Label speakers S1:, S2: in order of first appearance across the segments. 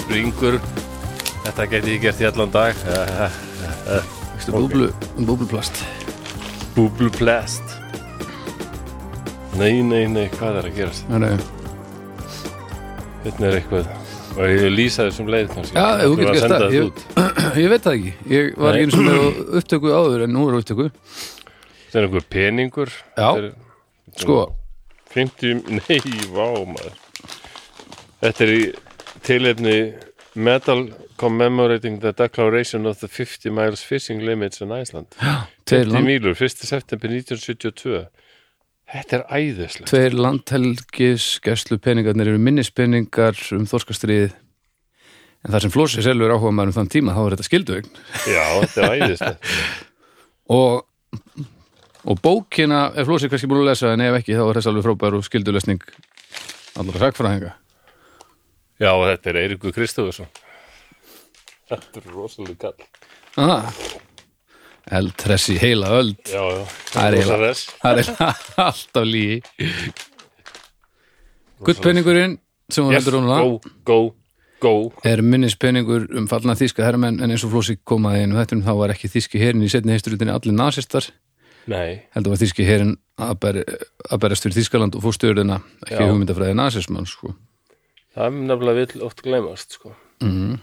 S1: springur Þetta geti ég gert í allan dag Eh,
S2: Veistu, búblu, búbluplast
S1: Búbluplast Nei, nei, nei, hvað er að gerast?
S2: Þannig,
S1: Þetta er eitthvað Og ég lýsa þessum leið kannski
S2: Já, ef þú getur gert það
S1: Ég...
S2: ég, ég veit það ekki, ég var
S1: Nei.
S2: ekki eins og með á upptöku áður en nú er á upptöku
S1: Það er einhver peningur
S2: Já.
S1: Þetta er-
S2: Sko,
S1: 50, nei, vá maður Þetta er í tilefni Metal Commemorating the Declaration of the 50 Miles Fishing Limits in Iceland
S2: Hm? tveir,
S1: 50
S2: land,
S1: mílur, 1. september 1972 Þetta er æðislegt
S2: tveir landhelgis gæslu peningarnir eru minnispeningar um þorskastriðið en þar sem Flósi selur áhuga maður um þann tíma þá er þetta skildugn
S1: Já, þetta er æðislegt
S2: og, og bókina ef Flósi er kannski búin að lesa en ef ekki þá er þess alveg frábær og skildulesning allar sakfræðinga
S1: Já, og þetta er Eirikur Kristofusson Þetta er rosalega kall
S2: ah, Eldtressi heila öld
S1: Já, já,
S2: Það er eiginlega-
S1: rosalega
S2: Það er alltaf lígi Guttpenningurinn sem hún
S1: Yes,
S2: heldur hún
S1: go,
S2: lá
S1: go, go
S2: er minnispenningur um fallna þýska herrmenn en eins og flósi komaði einu þettum þá var ekki þýski herin í setni heisturutinni allir nasistar
S1: Nei,
S2: heldur var þýski herin að bera- að berast fyrir Þýskaland og fórstöðurina ekki
S1: Já.
S2: hugmyndafræði nasismann sko.
S1: það er nefnilega vill oft glemast, sko
S2: mm.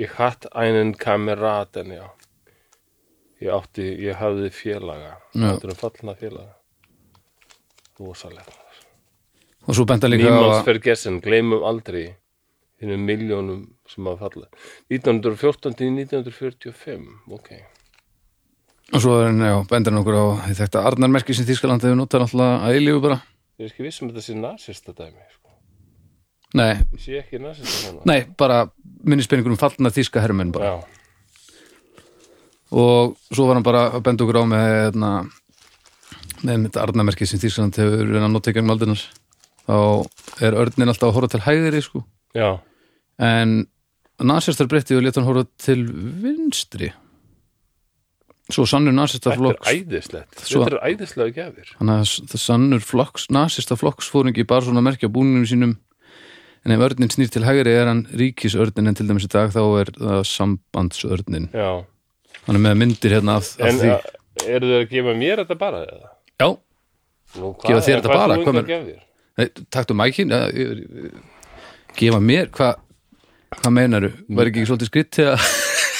S1: Ég hatt einen kameraten, já. Ég átti, ég hafði félaga.
S2: Já.
S1: Þetta eru fallna félaga. Rósalega.
S2: og svo benda líka á
S1: Nýmáls
S2: að
S1: vergessen, gleymum aldrei þínu miljónum sem að falla. 1914 til 1945, ok.
S2: og svo er hann, já, benda hann okkur á þetta Arnarmerki sem Þýskaland hefur notað náttúrulega að eilífu bara
S1: Ég er ekki viss um þetta sé nasista dæmi, sko.
S2: nei,
S1: Ég sé ekki nasista hana.
S2: nei, bara minnispenningur um fallna þýska herrmenn bara
S1: Já,
S2: og svo var hann bara að benda okkur á með hérna, með þetta arnamerki sem Þýrsaland hefur verið að nota ekki um aldinar þá er örnin alltaf að horfa til hægri sko.
S1: já,
S2: en nasistar breytti og leta hann horfa til vinstri svo sannur nasistar
S1: þetta er
S2: flokks
S1: æðislegt.
S2: Svo-
S1: Þetta er æðislega gefir.
S2: hann að s- það sannur flokks, nasista flokks fór ekki bara svona að merkja búninum sínum en ef örnin snýr til hægri er hann ríkisörnin en til dæmis í dag þá er það sambandsörnin
S1: Já.
S2: hann er með myndir hérna af, af
S1: En uh,
S2: því
S1: a- eru þau að gefa mér þetta bara eða?
S2: já,
S1: Nú, hvað-
S2: Gefa þér
S1: en
S2: þetta
S1: hvað
S2: bara?
S1: þú
S2: Hvað
S1: engar
S2: meinar-
S1: gjafir?
S2: Nei, takktu mækin eða, ég- ég- gefa mér hvað hvað meinaru, var
S1: Mm.
S2: ekki svolítið skritt til að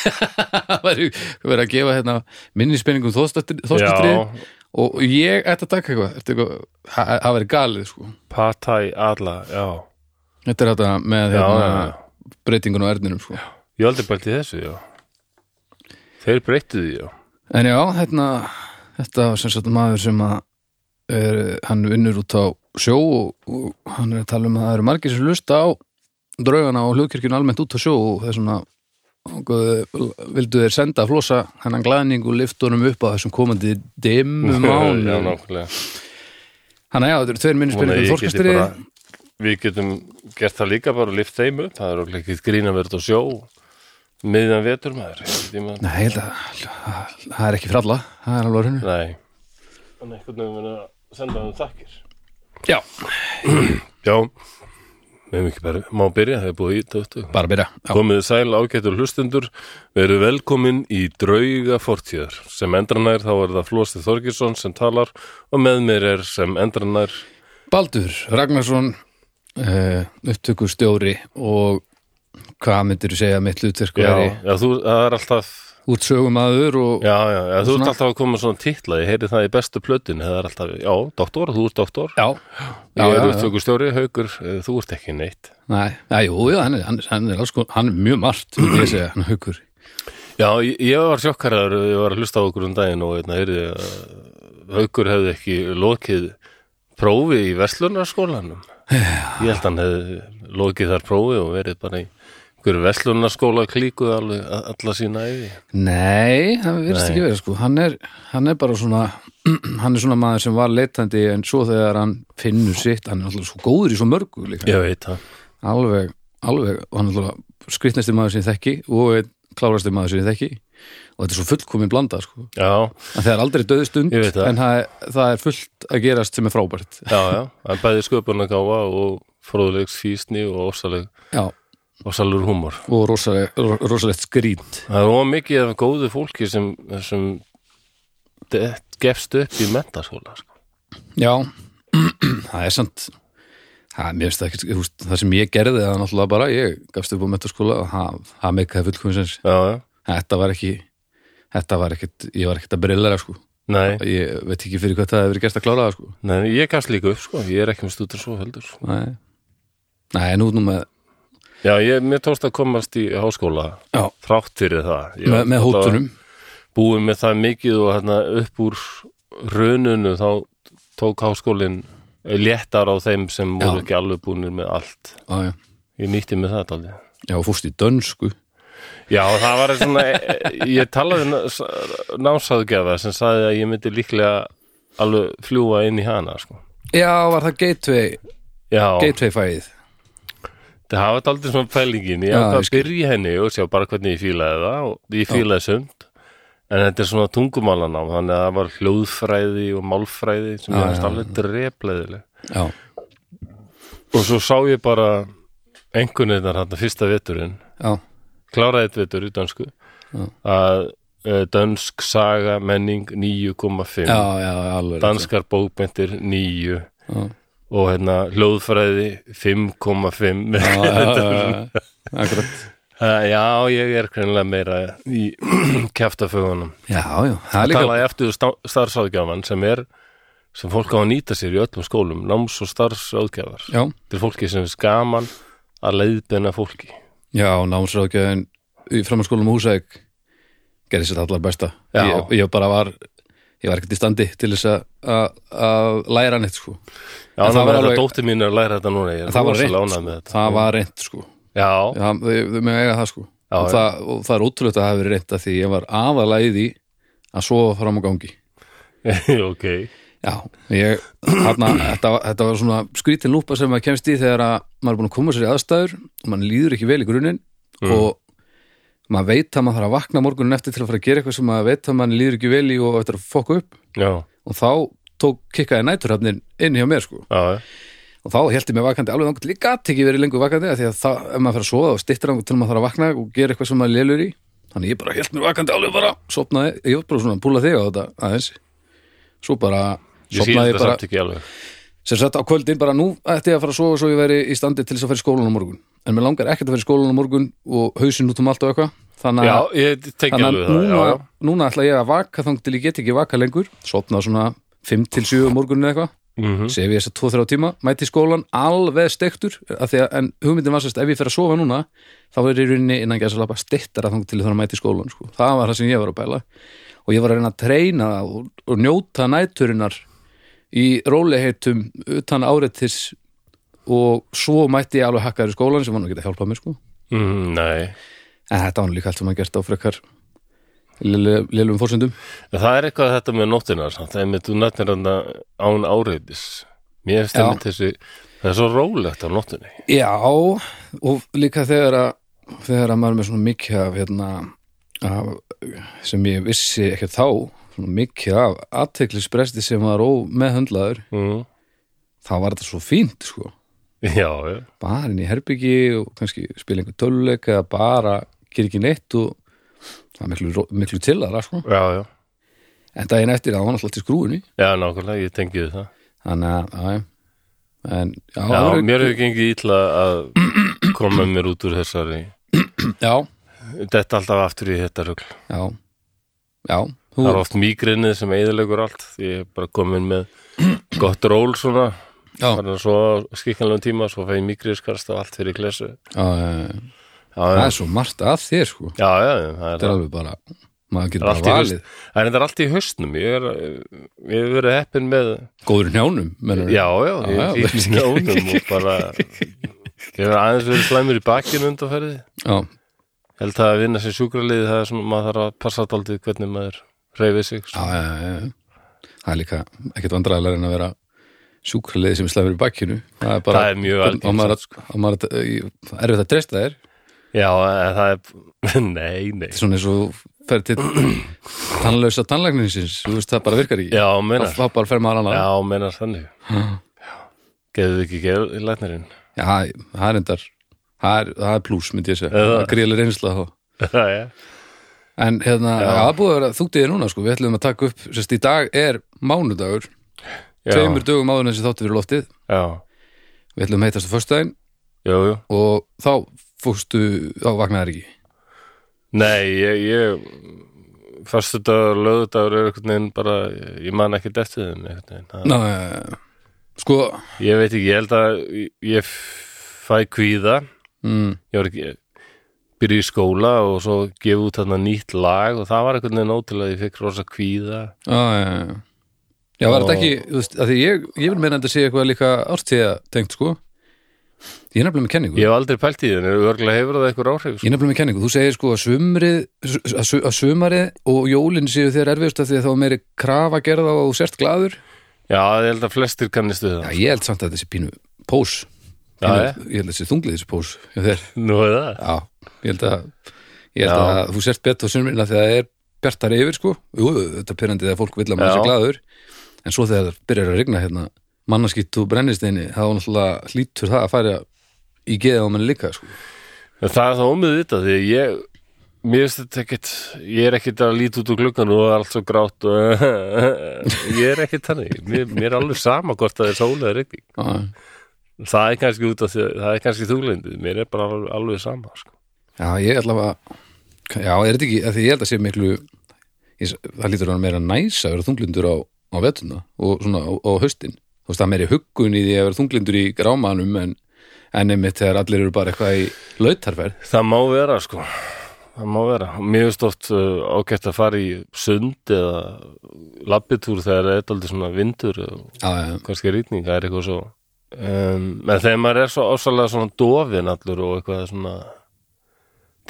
S2: væri verið að gefa hérna minnispenningum þóstastrið
S1: Já.
S2: og ég ætti að taka eitthvað, ertu eitthvað ha- það verið galið sko
S1: Patæ alla, já
S2: þetta er þetta með
S1: Já,
S2: hérna,
S1: já, já.
S2: breytingun á erninum sko
S1: Ég aldrei bælt í þessu, já Þeir breyttu því, já
S2: en já, hérna, þetta var sem sagt maður sem að er, hann vinnur út á sjó og, og hann er að tala um að það eru margir sem lusta á draugana og hlugkirkjun almennt út á sjó og þess vegna og, vildu þeir senda að flosa hennan glæðning og lyftu honum upp á þessum komandi dimmu
S1: Já,
S2: mánu
S1: nákvæmlega
S2: hann að já, þetta eru tveir
S1: Vona
S2: minnispenningur
S1: ég geti
S2: þorkastri
S1: bara- Við getum gert það líka bara og lift þeim upp Það er okkur ekki grín að vera þetta á sjó Miðan vetur maður einhvern tímann.
S2: Nei, ég held að að- það er ekki fralla, það er alveg á hreinu
S1: Nei En einhvern veginn verið að senda þeim þakkir
S2: Já,
S1: Já Meðum ekki bara, má byrja, það er búið í tóttu
S2: bara að byrja já.
S1: Komiði sæl ágættur hlustundur, verið velkomin í drauga fortíðar. Sem endranær þá er það Flósti Þorgirsson sem talar og með mér er sem endranær
S2: Baldur Ragnarsson uh, upptökustjóri og hvað myndir þú segja að mitt hlutverk
S1: Já,
S2: væri
S1: já, þú, það er alltaf
S2: út sögumadur og
S1: Já, já, já þú ert
S2: Svona-
S1: alltaf að koma með svona titla Ég heyri það í bestu plötin Það er alltaf, já, doktor, þú ert doktor
S2: já, já,
S1: Ég
S2: já,
S1: er
S2: já.
S1: upptökustjóri, haukur, eh, þú ert ekki neitt
S2: Nei, já, jú, já, hann, er, hann, er- hann er alls konar, hann er mjög margt myndi ég segja, hann er haukur
S1: Já, ég, ég var sjokkaraður Ég var að hlusta á okkur um daginn og hérna, heyrði að haukur hefði ekki lokið prófi í verslunarskólanum Ég held hann hefði lokið þar prófi og verið bara í einhverju verslunarskóla klíkuð alveg a- alla sína æfi
S2: Nei, það virðist
S1: Nei.
S2: ekki verið sko hann er, hann er bara svona hann er svona maður sem var leitandi en svo þegar hann finnur sitt, hann er alltaf svo góður í svo mörgu líka,
S1: Ég veit það
S2: alveg, alveg og hann er alltaf skrittnasti maður sem ég þekki og einn klárasti maður sem ég þekki og þetta er svo fullkomin blanda sko
S1: Já,
S2: En það er aldrei döðstund
S1: Ég veit það.
S2: en það er, það er fullt að gerast sem er frábært
S1: já, já, hann bæði sköpunargáfa og fróðleg sísni og ósaleg
S2: Já,
S1: og salur húmor
S2: og rosaleg, ro- rosalegt skrýt
S1: það er ómikið af góðu fólki sem, sem det- gefst upp í mentaskóla sko.
S2: Já, það er samt það, mér finnst það ekki, þú veist, það sem ég gerði það er náttúrulega bara, ég gafst upp á metaskóla og það- það meikaði fullkomisins
S1: já, já,
S2: þetta var ekki þetta var ekkit, ég var ekkit að brillera sko
S1: nei
S2: ég veit ekki fyrir hvað það hefur verið gert að klára það sko
S1: Nei, ég gafst líka upp sko, ég er ekki með stútur svo heldur sko.
S2: nei, nei nú, nú með
S1: Já, ég, mér tókst að komast í háskóla
S2: já,
S1: þrátt fyrir það Ég
S2: með,
S1: var
S2: með
S1: alltaf
S2: hótunum
S1: Búið með það mikið og hérna, upp úr rununu þá tók háskólinn léttar á þeim sem
S2: Já.
S1: voru ekki alveg búinir með allt
S2: já, já,
S1: Ég nýtti með það alveg
S2: já, og fórst í dönsku
S1: Já, það var svona, e, ég talaði námsáðgjafa sem sagði að ég myndi líklega alveg fljúa inn í hana sko.
S2: já, var það gateway,
S1: Já,
S2: gateway fæðið
S1: Það hafa þetta aldrei svona pælingin Ég
S2: Já,
S1: ákvað
S2: ég
S1: að byrja í henni og sjá bara hvernig ég fílaði það og ég fílaði sumt en þetta er svona tungumálanám þannig að það var hljóðfræði og málfræði sem
S2: Já,
S1: ég varst
S2: já,
S1: alveg drepleðileg
S2: já,
S1: og svo sá ég bara einhvernirnar hann fyrsta veturinn
S2: já,
S1: kláraði þetta vetur í dönsku
S2: Já.
S1: að uh, dönsk saga menning 9,5
S2: já, já, alveg
S1: danskar bókmentir 9
S2: já,
S1: og hérna hljóðfræði 5,5
S2: já, já, já, já, já, akkurat
S1: Uh, já, ég er greinilega meira í kæftafögunum.
S2: já, já, það er
S1: Líka...
S2: líka
S1: Talaði eftir starfsáðgjafan sem er sem fólk á að nýta sér í öllum skólum náms og starfsáðgjafar.
S2: já,
S1: Þetta er fólki sem er skaman að leiðbena fólki.
S2: já, námsráðgjöðin í framhanskólum húsæk gerði sér allar besta
S1: Já.
S2: ég, ég bara var ég var ekkert í standi til þess að- að að læra neitt sko En
S1: Já, það var alveg...
S2: alveg-
S1: Dóttir mín er að læra þetta núna, ég
S2: En
S1: er
S2: það var
S1: rosalega
S2: reynt,
S1: ánægð með
S2: sko.
S1: þetta.
S2: það var reynt sko
S1: Já,
S2: Já, þau, þau með eiga það sko
S1: Já,
S2: og,
S1: já.
S2: það, og það er ótrúlegt að það hafi verið reynt að því ég var aðalæði því að sofa fram á gangi
S1: ok.
S2: Já, ég, þarna, þetta, var- þetta var svona skrítin lúpa sem maður kemst í þegar að maður er búin að koma sér í aðstæður og maður líður ekki vel í grunin
S1: Mm.
S2: og maður veit að maður þarf að vakna morgunin eftir til að fara að gera eitthvað sem maður veit að maður líður ekki vel í og eftir að fokka upp
S1: Já,
S2: og þá tók kikkaði næturhafnin inn hjá mér sko
S1: já, já.
S2: og þá held ég mig vakandi alveg langt líka gat ekki verið lengur vakandi af því að það, ef maður fer að sofa og stittir hann til maður þarf að vakna og gera eitthvað sem maður lélur í þannig ég bara held mig vakandi alveg bara sopnaði, ég var bara svona að púla þig á þetta aðeins svo bara
S1: Ég sé
S2: sopnaði
S1: þetta
S2: ég bara,
S1: samt ekki alveg.
S2: sem sagt á kvöldin bara nú ætti ég að fara að sofa svo ég veri í standi til þess að fara í skólan á morgun en mér langar ekkert að fara í skólan á morgun og hausinn út um allt og eitthvað þannig
S1: Já,
S2: að,
S1: ég tekja
S2: þannig að
S1: alveg það.
S2: núna,
S1: Já, já.
S2: núna ætla ég að vaka þangt til ég get ekki vaka lengur sopna svona 5-7 morgunin eitthvað
S1: Mm
S2: sef ég þess að 2-3 tíma, mæti í skólan alveg stektur, af því að en hugmyndin var sérst, ef ég fer að sofa núna þá er í rauninni innan gæsa lappa stittara þang til þannig að mæti í skólan, sko. það var það sem ég var að bæla og ég var að reyna að treyna það og, og njóta næturinnar í róliheitum utan áreitis og svo mætti ég alveg hakkaður í skólan sem var nú ekki að hjálpa mér sko
S1: Mm, nei.
S2: en þetta var nú líka allt sem að gert á frekar lélum fórsendum
S1: En Það er eitthvað þetta með nóttina samt, það er með þú nættir hann án áreitis Mér finnst
S2: Já.
S1: einmitt þessi það er svo rólegt á nóttinni
S2: Já, og líka þegar að þegar að maður er með svona mikið af hérna af, sem ég vissi ekki þá svona mikið af aðteklisbresti sem var ómeðhöndlaður
S1: mm.
S2: þá var þetta svo fínt sko
S1: Já, já,
S2: bara inn í herbyggi og kannski spila einhver töluleik eða bara gera ekki neitt og það er miklu, ró- miklu til aðra sko
S1: já, já
S2: en daginn eftir það var náttúrulega til skrúinni
S1: Já, nákvæmlega, ég tengi við það
S2: þannig að, já, en já,
S1: Já,
S2: það var-
S1: mér hefur gengið ítla að koma mér út úr þessari
S2: já,
S1: Þetta alltaf aftur í þetta rugl
S2: já, já þú,
S1: Það er oft mýgrinnið sem eðilegur allt Því ég er bara komin með gott ról svona
S2: já, já,
S1: Þannig að svo skikkanlega tíma svo fæði mýgriðskarst og allt fyrir klesu
S2: já, já, já.
S1: Já, já,
S2: það
S1: já,
S2: er svo margt að þér sko
S1: já, það er
S2: þetta er alveg bara, maður getur bara
S1: Það er allt í
S2: valið
S1: haust- það er reyndar allt í haustnum ég er, ég hef verið heppin með
S2: góður í njánum, mennur
S1: já, já,
S2: Já, já.
S1: ég fíkst njónum og bara ég hef aðeins verið slæmur í bakkinu undanferði
S2: já,
S1: held að vinna sem sjúkraliði það er svona maður þarf að passa daldið hvernig maður reyfið sig
S2: já, já, já, já. það er líka ekkert vandræðilega en að vera sjúkraliði sem slæmur í bakkinu það er bara,
S1: Það er mjög
S2: hvernig-
S1: algengt, sko.
S2: á maður, á maður, á maður erfitt að treysta þér þetta
S1: já, en það er nei, nei,
S2: er svona eins og þú ferð til tannlausa tannlækningsins, þú veist það bara virkar ekki
S1: já,
S2: Þá-
S1: menar
S2: þá bara fer maður annað
S1: já, menar þannig
S2: já,
S1: geðið ekki geðið læknirinn
S2: það er endar það er, það er plús, myndi ég segja
S1: Er
S2: það
S1: það?
S2: er gríðlega reynsla þá
S1: já,
S2: En hérna,
S1: Já.
S2: það er búið að vera þungt í þér núna sko, við ætlum að taka upp, sérst í dag er mánudagur,
S1: já,
S2: tveimur dögum áður en þessi þáttu fyrir loftið,
S1: já,
S2: við ætlum að heitast á föstudaginn
S1: já, já.
S2: og þá fórstu, þá vaknaðir ekki.
S1: Nei, ég, ég Föstudagur, lögudagur er einhvern veginn bara, ég man ekki dettið þeim einhvern veginn. Það-
S2: Ná, eh, sko,
S1: Ég veit ekki, ég held að ég- ég fæ kvíða
S2: mm,
S1: ég var ekki byrja í skóla og svo gefa út þarna nýtt lag og það var einhvern veginn ótrúlega ég fekk rosa kvíða
S2: á, já, já, já. Já, var þetta
S1: Og-
S2: ekki, þú veist, að því ég, ég vil meina að þetta sé eitthvað líka ártíða tengt, sko. Ég er nefnilega með kenningu.
S1: ég hef aldrei pælt í þenni, örgulega hefur það eitthvað áhrif
S2: Ég er nefnilega með kenningu, þú segir sko að sumrið, að, su, að sumarið og jólin séu þér erfiðust af því að þá er meiri krafa gerða og þú sért glaður.
S1: já, ég held að flestir kannist við
S2: Já,
S1: það
S2: ég held samt að þessi pínu pós
S1: Já,
S2: pínu,
S1: ég.
S2: Ég held að þessi þunglið þessi pós hjá þér.
S1: nú er það
S2: Já, ég held að, ég held
S1: Já.
S2: að þú sért betur á sumrina þegar það er bjartar yfir sko Jú, þetta er pyrrandi þegar fólk vil að maður
S1: Já.
S2: sé glaður En svo þegar það byrjar að rigna hérna mannaskitt og brennisteini þá náttúrulega hlýtur það að fara í geða á manni líka sko
S1: en það er það ómið þetta því að ég mér finnst þetta ekkit ég er ekkit að líta út úr gluggan og það er allt svo grátt og ég er ekkit þannig mér, mér er alveg sama hvort það er sólega rigning
S2: Já,
S1: það er kannski út af því að það er kannski þúglindið, mér er bara alveg, alveg sama sko.
S2: Já, ég held að Já, er þetta ekki, af því ég held að sé miklu ég, það lítur að vera meira næs að vera þunglindur á, á vetuna og svona á, á haustin Þú veist, það er meiri huggun í því að vera þunglindur í grámanum en, en einmitt þegar allir eru bara eitthvað í lautarferð
S1: Það má vera sko Það má vera, mér finnst oft uh, ágætt að fara í sund eða labbitúr þegar það er aldrei svona vindur og
S2: Já, já,
S1: kannski rýtning, það er eitthvað svo um, en þegar maður er svo ásalega svona dofin allur og eitthvað svona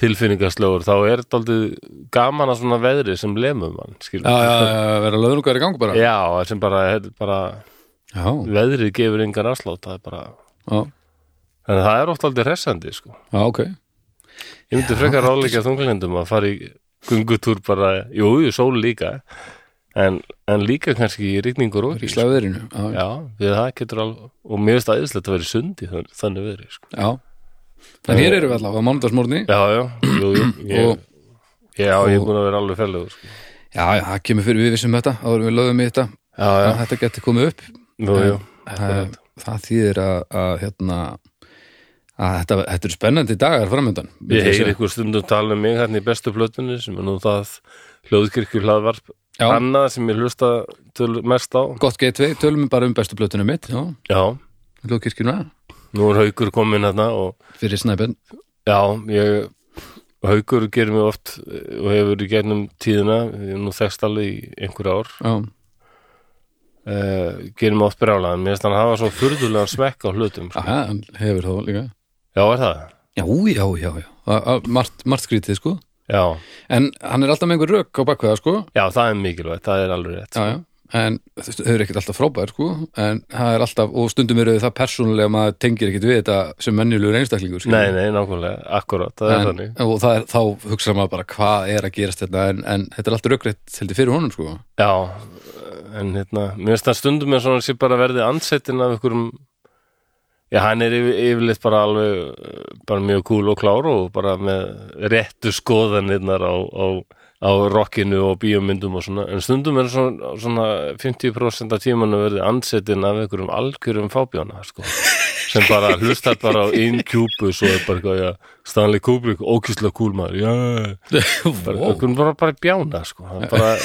S1: tilfinningaslegur þá er þetta aldrei gaman að svona veðri sem lemur mann, skilur
S2: já, já, já, vera löðrungar í gang bara
S1: já sem bara, þetta er bara
S2: Já,
S1: veðrið gefur engan afslátt, það er bara
S2: já,
S1: en það er oft aldrei hressandi sko
S2: já, ok
S1: Ég myndi frekar ráleika þunglindum að fara í gungutúr bara, jú, jú, sól líka en, en líka kannski í rigningur og
S2: Í slæðurinu, já,
S1: Já, við það getur alveg og mér finnst aðeinslegt að vera í sundi þannig, þannig veri, sko.
S2: já En hér erum við allavega á mánudagsmorni
S1: Já, já, jú, jú ég,
S2: Og-
S1: Já, ég er búin að vera alveg ferlegur sko.
S2: Já, já, það kemur fyrir við vissum þetta áður en við löðum í þetta
S1: Já, já,
S2: að þetta geti komið upp
S1: jú, jú
S2: það, það þýðir að, að hérna að þetta, þetta eru spennandi dagar framöndan
S1: Ég heyri ykkur stundum tala um mig hérna í bestu plötunni sem er nú það hljóðkirkju hlaðvarp
S2: Já.
S1: annað sem ég hlusta töl, mest á
S2: gott gateway, tölum við bara um bestu blötunum mitt já,
S1: Já,
S2: Ljókirkjuna,
S1: nú er haukur komin hérna og
S2: fyrir snæpen
S1: Já, ég haukur gerir mig oft eh, og hefur í gegnum tíðina ég er nú þekst alveg í einhver ár
S2: já,
S1: uh, gerir mig oft brjálaðan, mér finnst hann hafa svo furðulegan smekk á hlutum sko.
S2: aha, hann hefur þá líka
S1: Já, er það?
S2: já, já, já, já, A- a- margt, margt skrítið sko,
S1: Já,
S2: en hann er alltaf með einhver rök á bakveða sko,
S1: já, það er mikilvægt, það er alveg rétt
S2: já, já en þau eru ekkert alltaf frábær sko en það er alltaf, og stundum eru það persónulega maður tengir ekkert við þetta sem mennjulegur einstaklingur skilur.
S1: Nei, nei, nákvæmlega, akkurat, það er
S2: en,
S1: þannig
S2: og það er, þá hugsa maður bara hvað er að gerast þetta en, en þetta er alltaf raukrétt heldur fyrir honum sko
S1: Já, en hérna, mér finnst hann stundum með svona sé bara verði ansettin af einhverjum Já, hann er yfir, yfirleitt bara alveg eh, bara mjög kúl og klár og bara með réttu skoðanirnar á, á, á rockinu og bíómyndum og svona, en stundum er svona, svona 50% af tímanu verði ansettin af einhverjum algjörum fábjóna sko, sem bara hlustar bara á Incubus og er bara eitthvað, já, Stanley Kubrick, ókýslega kúl maður, já bara,
S2: Vó.
S1: wow. bara, bara bjána sko. Hann bara,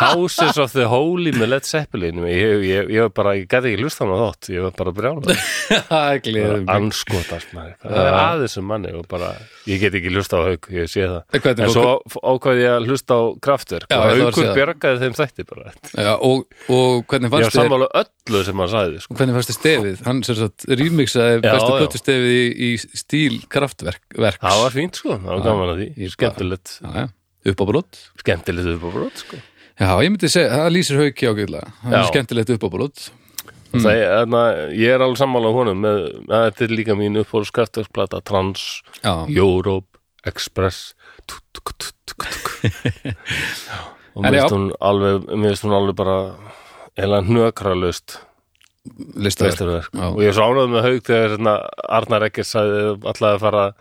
S1: Houses of the Holy með Led Zeppelin ég, ég, ég var bara, ég gæti ekki hlusta hann á þátt ég var bara brjála
S2: Það er gleðum mig.
S1: anskotast maður það er aðeins um manni og bara, ég get ekki hlusta á haug ég sé það,
S2: En hvernig
S1: en
S2: fólk-
S1: svo ákvað ég að hlusta á kraftverk
S2: Já, ég
S1: og
S2: ætla að
S1: haugur
S2: segja það.
S1: bjargaði þeim þætti bara
S2: Já, og, og hvernig
S1: ég var
S2: fannst þér
S1: sammála öllu sem hann sagði sko.
S2: hvernig fannst þér stefið, hann sér satt rýmiksaði
S1: Já,
S2: bestu
S1: já.
S2: plötu stefið í, í stíl kraftverk verks.
S1: það var fínt sko, það var gaman að því
S2: ég bara-
S1: skemmtilegt,
S2: já, já. upp á brot
S1: skemmtilegt upp á brot sko.
S2: já, ég myndi segja, það lýsir hauki ágæðlega hann
S1: Já.
S2: er skemmtilegt upp á brot
S1: mm. það, er- þarna, ég er alveg sammála honum með, að þetta er líka mín uppfórs kraftverksplata, trans
S2: já,
S1: Europe Express tuk, tuk, tuk, tuk, tuk. og
S2: En
S1: mér
S2: já.
S1: finnst hún alveg mér finnst hún alveg bara eða nökralust
S2: listaverk
S1: Meistarverk.
S2: Já.
S1: og ég er svo ánægð með haug þegar hérna, Arnar Ekkert sagði allavega að fara að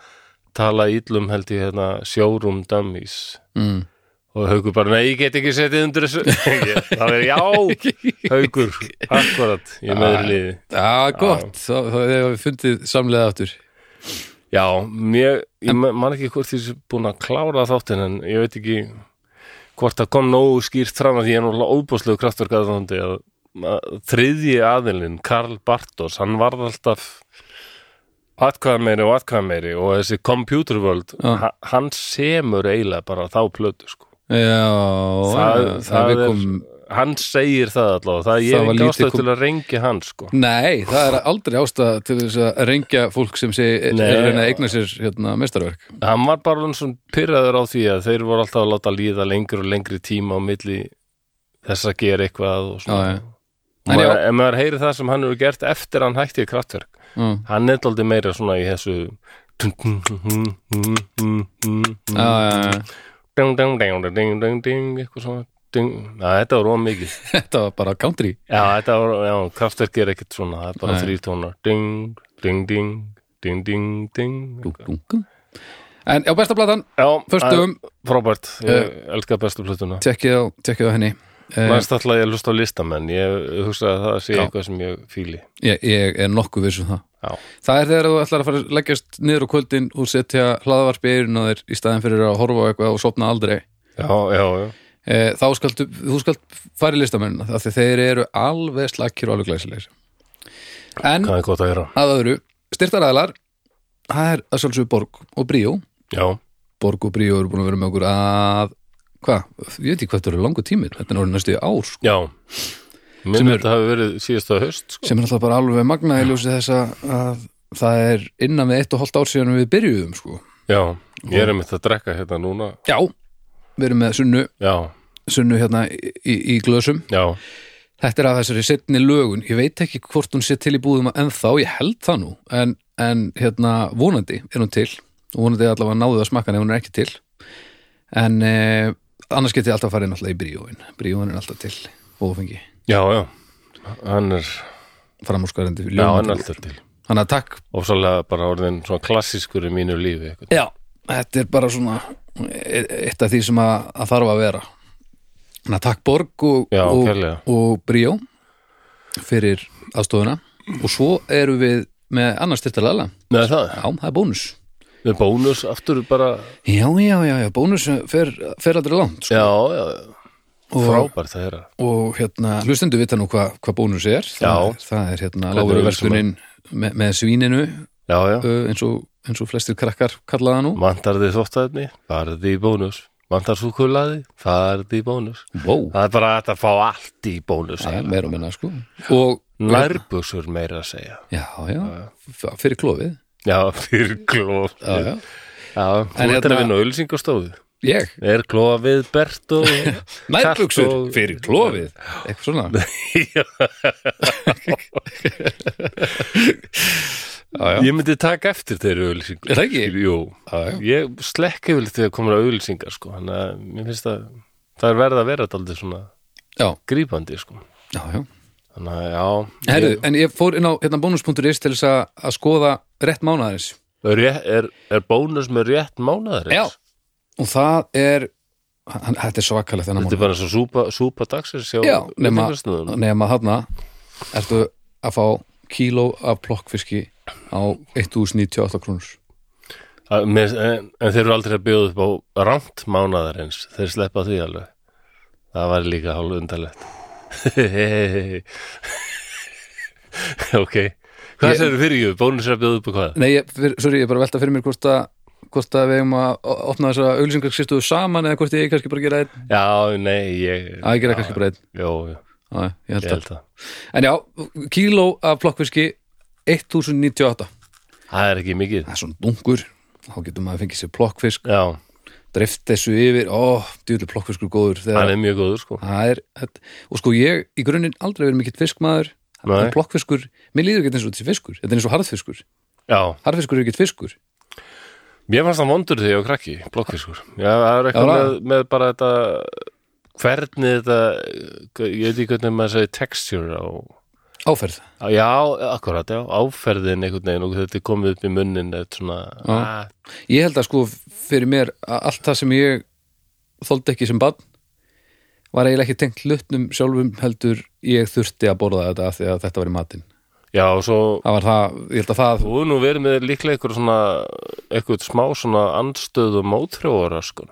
S1: tala íllum held ég hérna, sjórum dummies
S2: mm.
S1: og haugur bara, nei, ég get ekki setið undir þessu Ég- það er já, haugur akkurat, ég er meður liði
S2: Já, gott, þá þá hefur við fundið samlega aftur
S1: já, mér, ég ma- man ekki hvort því sem búin að klára þáttin en ég veit ekki hvort það kom nógu skýrt fram að því ég er náttúrulega óbúslegu kraftur gæðandi að að þriðji aðilinn, Karl Bartos hann varð alltaf atkvæða meiri og atkvæða meiri og þessi computer world,
S2: Já.
S1: ha- hann semur eiginlega bara þá plötu sko
S2: Já,
S1: það,
S2: já,
S1: það, er,
S2: við komum-
S1: hann segir það allavega það
S2: Það
S1: ég er
S2: var
S1: ekki
S2: lítið
S1: ástæð
S2: kom-
S1: til að rengja hann sko
S2: Nei, það er aldrei ástæða til þess að rengja fólk sem sé er
S1: Nei.
S2: að reyna að eigna sér hérna, mestarverk
S1: hann var bara hann svona pyrraður á því að þeir voru alltaf að láta líða lengur og lengri tíma á milli þess að gera eitthvað og
S2: Já,
S1: svona
S2: já,
S1: Og
S2: En
S1: maður,
S2: já.
S1: ef maður heyri það sem hann hefur gert eftir að hann hætti í kraftverk
S2: já,
S1: hann er aldrei meira svona í þessu
S2: já, já, já.
S1: eitthvað svona ding. Næ, þetta var róm mikið
S2: Þetta var bara country
S1: Já, þetta var, já, kraftverk er ekkert svona, það er bara
S2: Nei.
S1: þrýr tónar Ding, ding, ding, ding, ding, ding
S2: Dú, dú, dú. En já, besta platan,
S1: Já,
S2: förstum
S1: að- frábært, ég
S2: Eh,
S1: elska bestu plötuna
S2: Tjekkið á, tjekkið á henni uh,
S1: Mæst alltaf að ég hlusta á listamenn, ég hugsa að það sé
S2: Já.
S1: eitthvað sem ég fíli
S2: Eh, ég, ég er nokkuð viss um það
S1: Já,
S2: Það er þegar þú ætlar að fara að leggjast niður á kvöldin og setja hlaðavarpi eirun á þér í staðin fyrir að horfa á eitthvað og sopna aldrei
S1: já, já, já.
S2: Eh, þá skalt, þú skalt fara í listamennina af því þeir eru alveg slakir og alveg glæsilegir en
S1: hvað er gott að gera
S2: að öðru, styrtaræðlar það er að sjálfsögðu Borg og Bríó
S1: Já,
S2: Borg og Bríó eru búin að vera með okkur að hvað, ég veit ekki hvað þetta eru langu tími þetta er orðin næstu í ár sko.
S1: já
S2: Sem
S1: Minn
S2: er-
S1: þetta hafi verið síðasta haust sko.
S2: sem er alltaf bara alveg magna í ljósi þess að- að það er innan við eitt og hálft ár síðan við byrjuðum sko.
S1: Já, ég er einmitt að drekka hérna núna
S2: já, við erum með sunnu,
S1: Já,
S2: sunnu hérna í, í, í glösum
S1: já,
S2: Þetta er að þessari setni lögun, ég veit ekki hvort hún sé til í búðum ennþá, ég held það nú, en, en hérna vonandi er hún til og vonandi er allavega náðu að smakka hann ef hún er ekki til, en eh, annars geti ég alltaf farið náttúrulega í bríóin, bríóin er alltaf til, ófengi,
S1: já, já Hann er,
S2: framúrskarandi
S1: já, hann er
S2: ljómandi.
S1: alltaf til
S2: Þannig að takk,
S1: Og svolítið bara orðin svona klassískur í mínu lífi eitthvað.
S2: já, þetta er bara svona e- eitt af því sem að, að þarf að vera. Þannig að takk Borg og,
S1: Já,
S2: og,
S1: kærlega.
S2: og Bríó fyrir aðstofuna og svo eru við með annars styrtalega
S1: Nei, það,
S2: Já, það er bónus
S1: með bónus aftur bara
S2: Já, já, já, já bónus fer, fer aldrei langt sko.
S1: Já, já, frábært að heyra
S2: Og hérna, hlustendu vita nú hvað hva bónus er það,
S1: Já.
S2: er- það er hérna
S1: Hvernig
S2: lágur
S1: við
S2: verslunin með, með svíninu
S1: Já, já,
S2: ö, eins og, eins og flestir krakkar kallaða nú
S1: vantar þið þóttæfni, farði í bónus Vantar súkulaði, farði í bónus
S2: Vó,
S1: Það er bara hægt að fá allt í bónus
S2: það er meira og minna sko Og,
S1: Lærbuxur meira að segja
S2: já, já, f- fyrir klófið
S1: Já, fyrir klóf
S2: Já, já,
S1: Já, þú
S2: En
S1: ert að
S2: hérna-
S1: vinna auðlýsingastofu
S2: ég
S1: Er klófa við Bert og
S2: Nærbuxur
S1: Kalt og-
S2: fyrir klófið Eitthvað svona
S1: Já,
S2: já, já.
S1: Ég myndi taka eftir þeirri auðlýsingu
S2: Er það ekki?
S1: Jú,
S2: Já, já.
S1: ég slekk yfir þegar komur að auðlýsingar sko, hann að mér finnst að það er verið að vera daldið svona
S2: Já,
S1: grípandi sko
S2: já, já
S1: Þannig að já
S2: Herru, en ég fór inn á hérna bónus.is til þess að, að skoða rétt mánaðarins
S1: er, rétt- er, er bónus með rétt mánaðar
S2: Já, og það er hann, þetta er svakalegt þennan
S1: Þetta er
S2: mánu
S1: bara eins og súpa, súpa dagsins hjá
S2: Já, nema,
S1: útvarpsstöðvunum.
S2: nema þarna ertu að fá kíló af plokkfiski á 1098 krónur
S1: Að- mér- En, en þeir eru aldrei að bjóða upp á rámt mánaðar eins Þeir sleppa því alveg Það var líka hálf undarlegt Ok Hvað
S2: Ég-
S1: ég... sér fyrir jú? Bónus er að bjóða upp á hvað?
S2: Nei, ég, fyr, sorry, ég er bara að velta fyrir mér hvort að hvort að við eigum að o- opna þess að auglýsingarsistuðu saman eða hvort ég eigi kannski bara að gera einn
S1: Já, nei, ég
S2: að ég gera kannski bara einn
S1: Jó, jó,
S2: Já, ég held
S1: ég
S2: það.
S1: held það
S2: En já, kíló af plokkfiski 1098
S1: Það er ekki mikið
S2: Það er svona dungur þá getur maður að fengið sér plokkfisk
S1: Já,
S2: dreift þessu yfir, ó, djúlega plokkfiskur góður þegar
S1: hann er mjög góður sko
S2: Það er, þetta- og sko ég í grunninn aldrei verið mikill fiskmaður
S1: Nei.
S2: en blokkfiskur, mér líður ekki eins og þetta sé fiskur þetta er eins og harðfiskur,
S1: Já,
S2: harðfiskur er ekki fiskur
S1: Mér fannst það vondur þegar ég var krakki, blokkfiskur. Já, það er eitthvað
S2: Já,
S1: með, með bara þetta, hvernig þetta, ég veit ekki hvernig maður segi texture á,
S2: á áferð
S1: Já, akkurat, já, áferðin einhvern veginn og þetta er komið upp í munnin eitt svona, ah,
S2: Já.
S1: að,
S2: Ég held að sko fyrir mér að allt það sem ég þoldi ekki sem barn var eiginlega ekki tengt hlutnum sjálfum heldur ég þurfti að borða þetta af því að þetta var í matinn.
S1: já, og svo
S2: Það var það, ég held að það
S1: þú er nú verið með líklega einhver svona einhvern smá svona andstöðu mótrjóra, sko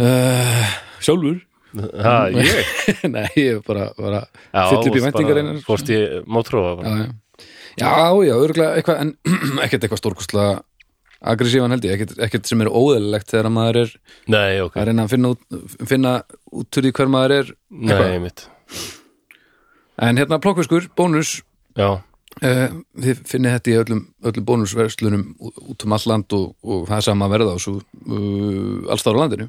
S2: uh, Sjálfur?
S1: Ha, ég?
S2: Nei, ég bara var að
S1: Já,
S2: fylla Mm. upp í
S1: varst
S2: væntingar
S1: bara-
S2: einar
S1: Fórst ég mótrjóa bara
S2: Já, já, já, já örgulega eitthvað en ekkert eitthvað stórkostlega aggressívan held ég, ekkert, ekkert sem er óðalilegt þegar maður er
S1: Nei, ok,
S2: að reyna að finna út, finna út úr því hver maður er
S1: nei, mitt
S2: en hérna plokkviskur, bónus
S1: Já,
S2: Uh, þið finnið þetta í öllum, öllum bónusverslunum ú- út um all land og, og það er sama verða á svo uh, allstáður á landinu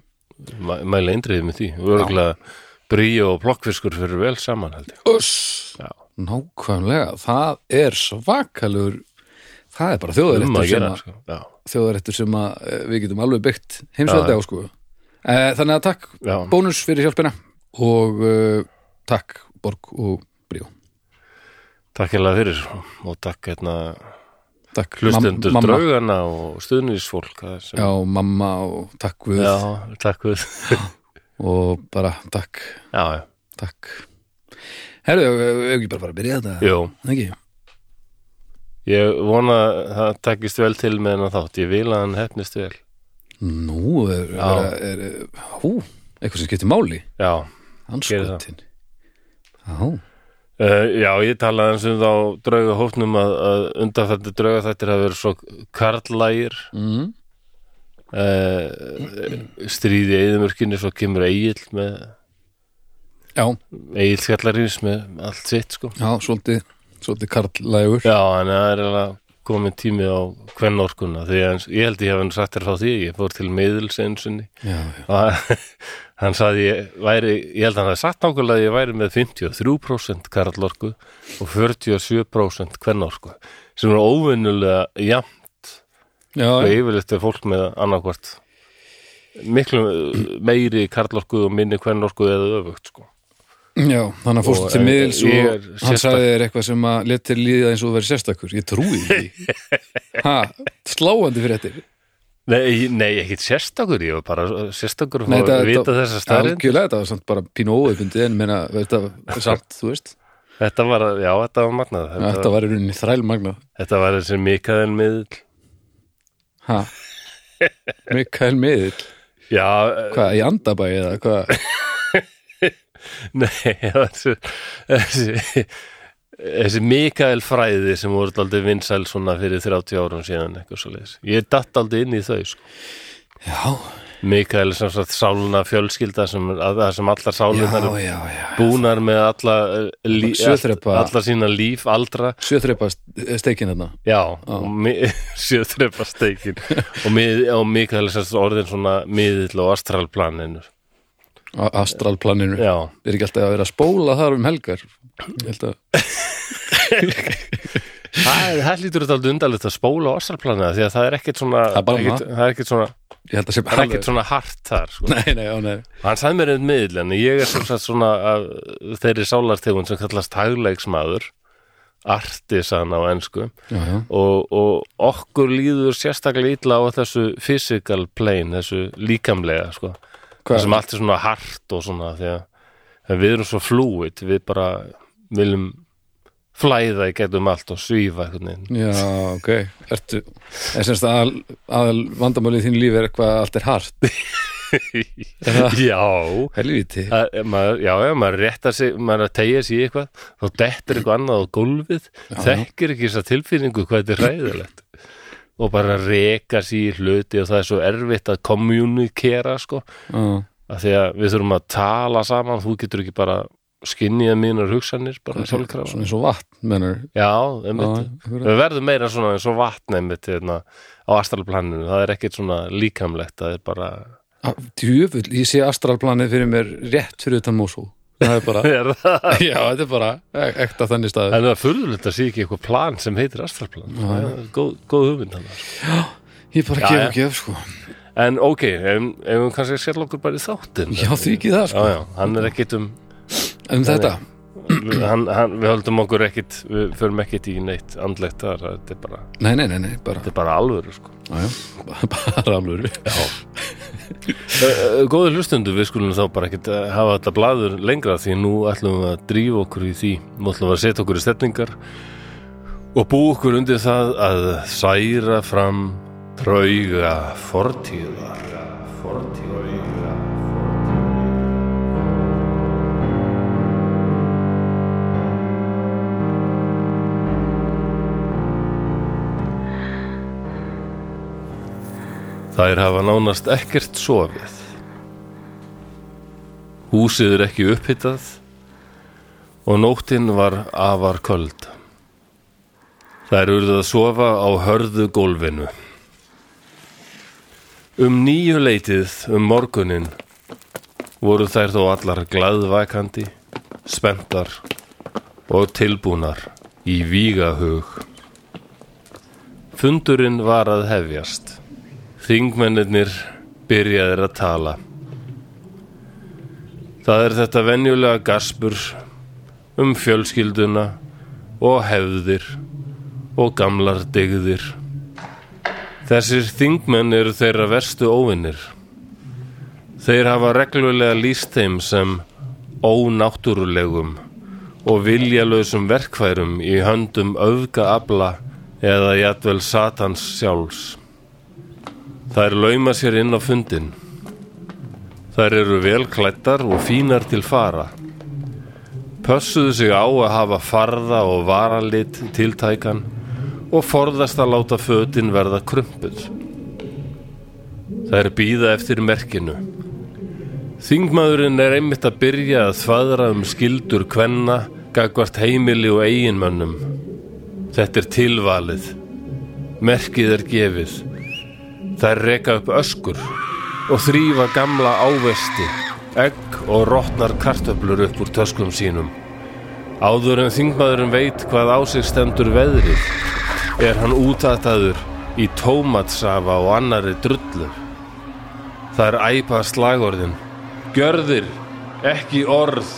S1: mæ- mæli eindriðið með því og örgulega bríu og plokkfiskur fyrir vel saman, held ég
S2: Öss,
S1: Já,
S2: nákvæmlega það er svakalur það er bara
S1: um að
S2: þjóðaréttur sem,
S1: gera,
S2: að,
S1: sko Já,
S2: þjóðaréttur sem að, eh, við getum alveg byggt heimsveldi á sko uh, þannig að takk
S1: já,
S2: bónus fyrir hjálpina og uh, takk Borg og Bríó
S1: takk hérlega fyrir og takk hérna
S2: takk mam-
S1: hlustendur
S2: mamma
S1: draugana og stuðnisfólk það sem-
S2: já, mamma og takk Guð
S1: já, takk við
S2: og bara takk
S1: já, já,
S2: Takk Herðu, hefur ekki bara fara að byrja þetta?
S1: jú
S2: Ekki?
S1: ég vona að það takist vel til með hennar þátt, ég vil að hann hefnist vel
S2: Nú, er, er, er, hú, eitthvað sem skiptir máli
S1: já, Gerið það.
S2: Anskotin Já,
S1: uh, já ég talaði eins um þá drauga hófnum að, að undanfættu drauga þættir hafa verið svo karlægir
S2: mm.
S1: uh, stríði eðumörkinni svo kemur Egil með
S2: já,
S1: Egil Skallarins með allt sitt sko
S2: já svolítið, svolítið karlægur
S1: já, en það er alveg komin tími á kvennorkuna því að ég held ég hef hann sagt þér frá því ég fór til miðils einu sinni
S2: Já, já,
S1: og hann sagði ég, væri, ég held að hann hafði sagt nákvæmlega að ég væri með 53% karlorku og 47% kvennorku sem er óvinnulega jafnt
S2: já,
S1: og
S2: já,
S1: yfirleitt er fólk með annarkvart miklu meiri karlorku og minni kvennorku eða öfugt sko.
S2: já þannig að
S1: Og,
S2: fórstu til
S1: eh,
S2: miðils
S1: ég er
S2: og hann
S1: sérstak-
S2: sagði þér eitthvað sem að letir líða eins og verið sérstakur Ég trúi því Ha, sláandi fyrir þetta
S1: Nei, nei ekkit sérstakur, ég var bara sérstakur að fá
S2: þetta-
S1: að vita þessa stærinn
S2: Algjörlega, þetta var samt bara pínu óöfundið en meina, þetta er samt, þú veist
S1: Þetta var, já, þetta var magnað Þetta,
S2: Þetta var í rauninni þræl magnað
S1: þetta var þessi mikaðin miðl
S2: Ha? Mikael Miðill
S1: Já,
S2: Hvað, í andabæi eða hvað?
S1: Nei, þessi, þessi, þessi Mikael fræði sem voru aldrei vinsæl svona fyrir 30 árum síðan eitthvað svo leiðis. Ég datt aldrei inn í þau sko.
S2: Já,
S1: Mikael er sem sagt sáluna fjölskylda sem, að, að sem allar sálunar
S2: já, já, já.
S1: búnar með alla, eh, lí,
S2: Sjöþrepa.
S1: alla sína líf aldra
S2: Sjöþreipa steikin þarna
S1: já, sjöþrepa steikin og, mið, og Mikael er sem sagt orðin svona miðill og astralplaninu
S2: á astralplaninu
S1: já,
S2: Er ekki alltaf að vera að spóla þar um helgar Ég held að
S1: það, það lítur þetta aldrei undarlegt að spóla á astralplaninu því að það er ekkert svona
S2: Það er bara
S1: ekkert, það er ekkert svona
S2: Ég held að sé
S1: það
S2: bara
S1: er ekkert svona hart þar sko.
S2: Nei, nei, já, nei
S1: hann sagði mér einn miðl en ég er sem sagt svona af þeirri sálartegun sem kallast hagleiksmaður artisan á ennsku
S2: Já, já,
S1: og, og okkur líður sérstaklega illa á þessu physical plane þessu líkamlega sko. það
S2: hvað?
S1: sem allt er svona hart og svona því að en við erum svo fluid við bara viljum flæða í getum allt og svífa einhvern veginn
S2: Já, ok, ertu En semst að aðal vandamálið í þín lífi er eitthvað að allt er hart
S1: já
S2: Helvíti
S1: Að- ef maður, já, já, maður réttar sig, maður er að tegja sig í eitthvað þá dettur eitthvað annað á gólfið þekkir ekki þessa tilfinningu hvað þetta er ræðilegt og bara reka sig í hluti og það er svo erfitt að kommunikera sko,
S2: Já,
S1: af því að við þurfum að tala saman, þú getur ekki bara skinnið mínar hugsanir bara sjálfkrafa
S2: Svona eins og vatn, menur
S1: Já,
S2: Já,
S1: einmitt.
S2: akkurat.
S1: við verðum meira svona eins og vatn einmitt hérna á astralplaninu, það er ekkert svona líkamlegt, það er bara
S2: Djöfull, ég sé astralplanið fyrir mér rétt fyrir utan Mosul Það er bara
S1: er það
S2: Já, þetta er bara e- ekta þannig staður
S1: En það er furðulegt að sé ekki eitthvað plan sem heitir astralplan. Það er Góð, góð hugmynd hann.
S2: Ég er bara að
S1: Já,
S2: gefa
S1: já.
S2: ekki öf sko
S1: En ok, ef ef við kannski að sér okkur bara í þáttin.
S2: sko. Já, því ekki það
S1: Já,
S2: sko
S1: já, hann er ekkit um,
S2: Um þetta,
S1: hann, hann, við höldum okkur ekkit við förum ekkit í neitt andlegt þar þetta er bara,
S2: Nei, nei, nei, nei, bara,
S1: þetta er bara alvöru sko.
S2: já, já, bara alvöru
S1: Ö, ö, góðu hlustundu, eh, við skulum þá bara ekkit eh, hafa þetta blaður lengra því nú ætlum við að drífa okkur í því nú ætlum við að setja okkur í stefningar og bú okkur undir það að særa fram drauga fortíðar fortíðar Þær hafa nánast ekkert sofið. Húsið er ekki upphittað og nóttin var afar köld. Þær urðu að sofa á hörðu gólfinu. Um nýju leitið um morgunin voru þær þó allar glaðvækandi, spenntar og tilbúnar í vígahug. Fundurinn var að hefjast. Þingmennirnir byrjaðir að tala. Það er þetta venjulega gaspur um fjölskylduna og hefðir og gamlar dygðir. Þessir þingmenn eru þeirra verstu óvinnir. Þeir hafa reglulega lýst þeim sem ónáttúrulegum og viljalausum verkfærum í höndum öfgaabla eða jætvel satans sjálfs. Þær lauma sér inn á fundin. Þær eru vel klættar og fínar til fara. Pössuðu sig á að hafa farða og varalit tiltækan og forðast að láta fötin verða krumpuð. Þær býða eftir merkinu. Þingmaðurinn er einmitt að byrja að þvaðra um skildur kvenna, gagvart heimili og eiginmönnum. Þetta er tilvalið. Merkið er gefið. Þær reka upp öskur og þrýfa gamla ávesti, egg og rótnar kartöflur upp úr töskum sínum. Áður en þingmaðurinn veit hvað á sig stendur veðrið, er hann útataður í tómatsafa og annari drullu. Þær æpa slagorðin, gjörðir, ekki orð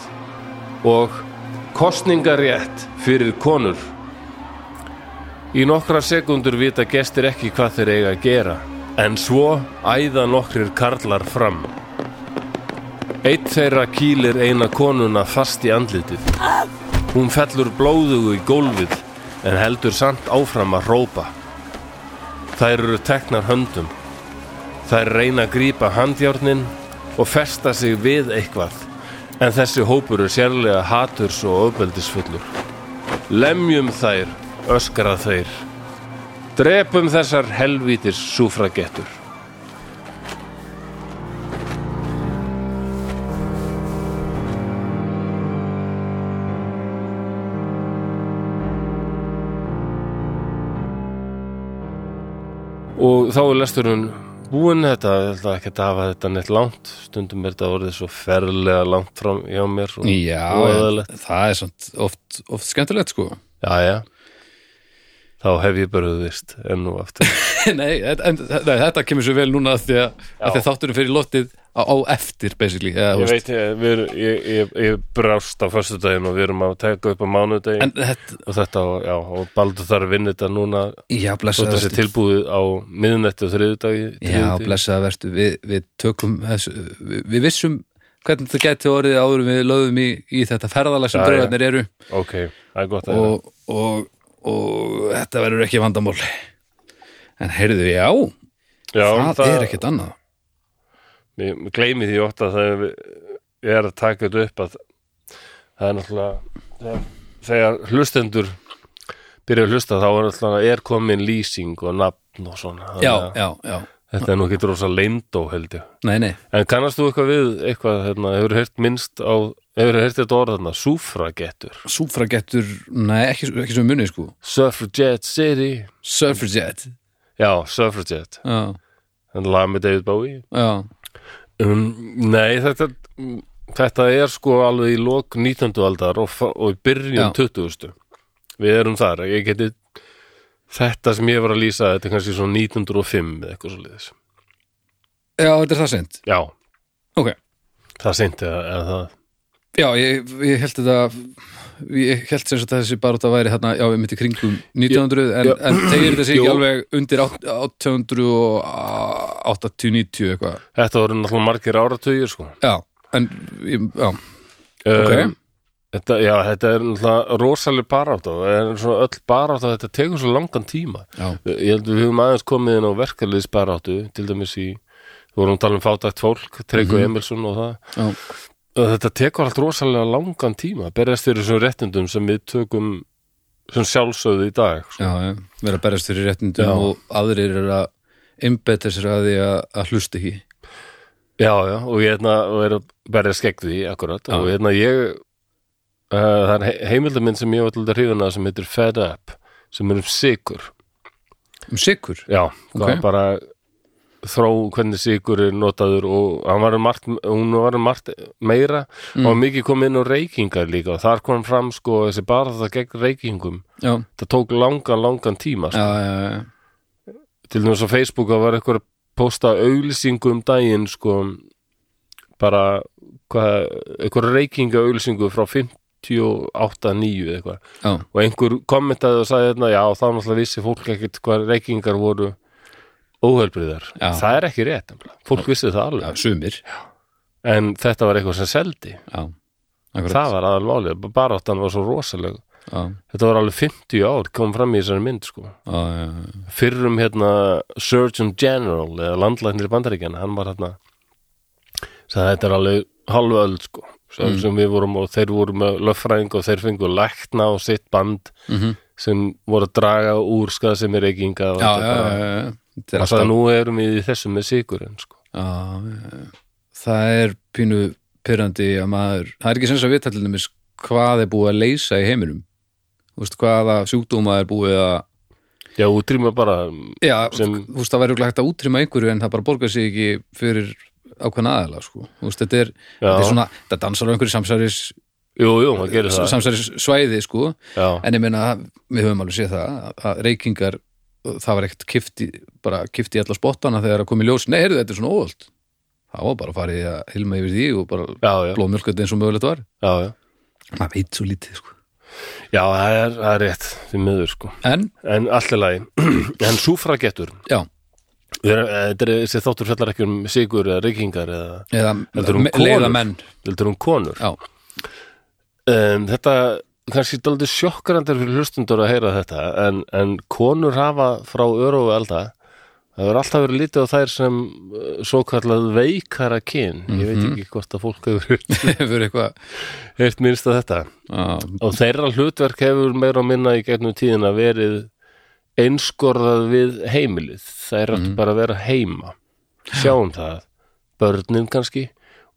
S1: og kostningarétt fyrir konur. Í nokkra sekundur vita gestir ekki hvað þeir eiga að gera en svo æða nokkrir karlar fram. Eitt þeirra kýlir eina konuna fast í andlitið. Hún fellur blóðugu í gólfið en heldur samt áfram að rópa. Þær eru teknar höndum. Þær reyna að grípa handjárnin og festa sig við eitthvað en þessi hópur er sérlega haturs og ofbeldisfullur. Lemjum þær, öskrað þeir. Drepum þessar helvítis súfragettur. Og þá er lesturinn búinn þetta, ég held að ekki að hafa þetta neitt langt, stundum er þetta orðið svo ferlega langt fram hjá mér. og-
S2: Já,
S1: og
S2: en
S1: óeðlilegt.
S2: það er samt oft, oft skemmtilegt sko
S1: Jæja Þá hef ég bröðvist enn og aftur
S2: Nei, en, en, nei, þetta kemur svo vel núna af því að, að því að þátturinn fyrir lottið á, á eftir, basically eða, þú
S1: Ég
S2: veist.
S1: veit, ég, við, erum- ég, ég, ég brást á föstudaginn og við erum að taka upp á mánudaginn
S2: En þetta,
S1: og þetta, og- já, og Baldur þarf að vinna þetta núna
S2: já,
S1: svo
S2: blessaða
S1: þetta sé
S2: vertu
S1: tilbúið á miðnætti og þriðudagi
S2: Já, blessaða vertu, við, við tökum þessu, við, við vissum hvernig þetta gæti orðið áður en við lögðum í, í þetta ferðalag sem
S1: Já, já.
S2: draugarnir eru
S1: Ok, það er gott að og...
S2: og, og, og þetta verður ekki vandamál En heyrðu, já,
S1: Já, um
S2: það, er ekkert annað
S1: Ég gleymi því ótt að það er ég er að taka þetta upp að það er náttúrulega þegar, þegar hlustendur byrja að hlusta þá er náttúrulega er komin lýsing og nafn og svona
S2: Já,
S1: Þannig að-
S2: já, já,
S1: Þetta er nú ekki rosa leindó held ég.
S2: nei, nei
S1: En kannast þú eitthvað við eitthvað, hérna, hefur heyrt minnst á, hefur heyrt þetta orð hérna, þarna, súfragettur.
S2: Súfragettur, nei, ekki, ekki sem munið sko
S1: Suffragette City.
S2: Surferjet,
S1: Já, suffragette.
S2: já,
S1: En lag með David Bowie.
S2: já
S1: Um, nei, þetta, mm, þetta er sko alveg í lok 19. aldar og, fa- og í byrjun
S2: Já.
S1: 20. Við erum þar. Ég geti, þetta sem ég var að lýsa, þetta er kannski svona 1905 eða eitthvað svo liðis.
S2: Já, þetta er það sent
S1: Já,
S2: Ok,
S1: það seinti að, að það.
S2: já, ég, ég held þetta ég held sem sagt að þessi baróta væri hérna, já, við mitt í kringum 1900 en,
S1: Já.
S2: en tegir þessi ekki
S1: Jú.
S2: alveg undir 880-90 eitthvað
S1: Þetta voru náttúrulega margir áratugir sko
S2: já, en ég- já,
S1: okay.
S2: ok
S1: þetta, Já, þetta er náttúrulega rosaleg barátt og er svona öll barátt að þetta tekur svo langan tíma
S2: já,
S1: Ég held við höfum aðeins komið inn á verkefliðsbaráttu til dæmis í, við vorum að tala um fátækt fólk Treyku Emilsson og það
S2: já,
S1: að þetta tekur allt rosalega langan tíma að berjast fyrir þessum réttindum sem við tökum sem sjálfsögðu í dag sko.
S2: já, já, vera að berjast fyrir réttindum
S1: Já.
S2: og aðrir eru að einbetta sér að því að, að hlusta ekki
S1: já, já, og ég hefna, og er að berjast gegn því akkurat og hefna, ég uh, það er he- heimildaminn sem ég var alltaf hrifuna sem heitir Fed Up sem er um sigur
S2: um sikur,
S1: já, það
S2: Ok.
S1: er bara þró hvernig sigur er notaður og hann var um margt, hún var um margt meira og mikið kom inn á reykingar líka og þar kom fram sko þessi bara það gegn reykingum
S2: já,
S1: það tók langan, langan tíma sko.
S2: já, já, já, já.
S1: til dæmis á Facebook að var eitthvað að posta auglýsingu um daginn sko bara hvað, eitthvað reykinga auglýsingu frá 58, 9 eitthvað
S2: já.
S1: og einhver kommentaði og sagði þarna já þá náttúrulega vissi fólk ekkert hvað reykingar voru óhölbriðar
S2: Já.
S1: það er ekki rétt, nefnilega. fólk vissi það
S2: já
S1: alveg
S2: sumir,
S1: en þetta var eitthvað sem seldi
S2: já, akkurat
S1: það var aðalmálið, baráttan var svo rosaleg
S2: já,
S1: þetta var alveg 50 ár kom fram í þessari mynd sko
S2: já, já, já,
S1: fyrrum hérna Surgeon General eða landlæknir í bandaríkjana hann var hérna sagði þetta er alveg halva öll sko sem,
S2: Mm.
S1: sem við vorum og þeir voru með löffræðing og þeir fengu lækna og sitt band
S2: Mhm.
S1: sem voru að draga úr skað sem er eiginga og
S2: já,
S1: þetta
S2: já,
S1: bara-
S2: já, já. Þetta er
S1: hann
S2: alltaf
S1: sagði nú erum við í þessu með sigurinn sko
S2: Já, já, já. það er pínu pyrrandi að maður það er ekki sens að vita til dæmis hvað er búið að leysa í heiminum Þú veist, hvaða sjúkdóma er búið að
S1: já útrýma bara
S2: já,
S1: Sem-
S2: þú veist, það væri örugglega hægt að útrýma einhverju en það bara borgar sig ekki fyrir ákveðna aðeila sko. Þú veist, þetta, er,
S1: Já.
S2: þetta er svona, þetta dansar á einhverju samsæris,
S1: jú jú maður gerir það
S2: samsæris svæði sko.
S1: já
S2: en ég meina, við höfum alveg séð það að- að reykingar, það var ekkert kifti, bara kifti í alla spottana þegar að komi ljós, nei, heyrðu, þetta er svona óvöld það var bara að fara í að hilma yfir því og bara
S1: já já,
S2: blóðmjölkut eins og mögulegt var
S1: já, já.
S2: maður veit svo lítið sko
S1: já það, er, það er rétt því miður sko
S2: en,
S1: en allt er lagi en súfragettur
S2: já,
S1: Við erum- eh, Þetta er þessi þáttur fjallar ekki um sigur eða reykingar eða
S2: eða
S1: Heldur hún
S2: me-
S1: konur?
S2: leiðamenn
S1: heldur um konur.
S2: já,
S1: Um, þetta kannski daldið sjokkarandir fyrir hlustundur að heyra þetta en, en konur hafa frá öru og elda það hefur alltaf verið lítið á þær sem svo kallað veikara kyn ég veit ekki hvort að fólk hefur
S2: hefur eitthvað
S1: heyrt minnst að þetta
S2: já,
S1: og þeirra hlutverk hefur meira og minna í gegnum tíðina verið einskorðað við heimilið það er mm. bara að vera heima sjáum það, börnin kannski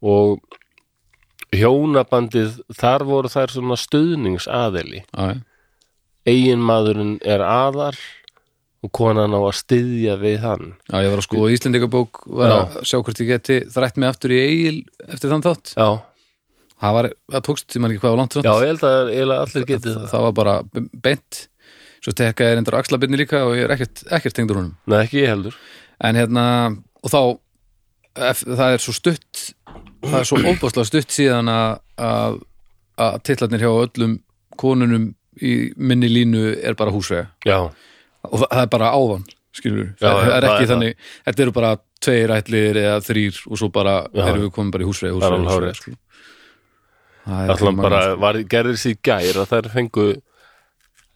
S1: og hjónabandið, þar voru þær svona stuðningsaðeli
S2: já, já,
S1: eiginmaðurinn er aðal og konan á að styðja við hann
S2: já, ég var að sko Íslendingabók var að sjá hvort ég geti þrætt mig aftur í eigil eftir þann þátt
S1: já,
S2: það var, það tókst, ég man ekki hvað var langt þátt
S1: já ég held að eiginlega allir getið það
S2: það var bara be- beint svo tekka ég reyndar axlabinni líka og ég er ekkert, ekkert tengdur honum
S1: Nei, ekki ég heldur
S2: en hérna, og þá ef, það er svo stutt það er svo óbáslega stutt síðan að- að að titlarnir hjá öllum konunum í minni línu er bara húsvega
S1: já,
S2: og það, það er bara áðan skilur,
S1: Já,
S2: það, er
S1: já, það
S2: ekki
S1: er það.
S2: þannig þetta eru bara tveir ætlir eða þrýr og svo bara
S1: Já.
S2: erum við komin bara í húsvega,
S1: Það er
S2: húsvega,
S1: alveg hárrétt.
S2: húsvega sko. það er
S1: allan bara var, gerðir sér gær að þær fengu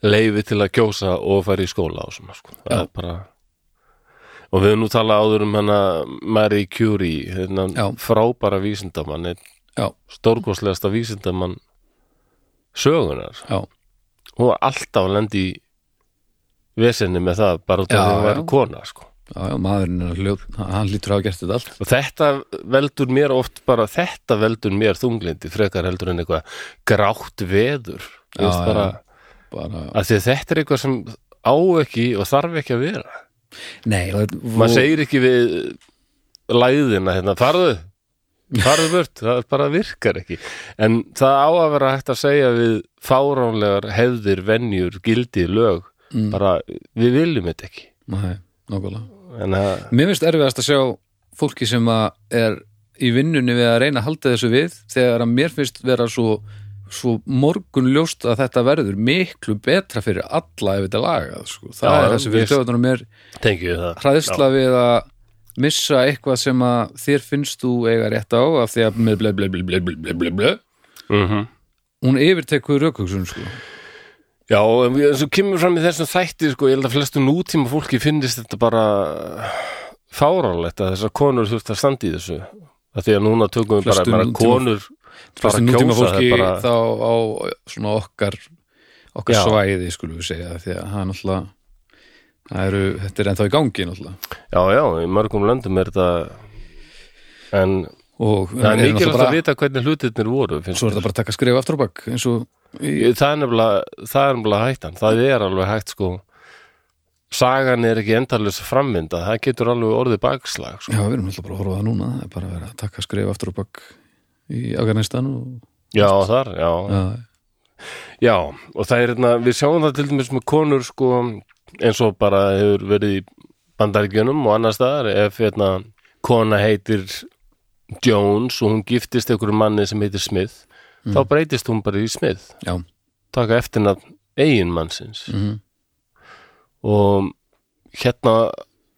S1: leifi til að kjósa og fara í skóla og svona sko. Það
S2: Já.
S1: er bara... og við höfum nú talað áður um hana Marie Curie hérna,
S2: Já.
S1: frábara vísindamann einn
S2: já,
S1: stórkostlegasta vísindamann sögunar
S2: já,
S1: hún var alltaf að lendi í vesenni með það bara út af
S2: Já,
S1: því að hún
S2: já.
S1: var kona sko.
S2: já, já, maðurinn er hljóð hann lítur að hafa gert þetta allt
S1: og þetta veldur mér oft bara þetta veldur mér þunglindi frekar heldur en eitthvað grátt veður já,
S2: Já,
S1: veist,
S2: já.
S1: bara,
S2: bara,
S1: að því að þetta er eitthvað sem á ekki og þarf ekki að vera
S2: nei, og,
S1: maður segir ekki við læðina hérna, farðu farðu burt, það bara virkar ekki en það á að vera hægt að segja við fáránlegar hefðir, venjur, gildi, lög bara við viljum þetta ekki
S2: nei, nákvæmlega
S1: en að,
S2: Mér finnst erfiðast að sjá fólki sem að er í vinnunni við að reyna að halda þessu við þegar að mér finnst vera svo svo morgun ljóst að þetta verður miklu betra fyrir alla ef þetta er lagað sko. það
S1: Já,
S2: er það sem við
S1: ég-
S2: stöðunum er
S1: tengi við það
S2: hræðsla við að missa eitthvað sem að þér finnst þú eiga rétt á af því að með ble ble ble ble ble ble ble ble
S1: mm -hmm.
S2: hún yfirtekur rökhugsun sko.
S1: Já, en við- eins og kemur fram í þessum þætti sko, ég held að flestu nútíma fólki finnist þetta bara fáránlegt að þessar konur þurft að standa í þessu að því að núna tökum við bara,
S2: Flestu
S1: bara
S2: nútíma-
S1: konur bara
S2: fyrst nútíma
S1: kjósa, það
S2: fólki
S1: er bara,
S2: þá á svona okkar okkar
S1: Já.
S2: svæði skulum við segja því að það er náttúrulega það eru, þetta er ennþá í gangi náttúrulega
S1: Já, já, í mörgum löndum er þetta en
S2: og
S1: það er
S2: eru náttúrulega
S1: mikilvægt
S2: bara-
S1: að vita hvernig hlutirnir voru finnst
S2: svo er þetta bara að taka skrif aftur á bak eins og í,
S1: Ég- það er nefnilega það er nefnilega hættan, það er alveg hægt sko sagan er ekki endalus frammynda, það getur alveg orðið bakslag sko.
S2: já við erum alltaf bara að horfa á það núna það er bara að vera að taka skrif aftur á bak í Afganistan og
S1: Já, þar, já,
S2: já,
S1: Já, og það er hérna, við sjáum það til dæmis með konur sko eins og bara hefur verið í bandaríkjunum og annars staðar ef hérna kona heitir Jones og hún giftist einhverjum manni sem heitir Smith þá breytist hún bara í Smith
S2: já,
S1: taka eftirnafn eigin mannsins
S2: mhm
S1: og hérna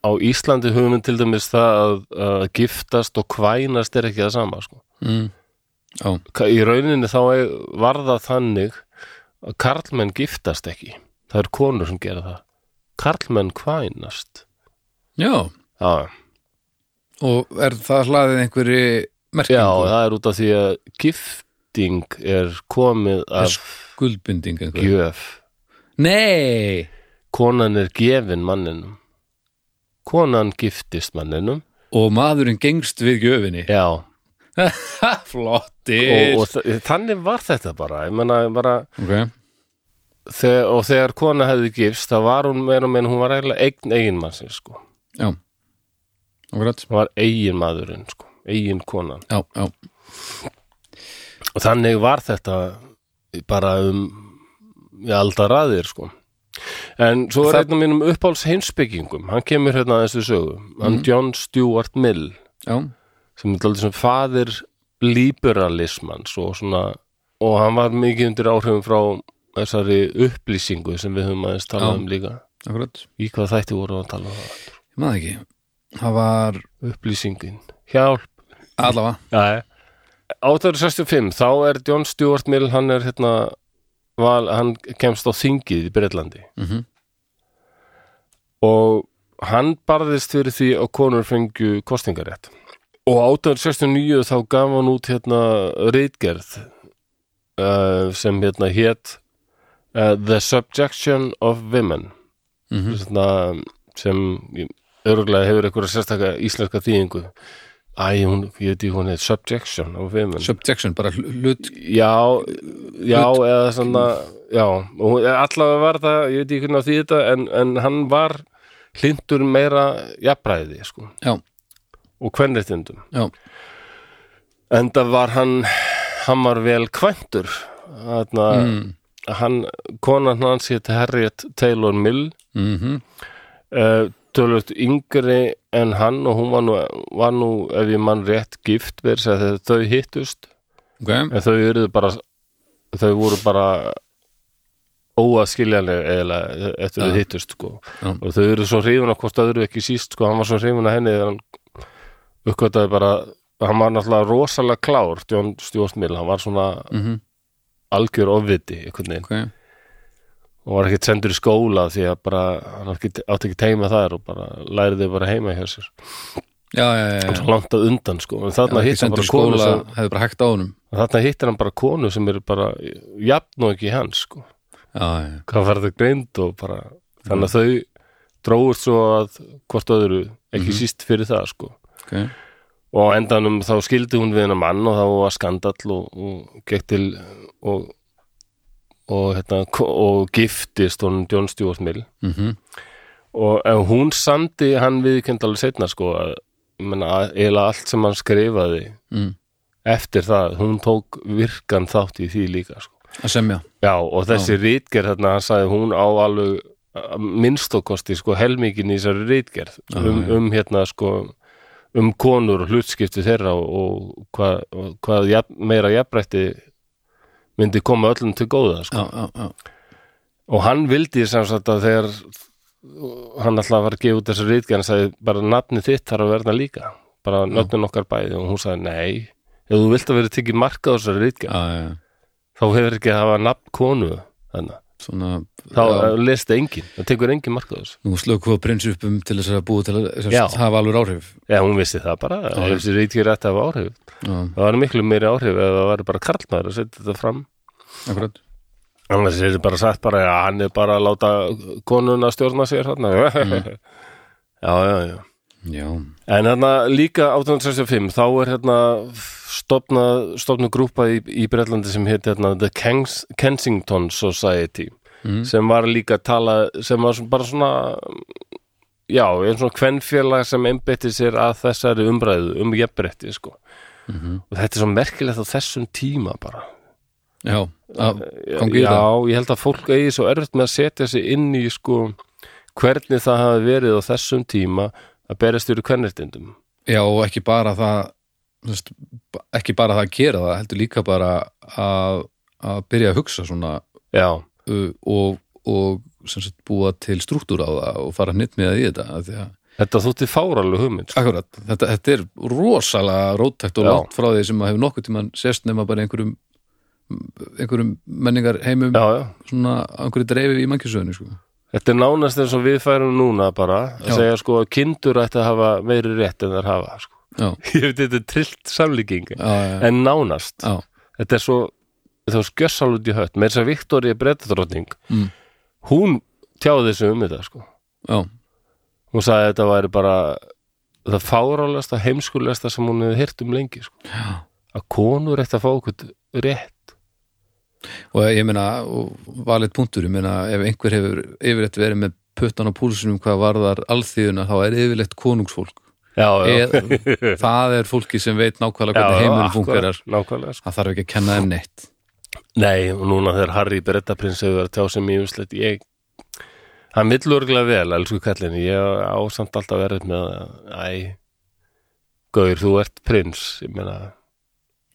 S1: á Íslandi höfum við til dæmis það að, að giftast og kvænast er ekki það sama sko
S2: mm. já,
S1: Ka- í rauninni þá er- var það þannig að karlmenn giftast ekki það er konur sem gera það karlmenn kvænast
S2: já
S1: já,
S2: og er það hlaðið einhverju
S1: já
S2: merkingu,
S1: það er út af því að gifting er komið af
S2: skuldbinding einhverju
S1: gjöf
S2: nei,
S1: konan er gefin manninum konan giftist manninum
S2: og maðurinn gengst við gjöfinni
S1: já,
S2: flottir
S1: og, og þa- þannig var þetta bara ég menna bara
S2: ok,
S1: þegar, og þegar kona hefði gifst þá var hún meira meina hún var eiginlega eign eiginmannsins sko
S2: já okkurat,
S1: hún var eiginmaðurinn sko eigin konan
S2: já, já
S1: og þannig var þetta bara um í aldaraðir sko en svo er
S2: Það-
S1: einn af mínum uppáls heimsbyggingum hann kemur hérna að þessu sögu hann John Stuart Mill
S2: já,
S1: sem er alltaf sem faðir liberalismans og svona og hann var mikið undir áhrifum frá þessari upplýsingu sem við höfum aðeins talað
S2: Já.
S1: um líka
S2: okkurat
S1: í hvað þætti voru að tala um það
S2: ég maður ekki, það var
S1: upplýsingin, hjálp
S2: allavega,
S1: Já, 1865, þá er John Stuart Mill, hann er hérna val, hann kemst á þingið í Bretlandi
S2: Mhm.
S1: og hann barðist fyrir því að konur fengju kostingarétt og 1869 þá gaf hann út hérna reitgerð uh, sem hérna hét uh, The Subjection of Women
S2: mm
S1: hérna, sem örgulega hefur einhverja sérstaka íslenska þýðingu Æ, hún, ég veit ekki hún heit Subjection of Women
S2: subjection, bara hl- hlut
S1: Já, já, eða svona, já, og hún- allavega var það, ég veit ekki hvernig að því þetta, en, en hann var hlindur meira jafnræði, sko,
S2: já,
S1: og kvenréttindum.
S2: já,
S1: Enda var hann, hann var vel kvæntur, þarna,
S2: Mm.
S1: hann, konan hans hétt Harriet Taylor Mill,
S2: mhm
S1: uh, tölvöld yngri en hann og hún var nú, var nú ef ég mann rétt gift, verið sér þegar þau hittust,
S2: ok,
S1: en þau eru bara þau voru bara óaskiljanleg eða eftir
S2: Já.
S1: þau hittust sko.
S2: Já.
S1: og þau eru svo hrifun að hvort öðru ekki síst sko, hann var svo hrifun að henni þegar hann uppgötaði bara hann var náttúrulega rosalega klár John Stuart Mill, hann var svona
S2: mhm,
S1: algjör ofviti einhvern veginn
S2: ok
S1: og var ekkert sendur í skóla því að bara, hann átti ekki- átti ekki teima þar og bara læriði bara heima hjá sér
S2: já, já, já, já
S1: og svo langt að undan sko en þarna
S2: ekki
S1: hittir hann
S2: sendur
S1: bara konu
S2: skóla,
S1: sem,
S2: hefði bara hægt á honum
S1: þarna hittir hann bara konu sem eru bara jafn og ekki hans sko
S2: já, já, já,
S1: hvað var þetta greind og bara þannig að þau dróður svo að hvort öðru, ekki síst fyrir það sko.
S2: ok
S1: og á endanum þá skildi hún við hennar mann og þá var skandall og, og gekk til og og, hérna, ko- og giftist hún John Stuart Mill
S2: mhm,
S1: og en hún samdi hann viðkend alveg setna sko að, ég meina, að eiginlega allt sem hann skrifaði
S2: mm.
S1: eftir það, hún tók virkan þátt í því líka sko
S2: að semja
S1: Já, og þessi rítgerð þarna, hann sagði hún á alveg minnstokosti, sko, helmingin í þessari rítgerð um, um hérna, sko um konur og hlutskipti þeirra og, og hvað, og hvað jafn, meira jafnrætti myndi koma öllum til góða sko.
S2: já, já, já,
S1: og hann vildi sem sagt að þegar hann alltaf var að gefa út þessu rítgerð hann sagði bara nafni þitt þarf að verða líka bara nöfnin okkar bæði og hún sagði nei ef þú vilt að vera tekið marka á þessari rítgerð
S2: já, já.
S1: þá hefur ekki að hafa nafn konu þannig
S2: Svona,
S1: þá
S2: já,
S1: lest enginn, það tekur enginn marka á þessu
S2: nú slöku á prinsupum til þess að búa til að sem
S1: Já.
S2: sagt hafa alveg áhrif
S1: Já, hún vissi það bara, ef þessi rítgerð ætti að hafa áhrif
S2: Já,
S1: það var miklu meiri áhrif ef það var bara karlmaður að setja þetta fram
S2: akkurat
S1: annars er þetta bara sagt bara já, hann er bara að láta konuna stjórna sér þarna já, já, já
S2: Já,
S1: en hérna líka 1865 þá er hérna stopna, stopnu grúpa í, í Bretlandi sem hétt hérna The Kens Kensington Society
S2: Mm.
S1: sem var líka að tala sem var svona- bara svona já, eins og kvenfélag sem einbytti sér að þessari umræðu um jefnbretti sko
S2: Mhm.
S1: og þetta er svo merkilegt á þessum tíma bara
S2: já, að gangi í
S1: Já,
S2: það
S1: ég held að fólk eigi svo erfitt með að setja sig inn í sko hvernig það hafi verið á þessum tíma að berjast yfir kvennertindum.
S2: Já, og ekki bara það þú veist, ba- ekki bara það að gera það heldur líka bara að, að byrja að hugsa svona
S1: Já,
S2: uh, og, og sem sagt búa til struktúr á það og fara nýtt með í þetta af því að,
S1: þetta þótti fáralu hugmynd. sko.
S2: akkurat, þetta, þetta er rosalega róttækt og
S1: Já.
S2: látt frá því sem að hefur nokkuð tímann sérst nema bara einhverjum einhverjum menningar heimum
S1: Já, já.
S2: svona á einhverju dreifi í mannkjössöðinu sko.
S1: Þetta er nánast eins og við færum núna bara að
S2: Já.
S1: segja sko að kindur ætti að hafa meiri rétt en þær hafa. Sko.
S2: já,
S1: Ég veit þetta er trillt samlíking
S2: já, já,
S1: en nánast.
S2: já,
S1: Þetta er svo þá skjössal út í hött. Með þess að Viktoria Brettadrótning,
S2: Mm.
S1: hún tjáði þessu um þetta sko.
S2: já,
S1: hún sagði að þetta væri bara það fárálegasta, heimskulegasta sem hún hefði hirt um lengi sko.
S2: já.
S1: að konur ætti að fá okkur rétt
S2: og ég meina, og valið punktur ég meina, ef einhver hefur yfirleitt verið með puttan á púlsunum hvað varðar alþýðuna, þá er yfirleitt konungsfólk
S1: já, já,
S2: e, það er fólki sem veit nákvæmlega hvernig heimurinn fungerar
S1: nákvæmlega sko.
S2: það þarf ekki að kenna þeim neitt
S1: nei, og núna þegar Harry Brettaprins hefur verið að tjá sem ég umslegt ég hann vill örgulega vel, elsku kallin ég á samt alltaf verið með að- æ, Gaur, þú ert prins ég meina,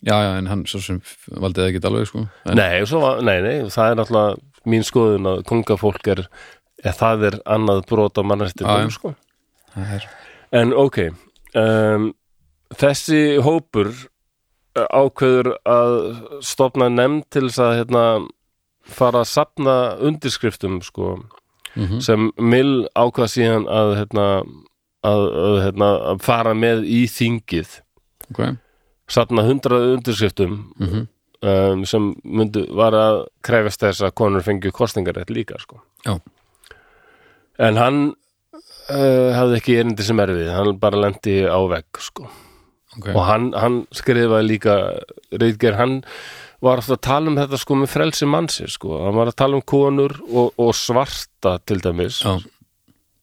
S2: já, já, en hann svo sem valdið ekki alveg sko. en,
S1: nei, og svo, var- nei, nei, það er náttúrulega mín skoðun að kongafólk er eða það er annað brot á
S2: Já, já.
S1: mannrættindum sko
S2: það er,
S1: En ok, um, þessi hópur uh, ákveður að stopna nefnd til þess að hérna, fara að sapna undirskriftum sko,
S2: mm
S1: sem Mill ákvað síðan að, hérna, að, að, hérna, að fara með í þingið
S2: ok
S1: sapna hundrað undirskriftum
S2: Mhm.
S1: um, sem myndu var að krefast þess að konur fengju kostningarétt líka sko.
S2: Já.
S1: en hann uh, hafði ekki erindi sem erfið hann bara lendi á vegg sko.
S2: ok,
S1: og hann, hann skrifaði líka Reitger, hann var alltaf að tala um þetta sko með frelsi mannsir sko. hann var að tala um konur og, og svarta til dæmis
S2: já,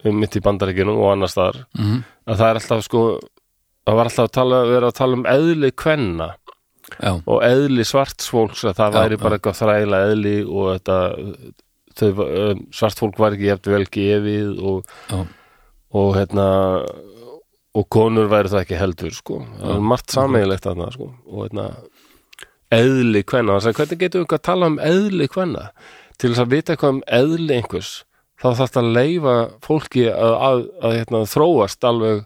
S1: um mitt í bandaríkinu og annars þar
S2: Mhm.
S1: að það er alltaf sko það var alltaf að tala, vera að tala um eðli kvenna
S2: já,
S1: og eðli svartsfólks að það
S2: Já,
S1: væri
S2: já.
S1: bara eitthvað þræla eðli og þetta þau, um, svartfólk var ekki jafn vel gefið og,
S2: já,
S1: og hérna og konur væri það ekki heldur sko. það er margt sameiginlegt þarna sko. og hérna eðli kvenna, þannig að hvernig getum við eitthvað að tala um eðli kvenna til þess að vita eitthvað um eðli einhvers þá þarf þetta að leifa fólki að, að, að hérna, þróast alveg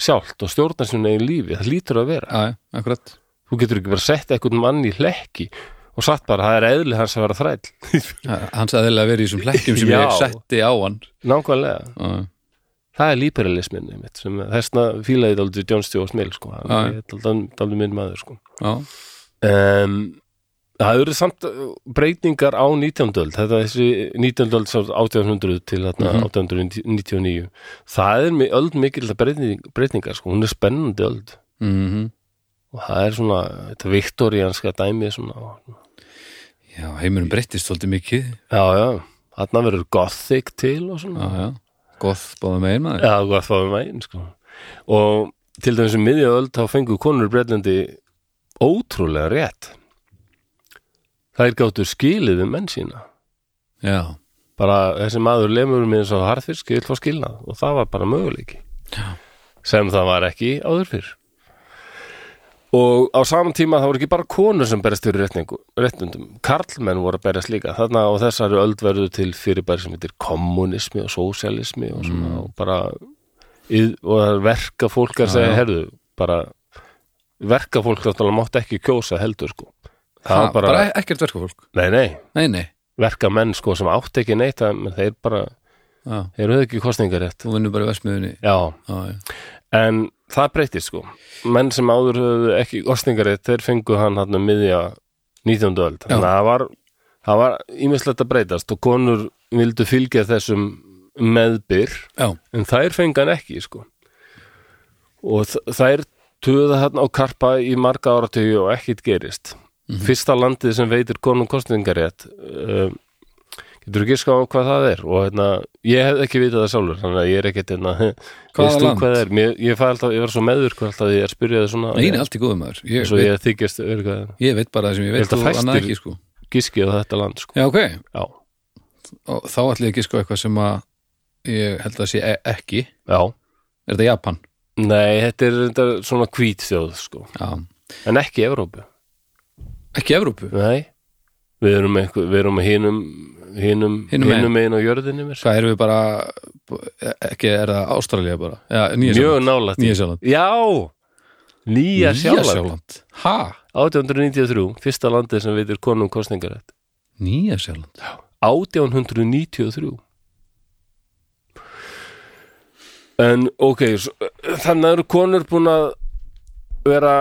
S1: sjálft og stjórna sinni í lífi, það lítur að vera
S2: já, já, akkurat
S1: þú getur ekki bara sett eitthvað mann í hlekki og satt bara, það er eðli hans að vera þræll
S2: Ha- hans aðeinslega verið í þessum hlekkjum sem
S1: Já.
S2: ég setti á hann
S1: nákvæmlega,
S2: já,
S1: það er líperalismin mitt, sem þessna fílaði daldi John Stewart Mill, sko,
S2: Já,
S1: hann er daldi minn maður, sko
S2: já,
S1: um, það eru samt uh, breytingar á 19. öld þetta er þessi 19. öld sem 1800 til þarna
S2: Mhm.
S1: 1899 það er mi- öld mikil breyting, breytingar, sko, hún er spennandi öld
S2: mhm
S1: og það er svona, þetta viktoríanska dæmi svona,
S2: já, heimurinn breyttist svolítið mikið
S1: já, já þarna verður gothic til og svona
S2: já, já, gott báða megin maður
S1: Já, hvað það var megin sko. Og til dæmis um miðjaöld þá fengu konur í bretlandi ótrúlega rétt Þær gáttu skilið við menn sína
S2: já,
S1: bara þessi maður lemur mig eins og harðfisk ég vil fá skilnað og það var bara möguleiki Já. sem það var ekki áður fyrr og á saman tíma það voru ekki bara konur sem berist fyrir réttningu, réttundum karlmenn voru að berist líka þarna og þessari öld verður til fyrirbæri sem heitir kommunismi og sósialismi og svona og bara yð, og það er verka fólk að segja,
S2: Mm. já.
S1: herðu bara verka fólk náttúrulega mátt ekki kjósa heldur sko það
S2: Ha,
S1: var bara,
S2: ekkert verkafólk
S1: nei nei
S2: Nei, nei,
S1: verka menn sko sem átt ekki neitt að- menn þeir bara,
S2: já,
S1: þeir höfðu ekki kostningarétt
S2: þú vinnur bara í versmiðunni
S1: já,
S2: Já, já,
S1: En það breytist sko Menn sem áður höfðu ekki kostningarétt þeir fengu hann hann um miðja 19. öld
S2: Já.
S1: Þannig að það var, það var ímislegt að breytast og konur vildu fylgja þessum meðbyr
S2: já,
S1: en þær fengu hann ekki sko og þ- þær töða hann á karpa í marga áratögi og ekkit gerist
S2: Mhm.
S1: Fyrsta landið sem veitir konum kostningarétt um, getur ekki ská hvað það er og hérna, ég hef ekki vitað það sjálfur þannig að ég er ekkit hérna,
S2: Hvaða
S1: veist þú
S2: land?
S1: Hvað það er? Mér, ég, fæ alltaf, ég var svo meður hvað alltaf ég er spyrjaði svona
S2: Nei, ég er allt í góðum maður ég,
S1: svo
S2: veit,
S1: ég þykist verið hvað
S2: ég veit bara það sem ég
S1: Ég
S2: veit
S1: held að
S2: og annað
S1: fæstir-
S2: ekki sko
S1: gískið á þetta land sko.
S2: Já, ok,
S1: Já,
S2: og þá ætli ég ekki sko eitthvað sem að ég held að sé e ekki
S1: já
S2: Er þetta Japan?
S1: Nei, þetta er þetta er svona hvít þjóð sko.
S2: Já,
S1: en ekki Evrópu
S2: ekki Evrópu
S1: Nei, við erum, einhver, við erum hinum hinum,
S2: Hinum
S1: hinum,
S2: megin.
S1: hinum megin á jörðinni mér.
S2: Hvað erum við bara, e- ekki er það Ástralía bara Já, Nýja
S1: Mjög
S2: Sjáland
S1: nálætt
S2: Nýja Sjáland
S1: Já, Nýja Sjáland
S2: Sjáland Ha?
S1: 1893, fyrsta landið sem veitir konum kostningarætt
S2: Nýja Sjáland
S1: 1893 En ok, s- þannig að eru konur búin að vera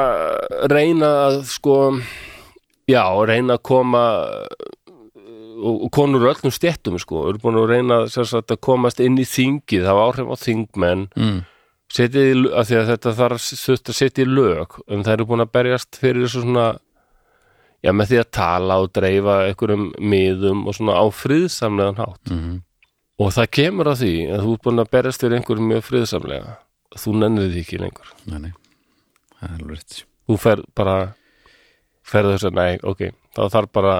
S1: reyna að sko já, reyna að koma og og konur úr öllum stéttum sko, eru búin að reyna sem sagt, að komast inn í þingið, hafa áhrif á þingmenn
S2: mm.
S1: setið í, l- af því að þetta þarf þurft að setja í lög en það eru búin að berjast fyrir þessu svona já, með því að tala og dreifa einhverjum miðum og svona á friðsamlegan hátt
S2: Mm -hmm.
S1: og það kemur að því að þú er búin að berjast fyrir einhverjum mjög friðsamlega þú nennir því ekki lengur
S2: Nei, nei, það er alveg rétt
S1: þú fer bara ferð þess að nei, ok, þá þarf bara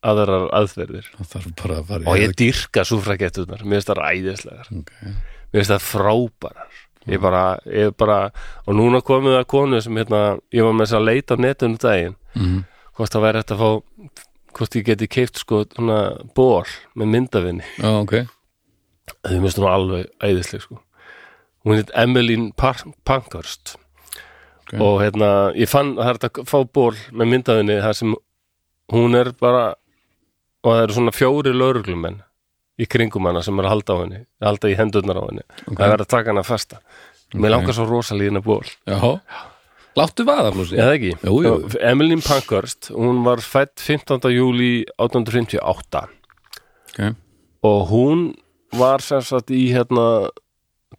S1: aðrar aðferðir
S2: Það þarf bara að fara í-
S1: og ég dýrka súfragettunar, mér finnst það ræðislegar
S2: Ok.
S1: mér finnst það frábærar ég bara, ég bara og núna komið að konu sem hérna ég var með þess að leita á netunum daginn
S2: Mhm.
S1: hvort það væri hægt að fá hvort ég geti keift sko svona ból með myndavinni
S2: Já, ok
S1: þau mér finnst hún alveg æðisleg sko hún heit Emmeline Par- Pankhurst
S2: Ok.
S1: og hérna ég fann að það er hægt að fá ból með myndavinni þar sem hún er bara og það eru svona fjóri lögreglumenn í kringum hana sem er að halda á henni halda í hendurnar á henni það er að taka hana fasta mér langar svo rosalíðina ból
S2: Já, láttu vaða flósi
S1: Já, það ekki.
S2: Jú, jú.
S1: Emmeline Pankhurst, hún var fætt 15. júli 1858
S2: okay.
S1: og hún var sem sagt í hérna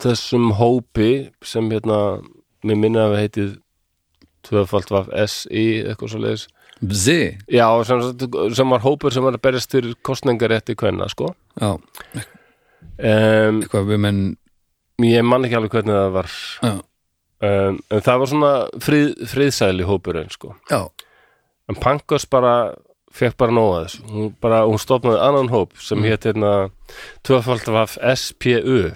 S1: þessum hópi sem hérna, mér minna að við heitið tvöfald var SI eitthvað svo leiðis.
S2: Bzi
S1: Já, sem, sagt, sem var hópur sem var að berjast fyrir kostningarétti kvenna, sko.
S2: Já,
S1: Um,
S2: eitthvað við menn
S1: ég man ekki alveg hvernig það var.
S2: Já,
S1: Um, en það var svona frið, friðsæli hópurinn, sko.
S2: já,
S1: en Pankos bara fekk bara nóga þess hún, bara, hún stofnaði annan hóp sem mm. hétt hérna tvöfaldvaf SPU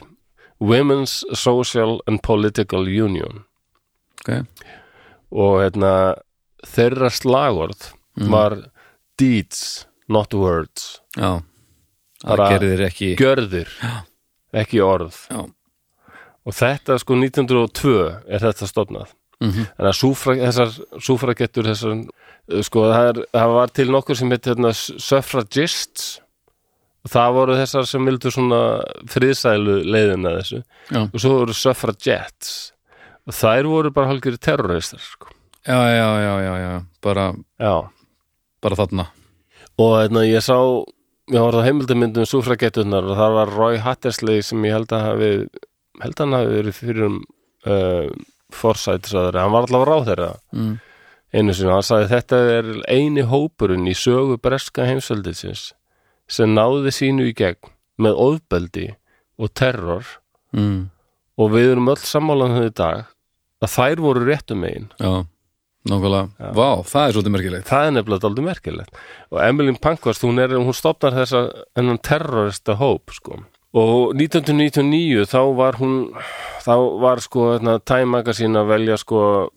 S1: Women's Social and Political Union
S2: ok
S1: og hérna þeirra slagorð var deeds, not words
S2: Já, það
S1: Bara-
S2: gerðir ekki
S1: gjörðir, ekki orð
S2: Já,
S1: og þetta sko 1902 er þetta stofnað
S2: Mhm.
S1: þannig að súfra, þessar súfragettur þessar, uh, sko það, er, það var til nokkur sem heit hérna, suffragists og það voru þessar sem vildu svona friðsælu leiðina þessu
S2: Já.
S1: og svo voru suffragettes og þær voru bara hálfgjörðu terroristar sko.
S2: já, já, já, já, já. Bara,
S1: já
S2: bara þarna
S1: og hérna, ég sá ég var á heimildamyndum súfragettunar og það var Roy Hattersley sem ég held að hafi held að hann hafi verið fyrir um uh, forsætisraður, hann var allavega ráð þeirra
S2: mm.
S1: einu sinni, hann sagði þetta er eini hópurinn í sögu breska heimsveldisins sem náði sínu í gegn með ofbeldi og terror
S2: Mm.
S1: og við erum öll sammálan þau í dag að þær voru réttum megin
S2: Já, nákvæmlega Vá, það er svolítið merkilegt
S1: það er nefnilega aldrei merkilegt og Emmeline Pankhurst, hún, er, hún stopnar þessa ennum terrorista hóp sko. og 1999 þá var hún þá var sko hérna, Time Magazine að velja sko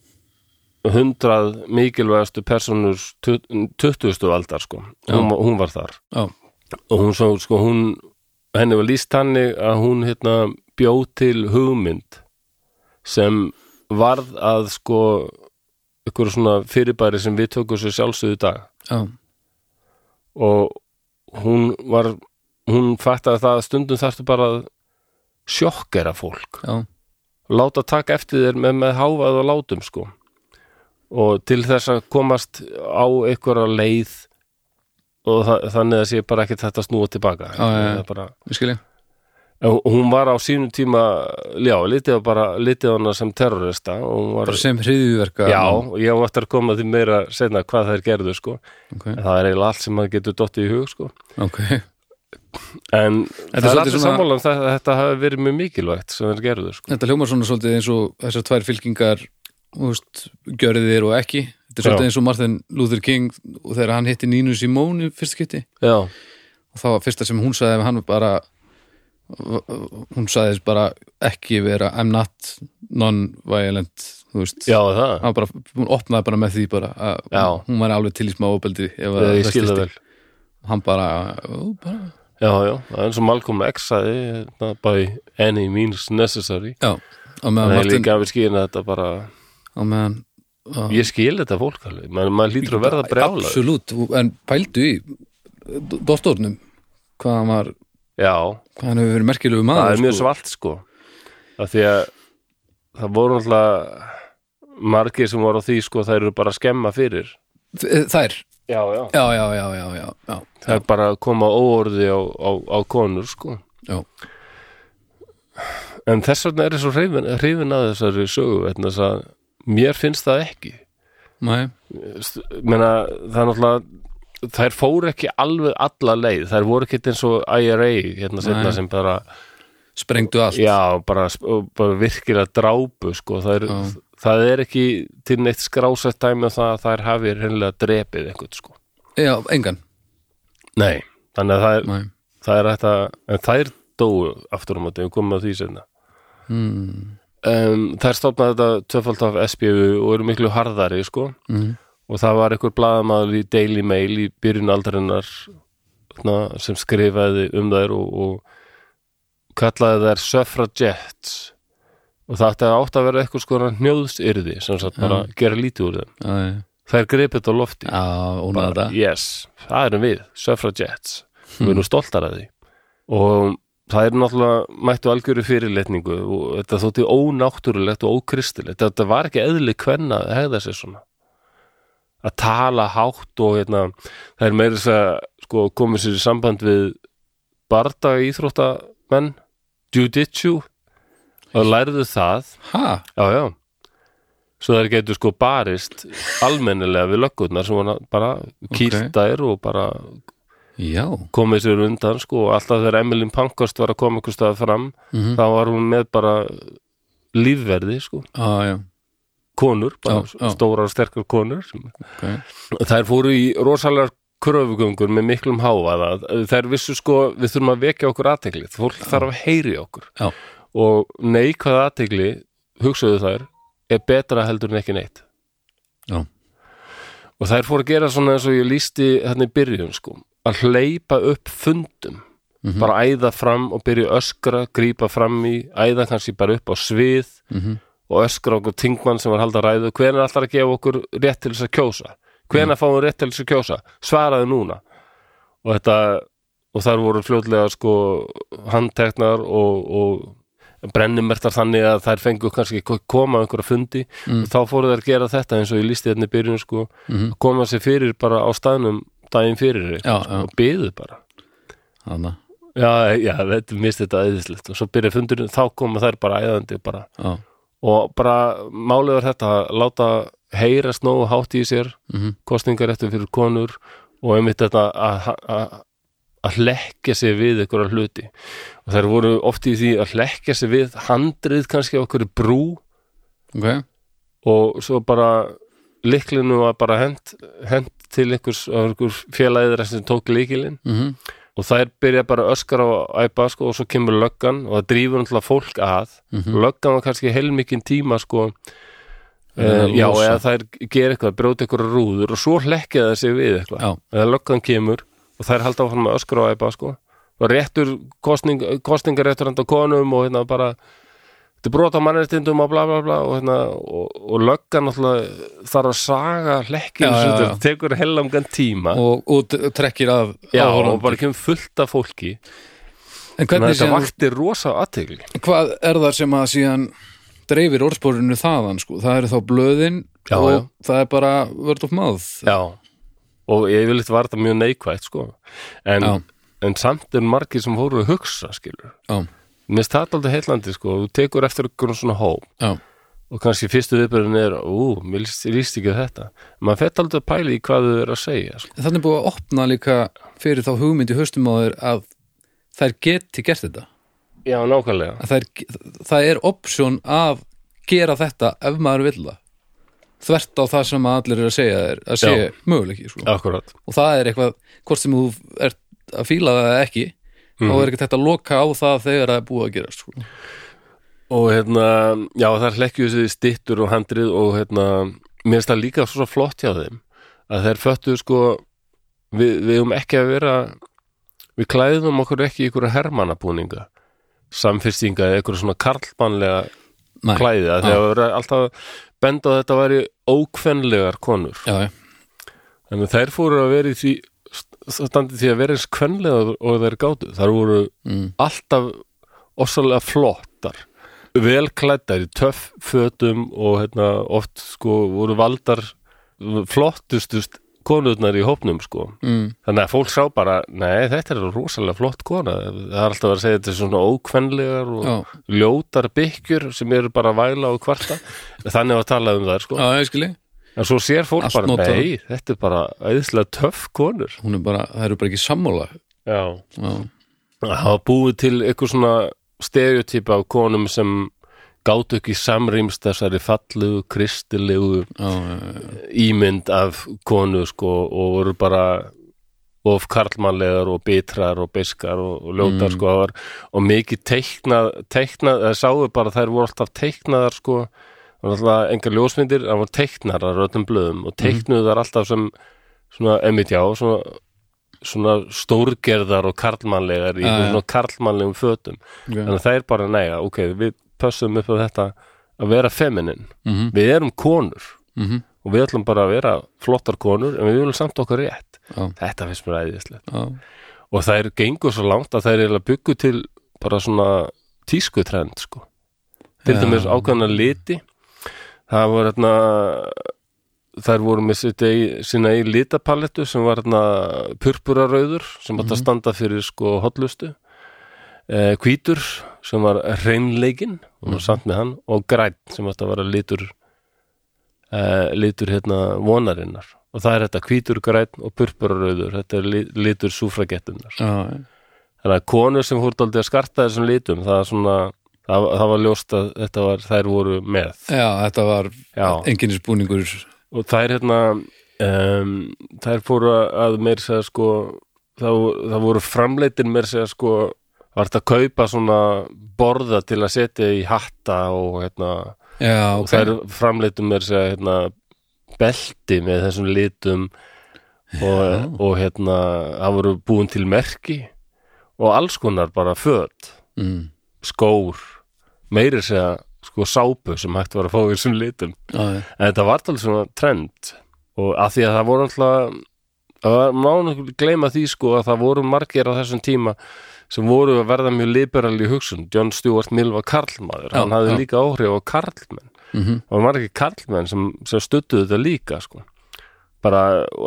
S1: hundrað mikilvægastu personur 20. aldar sko hún, var- hún var þar
S2: já,
S1: og hún svo sko hún henni var líst hannig að hún hérna bjó til hugmynd sem varð að sko ykkur svona fyrirbæri sem við tökum sér sjálfsögðu í dag
S2: já,
S1: og hún var hún fattaði það að stundum þarftu bara að sjokkera fólk
S2: já,
S1: láta taka eftir þér með, með hávað og látum sko og til þess að komast á einhverja leið og það, þannig að sé bara ekkert þetta snúa tilbaka
S2: Já, já, já.
S1: Það er bara,
S2: við skilja
S1: En hún- hún var á sínum tíma já, litið á bara litið á hana sem terrorista og hún var,
S2: bara sem hriðjuverka
S1: já, og ég á eftir að koma að því meira senna hvað þær gerðu sko
S2: ok,
S1: en það er eiginlega allt sem maður getur dottið í hug sko
S2: ok,
S1: en
S2: er
S1: það er
S2: svolítið
S1: allir
S2: svona-
S1: sammála um það að þetta hafi verið mjög mikilvægt sem þær gerðu sko
S2: þetta hljómar svona svolítið eins og þessar tvær fylkingar þú veist, gjörðir og ekki þetta er
S1: Já.
S2: svolítið eins og Martin Luther King og þegar hann hitti Nínu Simone í fyrsta kitti
S1: já,
S2: og það var fyrsta sem hún sagði hann var bara hún sagði bara ekki vera I'm not non-violent þú veist
S1: já það
S2: Hann var bara, hún opnaði bara með því bara að
S1: Já.
S2: hún var alveg til í smá opeldi ef að
S1: ég
S2: það
S1: skil það
S2: styrsti.
S1: vel
S2: hann bara, ó, bara
S1: já, já, það er eins og Malcolm X sagði það er by any means necessary
S2: já, á meðan
S1: það er
S2: Martin
S1: líka að við skýna þetta bara
S2: á meðan á-
S1: ég skil þetta fólk alveg, maður maður hlýtur að verða brjála
S2: Absolutt, en pældu í doktornum hvað hann var,
S1: já,
S2: hvað hann hefur verið merkilegu
S1: það
S2: maður
S1: er mjög svalt sko af því að það voru alltaf margir sem voru á því sko það eru bara að skemma fyrir
S2: eh, Þær,
S1: já, já.
S2: já, já, já, já, já, já.
S1: það er bara að koma óorði á, á, á konur sko
S2: já.
S1: en þess vegna er ég svo hrifin, hrifin að þessari sögu vegna þess að mér finnst það ekki
S2: Nei,
S1: St- meina það er náttúrulega þær fóru ekki alveg alla leið þær voru ekki eins og IRA hérna setna
S2: Nei.
S1: sem bara
S2: sprengdu allt
S1: Já, bara, og bara virkilega drápu sko. það, er,
S2: Já.
S1: það er ekki til neitt skrásett dæmi um það að þær hafi hreinlega drepið einhvern sko.
S2: já engan
S1: Nei, þannig að það er,
S2: Nei.
S1: það er þetta, en þær dóu aftur á móti, við komum að því senna
S2: Mm.
S1: um, Þær stofnaði þetta tvöfald af SBU og eru miklu harðari sko.
S2: Mm.
S1: og það var einhver blaðamaður í Daily Mail í byrjun aldarinnar na, sem skrifaði um þær og, og kallaði þær suffragettes og það átti að átt að vera eitthvað skora hnjóðsyrði sem sagt bara gera lítið úr þeim
S2: Já, já.
S1: þær gripið þetta á lofti
S2: Já, ónaða
S1: bara,
S2: þetta
S1: yes, það erum við, suffragettes við erum stoltar að því og það er náttúrulega mættu algjöru fyrirletningu og þetta þótti ónáttúrulegt og ókristilegt þetta var ekki eðli kvenna að hegða sér svona að tala hátt og hérna, það er meira þess að sko, komið sér í samband við barda íþróttamenn jujitsu og lærðu það
S2: Ha,
S1: Já, já Svo þær getur sko barist almennilega við löggurnar sem hann bara kýrtær og bara
S2: já
S1: komið sér undan sko og alltaf þegar Emilin Pankost var að koma ykkur staða fram
S2: Mhm.
S1: þá var hún með bara lífverði sko,
S2: Já, já,
S1: konur bara
S2: Já, já.
S1: stórar og sterkar konur sem
S2: ok
S1: Þær fóru í rosalega kröfugöngur með miklum hávaða. Þær vissu sko, við þurfum að vekja okkur aðteglið. Fólk þarf að heyri okkur.
S2: Já.
S1: Og neikvað aðtegli, hugsaðu þær, er betra heldur en ekki neitt.
S2: Já.
S1: Og þær fóru að gera svona eins og ég lísti þannig byrjun sko, að hleypa upp fundum.
S2: Mhm.
S1: Bara æða fram og byrja að öskra, grípa fram í, æða kannski bara upp á svið
S2: Mhm.
S1: og öskra okkur tingmann sem var að halda ræðu hvenær allar að gefa okkur rétt til þess að kjósa hvenær mm. fáum við rétt til þess að kjósa svaraðu núna og þetta, og þar voru fljótlega sko handteknar og, og brennimertar þannig að þær fengu kannski ko- koma á einhverja fundi
S2: Mm.
S1: og þá fóru þær að gera þetta eins og ég lísti þarna í byrjun sko
S2: Mhm.
S1: koma sér fyrir bara á staðnum daginn fyrir
S2: Já,
S1: sko,
S2: já.
S1: og byðu bara
S2: Hanna,
S1: já, já, þetta mist þetta eðislegt og svo byrja fundurinn, þá koma þær bara æðandi bara
S2: já
S1: og bara málið var þetta að láta heyrast nógu hátt í sér
S2: Mhm.
S1: kostningar eftir fyrir konur og einmitt þetta að- að að hlekja sig við einhverja hluti og þær voru oft í því að hlekja sig við handrið kannski á einhverju brú
S2: Ok,
S1: og svo bara liklinu var bara hent, hent til einhvers, af einhvers félagið sem tók líkilinn
S2: mhm,
S1: og þær byrja bara að öskra og æpa sko, og svo kemur löggan og það drífur náttúrulega fólk að
S2: Mhm.
S1: löggan var kannski heilmikinn tíma sko, Uh, já,
S2: losa.
S1: eða þær gera eitthvað, brjóta eitthvað rúður og svo hlekkja það sig við eitthvað
S2: Já.
S1: eða löggan kemur og þær halda áfram að öskra og æpa sko og réttur kostning, kostningar réttur handa konum og hérna bara þetta er brot á mannréttindum og bla bla bla og, hérna, og, og löggan alltaf þarf að saga
S2: Já,
S1: hlekkjum
S2: já,
S1: þetta
S2: já.
S1: tekur heilangan tíma
S2: og, og t- trekkir af
S1: já,
S2: áhorfandanum.
S1: og bara kemur fullt af fólki
S2: en
S1: þannig að
S2: hvernig
S1: þetta
S2: síðan,
S1: vakti rosa aðtegli
S2: hvað er það sem að síðan dreifir orðspórinu þaðan sko? það eru þá blöðin
S1: Já,
S2: og
S1: já.
S2: það er bara word of mouth
S1: Já, og yfirleitt var þetta mjög neikvætt sko. en,
S2: Já.
S1: en samt er margir sem fóru að hugsa skilur
S2: já,
S1: Mér finnst það aldrei heillandi sko, þú tekur eftir einhvern svona hó
S2: já,
S1: og kannski fyrstu viðbyrðin er, ú, mér líst, líst ekki á þetta maður fett aldrei að pæla í hvað þau eru að segja sko.
S2: þannig búið að opna líka fyrir þá hugmynd í haustum á þeir að þær geti gert þetta
S1: Já, nákvæmlega
S2: að þær, það er option að gera þetta ef maður vill það þvert á það sem að allir eru að segja þér að sé
S1: Já.
S2: möguleiki sko.
S1: Akkurat,
S2: og það er eitthvað, hvort sem þú ert að fíla það eða ekki
S1: Mhm.
S2: þá er ekkert þetta að loka á það þegar það er búið að gera sko.
S1: og hérna já, það hlekkju þessi stittur og handrið og hérna, mér finnst það líka svo flott hjá þeim, að þeir föttu sko, við, við um ekki að vera við klæðum okkur ekki í ykkur hermannabúninga samfyrstinga eða ykkur svona karlmannlega
S2: Nei.
S1: klæði að þegar vera alltaf að benda á að þetta væri ókvenlegar konur
S2: já, já,
S1: þannig að þær fóru að vera í því standið því að vera eins kvenlega og þær gátu, þar voru
S2: mm.
S1: alltaf ofsalega flottar vel klæddar í töff fötum og hérna, oft sko voru valdar flottustust konurnar í hópnum sko
S2: Mm.
S1: þannig að fólk sá bara, nei þetta er rosalega flott kona, það er alltaf að segja þetta er svona ókvenlegar og
S2: já,
S1: ljótar byggjur sem eru bara að væla og kvarta þannig að tala um það sko.
S2: já, ég skilji
S1: en svo sér fólk
S2: Allt
S1: bara,
S2: notað.
S1: nei, þetta er bara æðislega töff konur
S2: hún er bara, það eru bara ekki sammála
S1: já.
S2: já,
S1: það var búið til eitthvað svona stereotypa af konum sem gátu ekki samrýmst þessari fallegu, kristilegu
S2: já, já, já,
S1: ímynd af konu sko og voru bara of karlmannlegar og bitrar og beskar og, og
S2: Mm.
S1: ljótar sko það var, og mikið teiknað, teiknað það sáu bara þær voru alltaf teiknaðar sko það var alltaf engar ljósmyndir það voru teiknarar á öllum blöðum
S2: Mhm.
S1: og teiknuðu þar alltaf sem svona, emitt já, svona, svona stórgerðar og karlmannlegar í
S2: Já, já.
S1: svona karlmannlegum fötum
S2: ok.
S1: þannig að það er bara næja, ok, við pössum upp á þetta að vera feminin
S2: Mhm.
S1: við erum konur
S2: Mhm.
S1: og við ætlum bara að vera flottar konur en við viljum samt okkar rétt
S2: Já.
S1: þetta finnst mér æðislegt
S2: já,
S1: og þær gengur svo langt að þær eiginlega byggu til bara svona tískutrend sko. til
S2: Já.
S1: dæmis ákveðna liti það voru hérna þær voru með sitt eigi, sína í litapalettu sem var hérna purpurarauður sem
S2: Mhm.
S1: átt að standa fyrir sko hotlustu eh, hvítur sem var hreinleikinn og
S2: Mhm.
S1: var samt með hann og græn sem átt að vera litur eh, litur hérna vonarinnar og það er þetta hvítur græn og purpurarauður þetta er li- litur súfragettunar
S2: já,
S1: þannig að konur sem fórt aldrei að skarta þessum litum það, er svona, það, það var ljóst að þetta var, þær voru með
S2: já, þetta var
S1: Já.
S2: enginnisbúningur
S1: og þær hérna um, þær fóru að meir segja sko það, vo- það voru framleitin meir segja sko var þetta að kaupa svona borða til að setja í hatta og hérna
S2: já,
S1: og
S2: ok,
S1: þær framleitum meir segja hérna belti með þessum litum og, og hérna það voru búin til merki og alls konar bara föt
S2: mm.
S1: skór meiri segja sko sápu sem hægt var að fá í þessum litum
S2: já, já,
S1: en þetta var alveg svona trend og að því að það voru alltaf það var- má nú gleyma því sko að það voru margir á þessum tíma sem voru að verða mjög liberal í hugsun John Stuart Mill var karlmaður
S2: Já,
S1: hann hafði
S2: já.
S1: líka áhrif á karlmenn
S2: mhm,
S1: og margir karlmenn sem, sem stuttuðu þetta líka sko bara,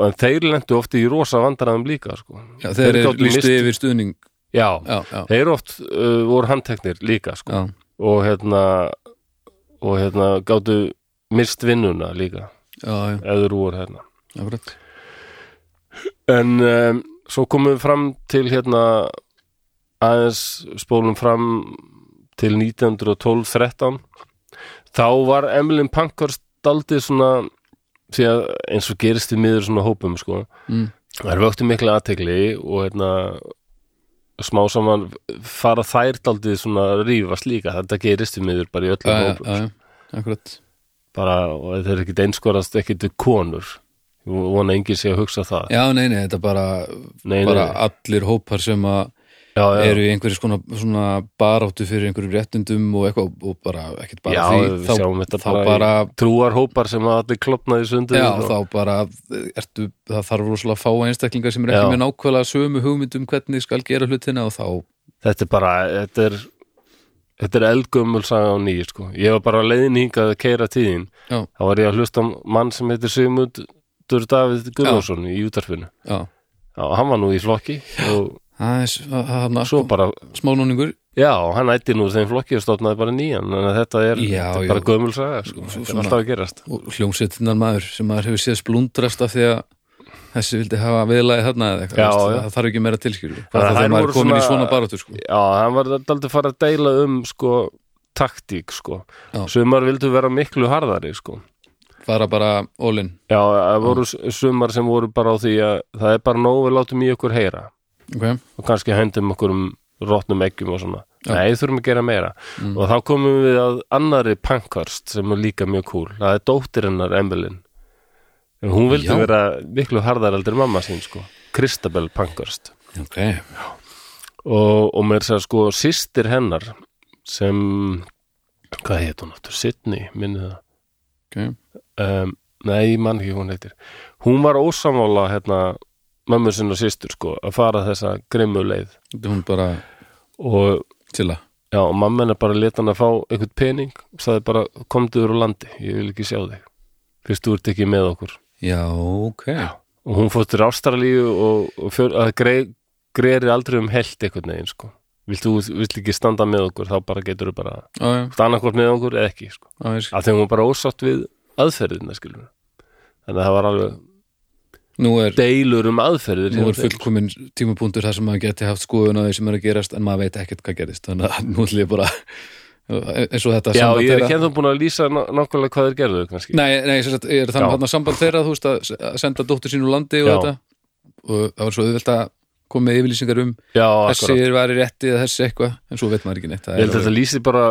S1: en þeir lendu ofti í rosa vandræðum líka sko
S2: já þeir eru
S1: gátu
S2: lístu
S1: misst-
S2: yfir stuðning
S1: já,
S2: já, já,
S1: þeir oft uh, voru handteknir líka sko
S2: já,
S1: og hérna og hérna gáttu mist vinnuna líka
S2: já, já,
S1: eður úr hérna
S2: akkurat
S1: en um, svo komum við fram til hérna aðeins spólum fram til 1912-13 þá var Emilyn Pankhurst daldið svona því að eins og gerist í miður svona hópum sko
S2: mm.
S1: Það er vöktu mikla aðtegli og hérna smá saman fara þær daldið svona að rífast líka þetta gerist í miður bara í öllum
S2: já, já,
S1: hópum
S2: já, já, akkurat
S1: bara, og þeir ekkit einskorast ekkit við konur Ég vona engin sé að hugsa það
S2: Já, nei, nei, þetta er bara,
S1: Nei, nei,
S2: bara
S1: nei.
S2: allir hópar sem að
S1: já, já.
S2: eru í einhverjum svona, svona baráttu fyrir einhverjum réttundum og eitthvað og bara, ekkert bara
S1: já,
S2: því
S1: við
S2: þá,
S1: sjáum þetta
S2: þá
S1: bara,
S2: bara,
S1: í trúarhópar sem að allir klopnaði sundur
S2: já,
S1: og,
S2: þá bara ertu, það þarf rosalega að fá einstaklingar sem er ekki
S1: Já.
S2: með nákvæmlega sömu hugmyndum hvernig skal gera hlutina og þá
S1: þetta er bara þetta er, þetta er eldgömmul saga á nýju sko. ég var bara á leiðin hingað að keira tíðin
S2: Já.
S1: þá var ég að hlusta á mann sem heitir Sigmundur David Guðjónsson í útarfinu
S2: já,
S1: já, hann var nú í flokki og
S2: það er s- það- það
S1: svo
S2: er
S1: bara,
S2: smálóningur
S1: já, hann ætti nú úr þeim flokki og stofnaði bara nýjan þannig að þetta er,
S2: Já,
S1: þetta
S2: já.
S1: er bara gömmul saga sko.
S2: Svo-
S1: þetta er
S2: svona-
S1: alltaf að gerast
S2: og hljómsveitinnar maður sem maður hefur séð splundrast af því að þessi vildi hafa viðlaði þarna eða eitthvað
S1: Já,
S2: veist,
S1: já.
S2: það- það þarf ekki meira tilskjölu
S1: Þannig
S2: hvað
S1: að
S2: það
S1: þær
S2: þegar maður
S1: voru
S2: er komin í
S1: svona-
S2: svona baráttu sko.
S1: já, hann var daldið fara að deila um sko, taktík sko.
S2: Já.
S1: sumar vildu vera miklu harðari sko.
S2: fara bara ólinn
S1: já, það voru s- sumar sem voru bara á því að það er bara nóg við látum í okkur heyra
S2: okay.
S1: og kannski hendum okkur um rótnum eggjum og svona
S2: Já. Mm.
S1: nei, þurfum að gera meira og þá komum við að annari pankvörst sem er líka mjög cool það er dóttir hennar Emilin en hún vildi
S2: Já.
S1: vera miklu harðar heldur en mamma sín sko, Kristabel pankvörst
S2: Okay.
S1: og, og mér sagði sko sýstir hennar sem hvað heit hún aftur, Sydney minni það
S2: Okay.
S1: um, nei, ég man ekki hvað hún heitir hún var ósamála hérna mömmu sinni og sýstur sko að fara þessa grimmu leið
S2: Þetta er hún bara
S1: og
S2: til að
S1: já, og mamma hennar bara leta hann að fá einhvern pening og sagði bara, komduður úr landi ég vil ekki sjá þig, fyrst þú ert ekki með okkur
S2: Já, ok
S1: og hún fótt til Ástralíu og, og fjör, að grei, greiri aldrei um held einhvern veginn sko vilt þú vilt ekki standa með okkur, þá bara getur þú bara
S2: Á, já,
S1: stannakvort með okkur eða ekki sko.
S2: á, ég skil.
S1: af því hún var bara ósátt við aðferðina skilur þannig að það var alveg
S2: Nú er,
S1: deilur um aðferðir
S2: nú
S1: hérna.
S2: er fullkomin tímapunktur þar sem maður geti haft skoðun á því sem er að gerast en maður veit ekkert hvað gerist þannig að nú ætlum ég bara eins og þetta samband
S1: Já, ég er hérna.
S2: þeirra-
S1: ekki ennþá búin að lýsa ná- nákvæmlega hvað þeir gerðu kannski.
S2: Nei, nei, sem sagt, ég er þannig
S1: Já.
S2: hann að samband þeirra þú veist að s- að senda dóttur sín úr landi og
S1: Já.
S2: þetta og það var svo auðvelt að koma með yfirlýsingar um
S1: Já,
S2: þessi
S1: akkurat
S2: er verið rétti eða þessi eitthvað en svo veit maður ekki neitt það
S1: Ég held
S2: er
S1: að þetta
S2: alveg-
S1: lýsi bara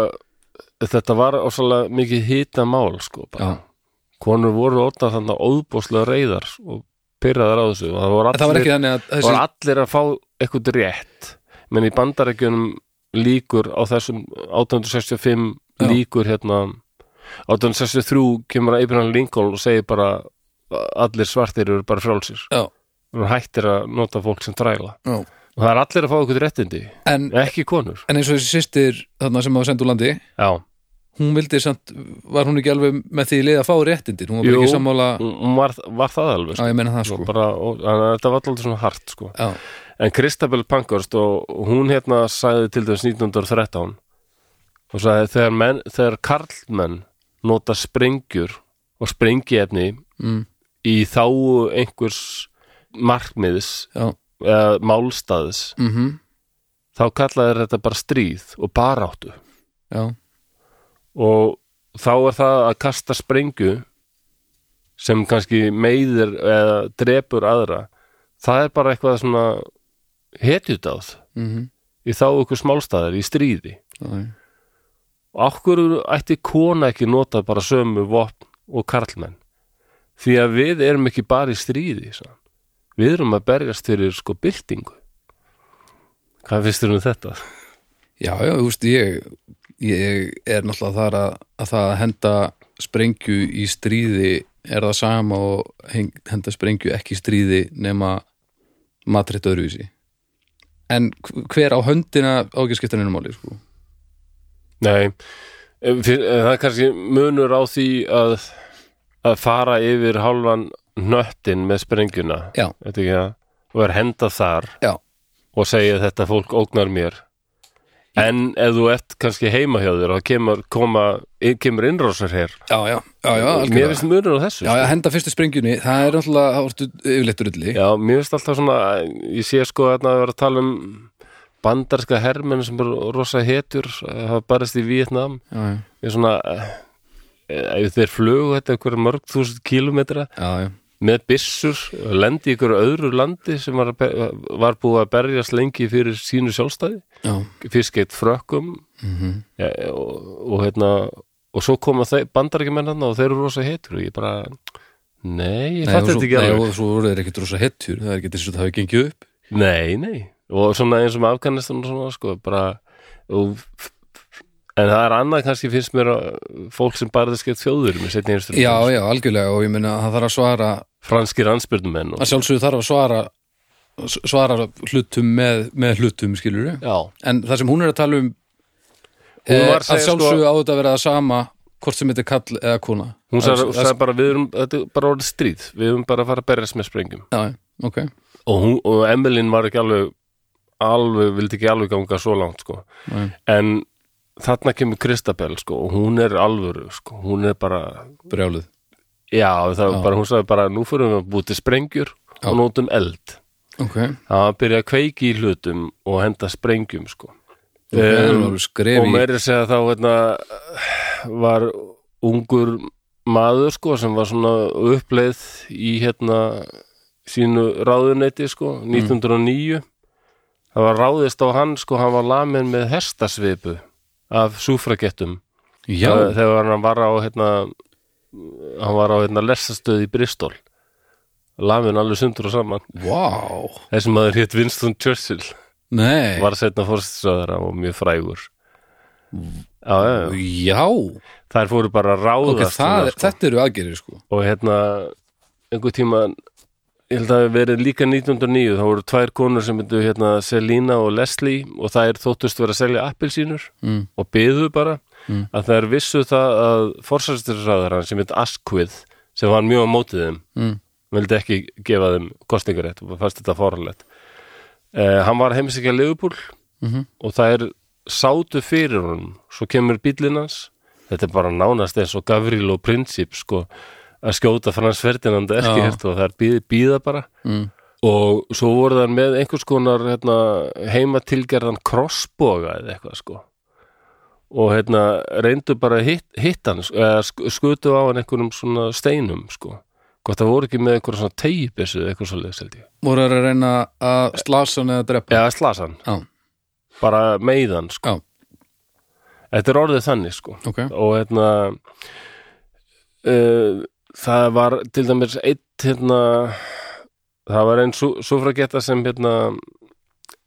S1: þetta var ósvalega mikið hita mál sko, bara.
S2: Já.
S1: konur voru orðna þannig óðbúslega reyðar og pyrraðar á þessu og það voru
S2: En það var
S1: allir,
S2: ekki þannig að
S1: voru
S2: þessi,
S1: allir að fá eitthvað rétt menn í bandarækjunum líkur á þessum 1865
S2: Já.
S1: líkur hérna 1863 kemur að Abraham Lincoln og segir bara allir svartir eru bara frálsir
S2: já,
S1: og hættir að nota fólk sem þræla
S2: já.
S1: og það er allir að fá eitthvað réttindi
S2: En,
S1: ekki konur
S2: en eins og þessi sýstir þarna sem maður senda úr landi
S1: já,
S2: hún vildi samt, var hún ekki alveg með því leið að fá réttindir, hún var
S1: Jú.
S2: bara ekki sammála
S1: hún hún var, var það alveg
S2: Mm. Já, ég meina það sko
S1: bara, og, þannig að þetta var alltaf svona hart sko.
S2: Já,
S1: en Kristabel Pankhurst og hún hérna sagði til þess 1913 og sagði þegar, menn, þegar karlmenn nota sprengjur og sprengiefni
S2: mm,
S1: í þáu einhvers markmiðs
S2: já,
S1: eða málstaðis
S2: mhm,
S1: þá kallaði þetta bara stríð og baráttu
S2: já
S1: og þá er það að kasta sprengju sem kannski meiðir eða drepur aðra það er bara eitthvað svona hetjutáð
S2: mhm,
S1: í þá ykkur smálstaðar í stríði
S2: mm
S1: og okkur ætti kona ekki nota bara sömu vopn og karlmenn því að við erum ekki bara í stríði sann. við erum að berjast fyrir sko byltingu hvað finnst þér um þetta?
S2: Já, já, þú veist, ég ég er náttúrulega þar að, að það að henda sprengju í stríði er það sama og heng, henda sprengju ekki í stríði nema matritt öðruvísi En hv- hver á höndina á ekki að skipta neinu máli, sko
S1: Nei, eh, fyr- eh, það er kannski munur á því að, að fara yfir hálfan nöttin með sprengjuna
S2: Já.
S1: Veit ekki það? og er henda þar
S2: Já,
S1: og segja þetta fólk ógnar mér en ef þú ert kannski heima hjá þér og kemur, koma, eh, kemur innrásar hér
S2: já, já, já, já
S1: mér finnst munur á þessu
S2: Já, já, henda fyrstu sprengjunni, það er náttúrulega það vorstu yfirleitt rulli
S1: Já, mér finnst alltaf svona ég sé sko að það er að tala um bandarska hermenn sem eru rosa hetjur eh, hafa barist í Vietnam
S2: já, já,
S1: er svona eh, ef þeir flugu þetta einhver mörg þúsund kílómetra
S2: já, já.
S1: með byssur og lendi í einhverju öðru landi sem var, að be- var búið að berjast lengi fyrir sínu sjálfstæði
S2: já. Mhm.
S1: fyrst geitt frökkum mm og, og hérna og svo koma þeir, bandarækjumennarna og þeir eru rosa heitur og ég bara nei, ég
S2: Nei, og
S1: fatt
S2: svo-
S1: þetta ekki
S2: nei,
S1: alveg
S2: og svo voru þeir ekkert rosa hettjur það er ekki eins og það hafi gengið upp
S1: Nei, nei og svona eins og með Afganistan og svona sko, bara og, en það er annað kannski finnst mér að fólk sem barðist gegn þjóður með setni einstur
S2: já, já, algjörlega og ég meina að það þarf að svara
S1: franskir ansbyrnumenn og,
S2: að sjálfsögðu þarf að svara s- svara hlutum með, með hlutum skilur
S1: já,
S2: en það sem hún er að tala um
S1: Hún
S2: eh,
S1: var að
S2: að
S1: segja, sko-
S2: sjálfsögðu á þetta að vera það sama hvort sem þetta er kall eða kona
S1: hún
S2: Það-
S1: sagði,
S2: það-
S1: sagði bara við erum, þetta er bara orðið stríð við erum bara að fara að berjast með sprengjum
S2: já, já, ok,
S1: og, hún, og Emilin var ekki alveg alveg, vildi ekki alveg ganga svo langt sko.
S2: Nei.
S1: en þarna kemur Kristabel sko, og hún er alvöru sko. hún er bara,
S2: brjálið
S1: já, það var
S2: Já.
S1: bara hún sagði bara, nú fyrir við að búti sprengjur
S2: Já.
S1: og nótum eld
S2: ok,
S1: Það var að byrja að kveiki í hlutum og henda sprengjum sko.
S2: ok,
S1: Em,
S2: um,
S1: og
S2: skrefi
S1: meiri segja þá hérna, var ungur maður sko, sem var svona uppleið í hérna, sínu ráðuneyti sko,
S2: Mm.
S1: 1909 það var ráðist á hann sko, hann var lamin með hestasvipu af súfragettum
S2: já,
S1: þegar þegar hann var á hérna, hann var á hérna, lessastöð í Bristol lamin alveg sundur og saman
S2: wow
S1: þessi maður hétt Winston Churchill
S2: nei,
S1: var setna fórstisraðara og mjög frægur já, já, já.
S2: já
S1: þær fóru bara að
S2: ok,
S1: ráðast
S2: það,
S1: hérna,
S2: er- þetta eru aðgerir sko
S1: og hérna einhver tíma ég held að það hafi verið líka 1909 þá voru tvær konur sem myndu hérna Selina og Leslie og þær þóttust vera að selja appilsínur
S2: mm.
S1: og byðu bara
S2: Mm.
S1: að þær vissu það að fórsæstisraðaran sem heit Asquith sem var mjög á mótið þeim
S2: Mm.
S1: vildi ekki gefa þeim kostningarétt og fannst þetta fórhaldlegt eh, hann var heimisækja legupúl
S2: Mm
S1: og það er sátu fyrir honum svo kemur bíllinn hans þetta er bara nánast eins og Gavrilo Princip sko, að skjóta Frans Ferdinand ekki
S2: Já.
S1: hert og það er bíð, bíða bara
S2: mm.
S1: og svo voru það með einhvers konar hérna, heimatilgerðan krossboga eða eitthvað sko og hérna reyndu bara að hitt, hitt hann sko, eða sk- skutu á hann einhverjum svona steinum sko hvort það voru ekki með einhverjum svona tegjubessu eða eitthvað svo leiðis held ég
S2: voru þeir að reyna
S1: Eh.
S2: að slasa hann eða drepa
S1: eða slasan,
S2: já,
S1: bara meiðan sko
S2: já,
S1: þetta er orðið þannig sko
S2: ok
S1: og hérna uh, það var til dæmis eitt hérna það var einn súfragetta sem hérna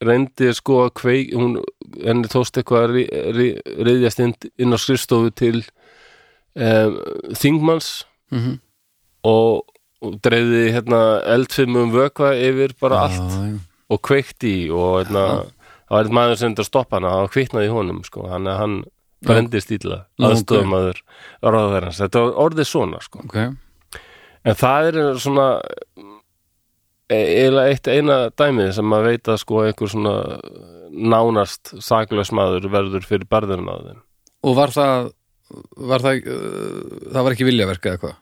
S1: reyndi sko að kveik hún, henni tóst eitthvað að ri- ri- riðjast inn, inn á skrifstofu til um, þingmanns
S2: mm
S1: og, og dreifði hérna eldfimum vökva yfir bara allt
S2: já,
S1: og kveikti í og hérna, það var einn maður sem þetta stoppa hana, hann kviknaði í honum sko, hann, hann brendist ítla
S2: Já, ok.
S1: aðstofamaður ráðverðans, þetta var orðið svona sko.
S2: ok
S1: en það er svona e- eiginlega eitt eina dæmið sem maður veit að sko einhver svona nánast saklaus maður verður fyrir barðurinn á þeim
S2: Og var það var það, uh, það var ekki viljaverk eða hvað?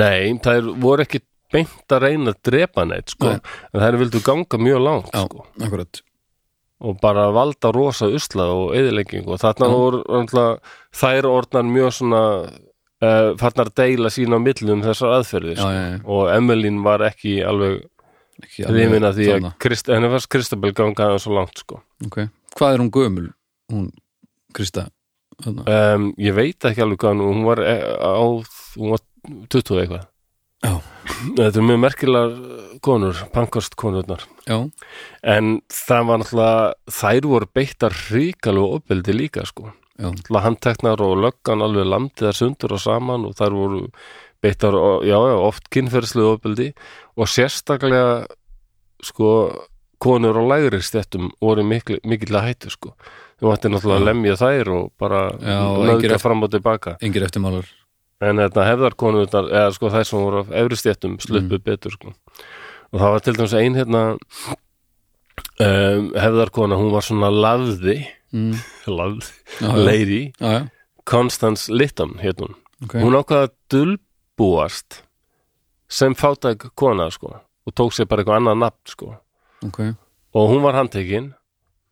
S1: Nei, það voru ekki beint að reyna að drepa neitt sko,
S2: Nei.
S1: en þær vildu ganga mjög langt
S2: Já,
S1: sko
S2: akkurat
S1: og bara valda rosa usla og eðileggingu og þarna
S2: Já.
S1: voru alltaf, þær orðnar mjög svona uh, farnar að deila sín á milli um þessar aðferðir
S2: Já, já, já,
S1: og Emmeline var ekki alveg
S2: ekki alveg
S1: hrifin af því að
S2: þarna.
S1: Krist, henni fannst Kristabel ganga aðeins svo langt sko.
S2: Ok. Hvað er hún gömul? Hún, Krista þarna?
S1: um, ég veit ekki alveg hvað hún- hún var eh, á hún var 20 eitthvað
S2: Já,
S1: þetta er mjög merkilegar konur pankost konurnar
S2: já,
S1: en það var náttúrulega þær voru beittar ríkalegu opeldi líka sko
S2: já
S1: náttúrulega handteknar og löggan alveg landið þar sundur og saman og þar voru beittar, og- já, já, oft kynferðslu ofbeldi og sérstaklega sko, konur á lægri stettum voru mikil, mikill að hættu sko, þú ætti náttúrulega að lemja þær og bara
S2: Já, og engir
S1: lögga
S2: eftir-
S1: fram og tilbaka,
S2: Engir eftirmálar
S1: en þetta hefðar konur eða sko þær sem voru á efri stettum
S2: Mm.
S1: sluppu betur sko, og það var til dæmis ein hérna um, hefðar kona, hún var svona lafði,
S2: mm.
S1: lafði
S2: Já, já,
S1: lady
S2: já, já,
S1: Constance Litton hét hún
S2: ok
S1: hún ákvaða að dulbúast sem fátæk kona sko og tók sér bara eitthvað annað nafn sko
S2: Ok,
S1: og hún var handtekin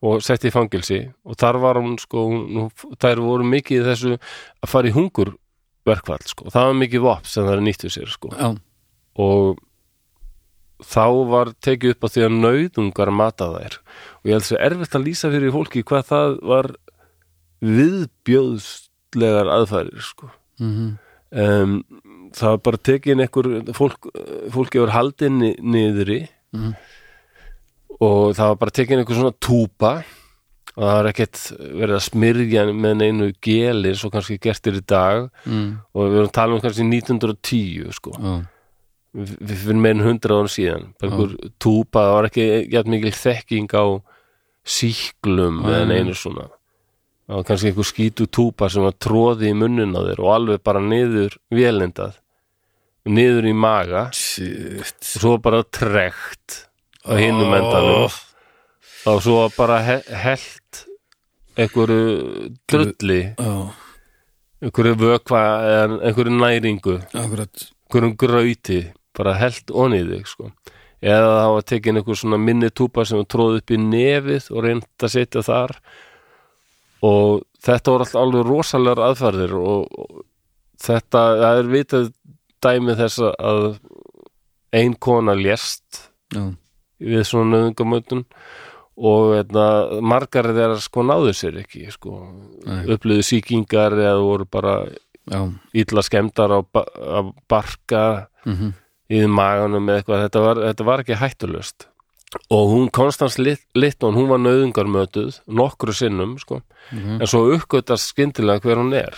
S1: og sett í fangilsi og þar var hún sko hún, hún- þær voru mikið í þessu að fara í hungur verkvall sko það var mikið vopp sem þær nýttu sér sko
S2: já,
S1: og þá var tekið upp á því að nauðungar mata þær og ég held sér erfitt að lýsa fyrir fólki hvað það var viðbjóðst snillega aðfærir sko.
S2: Mhm.
S1: um, það var bara tekin einhver fólk, fólk hefur haldin niðri
S2: Mhm.
S1: og það var bara tekin einhver svona túpa og það var ekkert verið að smyrja með neinu geli svo kannski gertir í dag
S2: Mm.
S1: og við erum að tala um kannski 1910 sko
S2: Já.
S1: við við fyrir meirinn hundra ára síðan bara
S2: Já.
S1: einhver túpa, það var ekki jætt mikil þekking á síklum
S2: Já,
S1: eða
S2: já.
S1: neinu svona það var kannski einhver skítu túpa sem var tróði í munnin á þér og alveg bara niður vélindað niður í maga
S2: Shit
S1: og svo bara trekt á hinum endanum
S2: Oh.
S1: og svo bara he held einhverju drulli
S2: Já,
S1: einhverju vökva eða einhverju næringu
S2: akkurat
S1: einhverjum grauti bara held onni í þig sko. eða það var tekin einhver svona minni túpa sem var tróð upp í nefið og reynd að setja þar og þetta voru alltaf alveg rosalegar aðferðir og og þetta, það er vitað dæmi þess að ein kona lést
S2: Já,
S1: við svona nöðungamöndun og eitna, margar þeirra sko náðu sér ekki sko,
S2: Nei.
S1: upplöðu sýkingar eða voru bara
S2: já,
S1: illa skemmdar á, ba á barka
S2: mhm,
S1: í maganum eða eitthvað, þetta var, þetta var ekki hættulust og hún Konstans Lit- Litton, hún var nöðungarmötuð nokkru sinnum, sko
S2: mhm,
S1: en svo uppgötast skyndilega hver hún er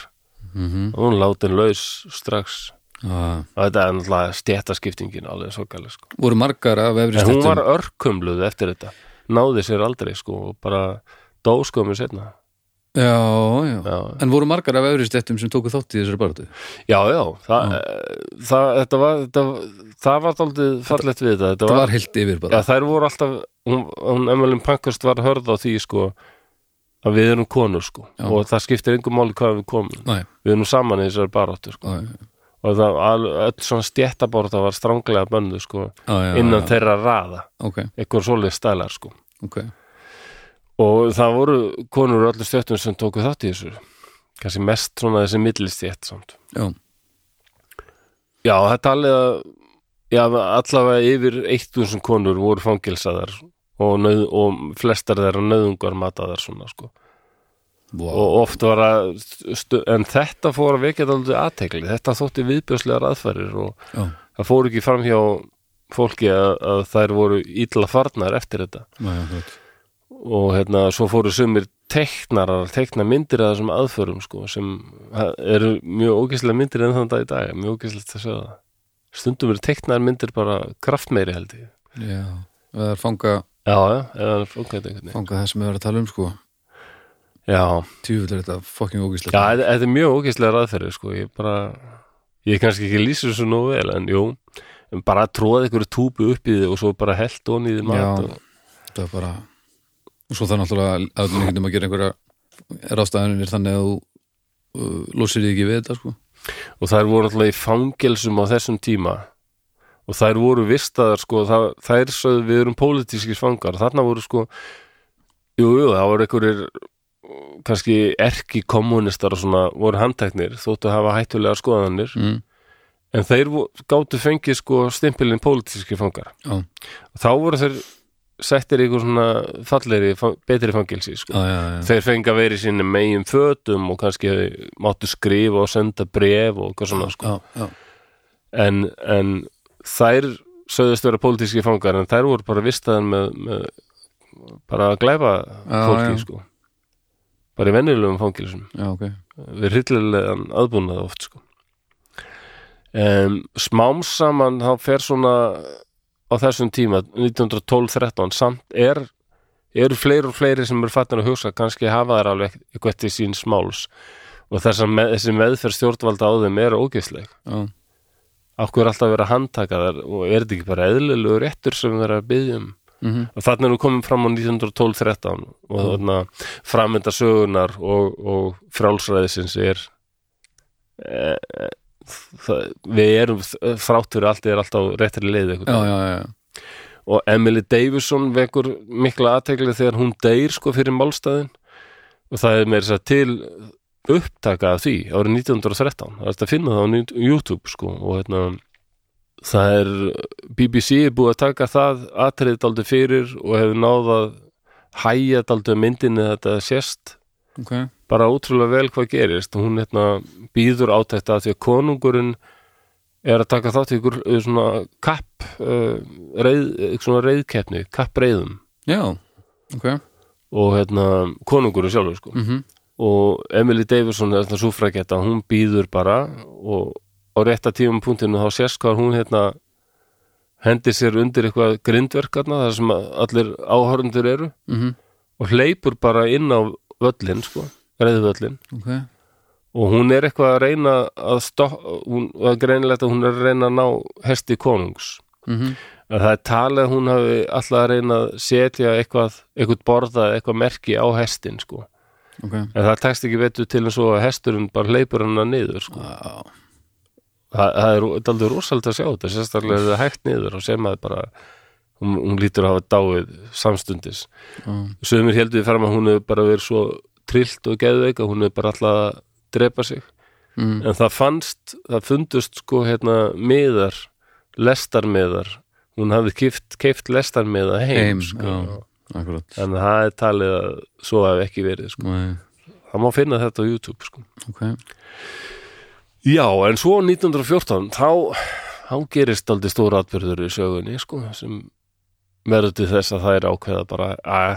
S2: mhm
S1: og hún látin laus strax
S2: Já.
S1: og þetta er náttúrulega stjættaskiptingin alveg svo gæli, sko
S2: Voru margar af efri
S1: en hún
S2: stettum
S1: var örkumluð eftir þetta náði sér aldrei, sko, og bara dó skömmu setna
S2: Já, já
S1: já,
S2: En voru margar af efri stettum sem tóku þátt í þessari baráttu
S1: já, já, það, eh, það, þetta var þetta, það var daldið fallegt við þetta,
S2: Það var heilt yfir
S1: Já,
S2: bara
S1: þær voru alltaf hún, hún Emmeline Pankhurst var hörð á því sko, að við erum konur sko,
S2: Já.
S1: og það skiptir engum máli hvað við komum
S2: Næ,
S1: við erum saman í þessari baráttu sko.
S2: já,
S1: og það, all, öll svona stjættaborða var stranglega bönnu sko,
S2: já, já
S1: innan
S2: já.
S1: þeirra raða
S2: Ok,
S1: eitthvað svoleið stælar sko.
S2: ok
S1: og það voru konur úr öllu stjættum sem tóku þátt í þessu kannski mest svona þessi millistjætt samt
S2: Já,
S1: Já, það er talið að já, allavega yfir 1000 konur voru fangilsaðar og, nöð, og flestar þeirra nöðungar mataðar svona sko.
S2: vá
S1: og oft var að stu, en þetta fór að vekja aldrei aðtekli þetta þótti viðbjörslegar aðferðir og
S2: Já,
S1: það fór ekki fram hjá fólki að, að þær voru illa farnar eftir þetta
S2: já, já, akkurat
S1: og hérna svo fóru sumir teknarar, tekna myndir að þessum aðförum sko, sem ha- eru mjög ógæslega myndir enn þann dag í dag mjög ógæslegt að sjá það stundum eru teknar myndir bara kraftmeiri held ég
S2: Já, það er fanga,
S1: já, já, eða fólkætt einhvern veginn
S2: fanga það sem við erum að tala um sko
S1: já,
S2: Tjúfull er þetta fucking
S1: já,
S2: ógíslega
S1: þetta þetta er mjög ógæslega aðferði sko, ég bara ég er kannski ekki lýsur svo nú vel en jú, en bara að tróða einhverju túbu upp í þið og svo bara held onni í þið mat
S2: Já.
S1: og,
S2: Þetta er bara Og svo það er náttúrulega að við getum að gera einhverja rástaðanir þannig að þú uh, losir þig ekki við þetta sko
S1: og þær voru alltaf í fangelsum á þessum tíma og þær voru vistaðar sko, það, þær sögðu við erum pólitískir fangar, þarna voru sko jú, jú, það voru einhverjir kannski erki kommunistar og svona voru handteknir þóttu að hafa hættulega skoðanir
S2: mm.
S1: en þeir vo- gátu fengið sko stimpilinn pólitískir fangar
S2: Já,
S1: og þá voru þeir settir í einhver svona fallegri, fa- betri fangelsi sko.
S2: já, já, já.
S1: þeir fengi að vera í sínum megin fötum og kannski máttu skrifa og senda bref og hvað svona sko
S2: já, já,
S1: en, en þær sögðust vera pólitíski fangar en þær voru bara vistaðan með, með bara að glæpa
S2: Já,
S1: fólki
S2: já.
S1: sko bara í venjulegum fangilsum
S2: já, ok
S1: við hryllilegan aðbúnað oft sko um, smám saman þá fer svona á þessum tíma 1912-13 samt er eru fleiri og fleiri sem eru fattin að hugsa kannski hafa þær alveg eitthvað til sín smáls og þessar með, þessi meðferð stjórnvalda á þeim er ógeðsleg
S2: Já,
S1: okkur er alltaf að vera að handtaka þar og er þetta ekki bara eðlilegu réttur sem við erum að byggja um
S2: mm
S1: og þarna erum við komin fram á 1912-13 og þarna framönda sögunar og, og frálsræðisins er e, e, það, við erum þrátt fyrir allt er alltaf á réttri leið einhvern
S2: já,
S1: veginn.
S2: já, já,
S1: og Emily Davison vekur mikla aðtegli þegar hún deyr sko fyrir málstæðin og það er meira þess að til upptaka af því árið 1913 það er þetta að finna það á nýt- YouTube sko og hérna það er BBC er búið að taka það atriðið daldið fyrir og hefur náð að hæja daldið myndinni þetta sést
S2: ok,
S1: bara ótrúlega vel hvað gerist hún hérna, býður átækta því að konungurinn er að taka þátt í ykkur eh, svona kapp uh, reið, eh, svona reiðkeppni kappreiðum
S2: já ok,
S1: og hérna konungurinn sjálfur sko
S2: mhm,
S1: og Emily Davison er þarna súfragetta hún býður bara og á rétta tíum punktinu þá sérst hvað hún hérna hendir sér undir eitthvað grindverkarna þar sem að allir áhörundur eru
S2: mhm,
S1: og hleypur bara inn á völlin sko, reiðvöllin
S2: ok
S1: og hún er eitthvað að reyna að stoppa, hún það er greinilegt að hún er að reyna að ná hesti konungs
S2: mhm,
S1: að það er talið að hún hafi alltaf að reyna að setja eitthvað, eitthvað borða eða eitthvað merki á hestin sko
S2: ok
S1: en það tekst ekki betur til eins og að hesturinn bara hleypur hann niður sko
S2: já,
S1: það, það er aldrei rosalega að sjá þetta sérstaklega er það hægt niður og sem að bara hún, hún lítur að hafa dáið samstundis
S2: já,
S1: sömur heldur við fram að hún hefur bara verið svo trillt og geðveik að hún hefur bara alltaf að drepa sig
S2: mhm,
S1: en það fannst, það fundust sko hérna miðar lestarmiðar, hún hafði kift, keift lestarmiða heim,
S2: Heim,
S1: sko.
S2: já. akkurat
S1: en það er talið að svo hef ekki verið sko.
S2: Nei,
S1: það má finna þetta á YouTube sko.
S2: ok,
S1: Já, en svo 1914 þá, þá gerist aldrei stóra atbyrður í sögunni sko, sem verður til þess að það er ákveða bara að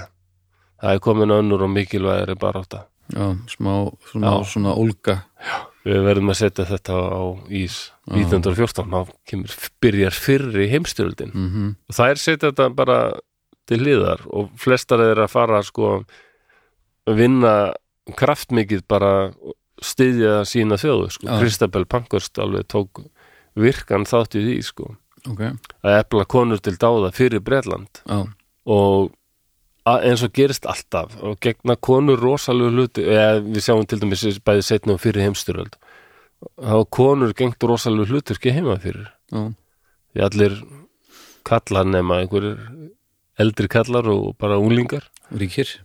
S1: það er komin önnur og mikilvægri bara átta.
S2: já, smá svona,
S1: Já.
S2: svona ólga
S1: Við verðum að setja þetta á ís 1914, þá kemur, byrjar fyrri heimstyrjöldin
S2: mhm,
S1: og þær setja þetta bara til hliðar og flestar er að fara sko vinna kraftmikið bara styðja sína þjóðu sko.
S2: Já.
S1: Kristabel Pankhurst alveg tók virkan þátt í því sko
S2: ok,
S1: að efla konur til dáða fyrir Bretland
S2: já,
S1: og að- eins og gerist alltaf og gegna konur rosalegu hluti eða við sjáum til dæmis bæði setna og fyrir heimsturöld þá hafa konur gengt rosalegu hlutur ekki heima fyrir
S2: já,
S1: því allir kallar nema einhverjir eldri kallar og bara úlingar
S2: ríkir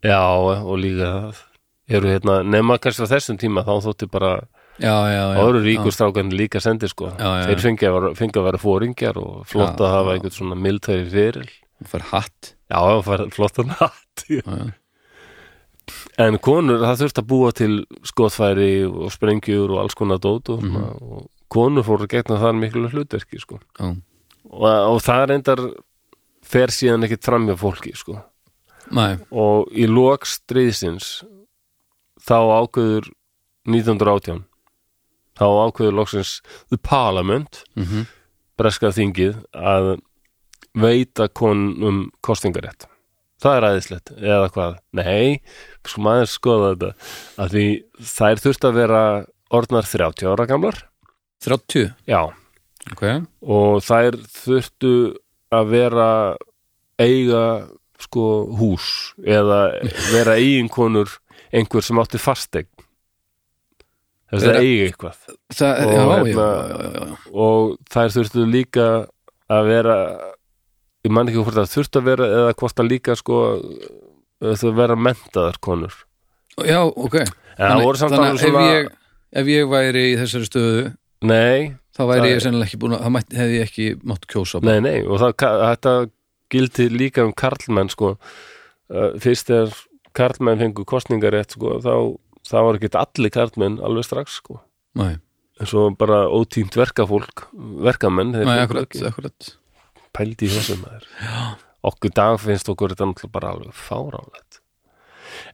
S1: já og líka það eru hérna nema kannski á þessum tíma þá þótti bara
S2: já, já, já,
S1: áru ríkur strákan líka sendir sko
S2: Já, já,
S1: þeir
S2: já.
S1: fengi að, vera- fengu að vera fóringjar og flott
S2: Já,
S1: að hafa
S2: já.
S1: einhvern svona mildtæri fyrir
S2: já, fær hatt
S1: Já, það var flottan hatt
S2: já, já,
S1: En konur, það þurfti að búa til skotfæri og sprengjur og alls konar dót og, mm og konur fóru að gegna þar miklu hlutverki sko.
S2: já,
S1: og, og það reyndar fer síðan ekkit fram hjá fólki sko.
S2: næ,
S1: og í lok stríðsins þá ákveður 1918 þá ákveður loksins The Parliament
S2: mhm,
S1: breska þingið að veita konum kostingarétt það er æðislegt, eða hvað nei, sko maður skoða þetta að því þær þurft að vera orðnar 30 ára gamlar
S2: 30,
S1: já,
S2: ok,
S1: og þær þurftu að vera eiga sko hús eða vera eiginkonur einhver sem átti fastegn þess að
S2: Vera-
S1: eiga eitthvað
S2: það,
S1: Og
S2: já, já,
S1: hérna-
S2: já, já, já, já,
S1: og þær þurftu líka að vera ég man ekki hvort það þurftu að vera eða hvort það líka sko þau vera mentaðar konur
S2: já, ok
S1: en það voru samt alveg
S2: ef,
S1: svona
S2: ég, ef ég væri í þessari stöðu
S1: nei,
S2: þá væri
S1: Það
S2: ég
S1: er-
S2: sennilega ekki búin að, það mætti, hefði ég ekki mátt kjósa bara.
S1: nei, nei og það, þetta gildi líka um karlmenn sko Uh, fyrst þegar karlmenn fengu kostningarétt sko þá, þá var ekki allir karlmenn alveg strax sko
S2: Nei,
S1: en svo bara ótímt verkafólk verkamenn, þeir
S2: nei,
S1: fengu
S2: akkurat,
S1: ekki
S2: akkurat
S1: pældi í þessum maður okkur dag finnst okkur þetta náttúrulega bara alveg fáránlegt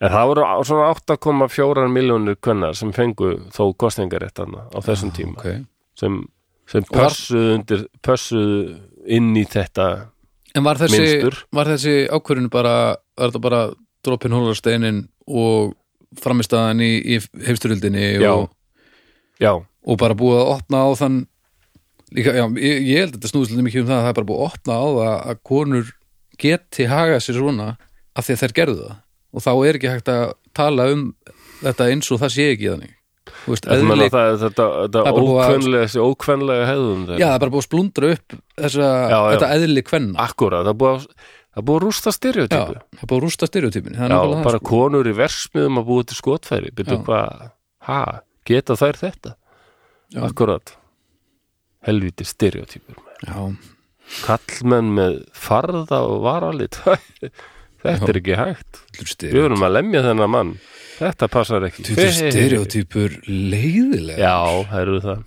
S1: en það voru á- svona 8,4 miljónir kvenna sem fengu þó kostningarétt þarna á þessum tíma
S2: ok,
S1: sem, sem
S2: var-
S1: pössuðu undir pössuðu inn í þetta
S2: en var þessi
S1: Mynstur.
S2: var þessi ákvörðun bara, var þetta bara droppin hólar steinin og framistaðan í, í heimsturöldinni
S1: Já.
S2: og,
S1: já,
S2: og bara búið að opna á þann líka, já, ég, ég held að þetta snúðist svolítið mikið um það að það er bara búið að opna á það að konur geti hagað sér svona af því að þær gerðu það og þá er ekki hægt að tala um þetta eins og það sé ekki þannig Þú veist,
S1: Eðli,
S2: eðli,
S1: meina, það, er þetta, þetta
S2: Það er bara búið að-
S1: ókvenlega þessi ókvenlega hefðum
S2: já,
S1: þeir
S2: það er bara búið að splundra upp þessa,
S1: Já, já.
S2: þetta eðli kvenna
S1: akkúrat, það er búið að það er búið að rústa
S2: já,
S1: styrjótypu
S2: það er búið að rústa styrjótypin það er
S1: Já,
S2: nákvæmlega
S1: bara
S2: það, sko.
S1: konur í versmiðum að búa til skotfæri byrju
S2: Já.
S1: hvað, ha, geta þær þetta
S2: Já.
S1: akkurat helviti stereotypur
S2: já,
S1: kallmenn með farða og varalit þetta er ekki hægt
S2: allir styr
S1: við erum að lemja þennan mann Þetta passar ekki
S2: Þetta er stereotypur leiðilega
S1: Já, það eru það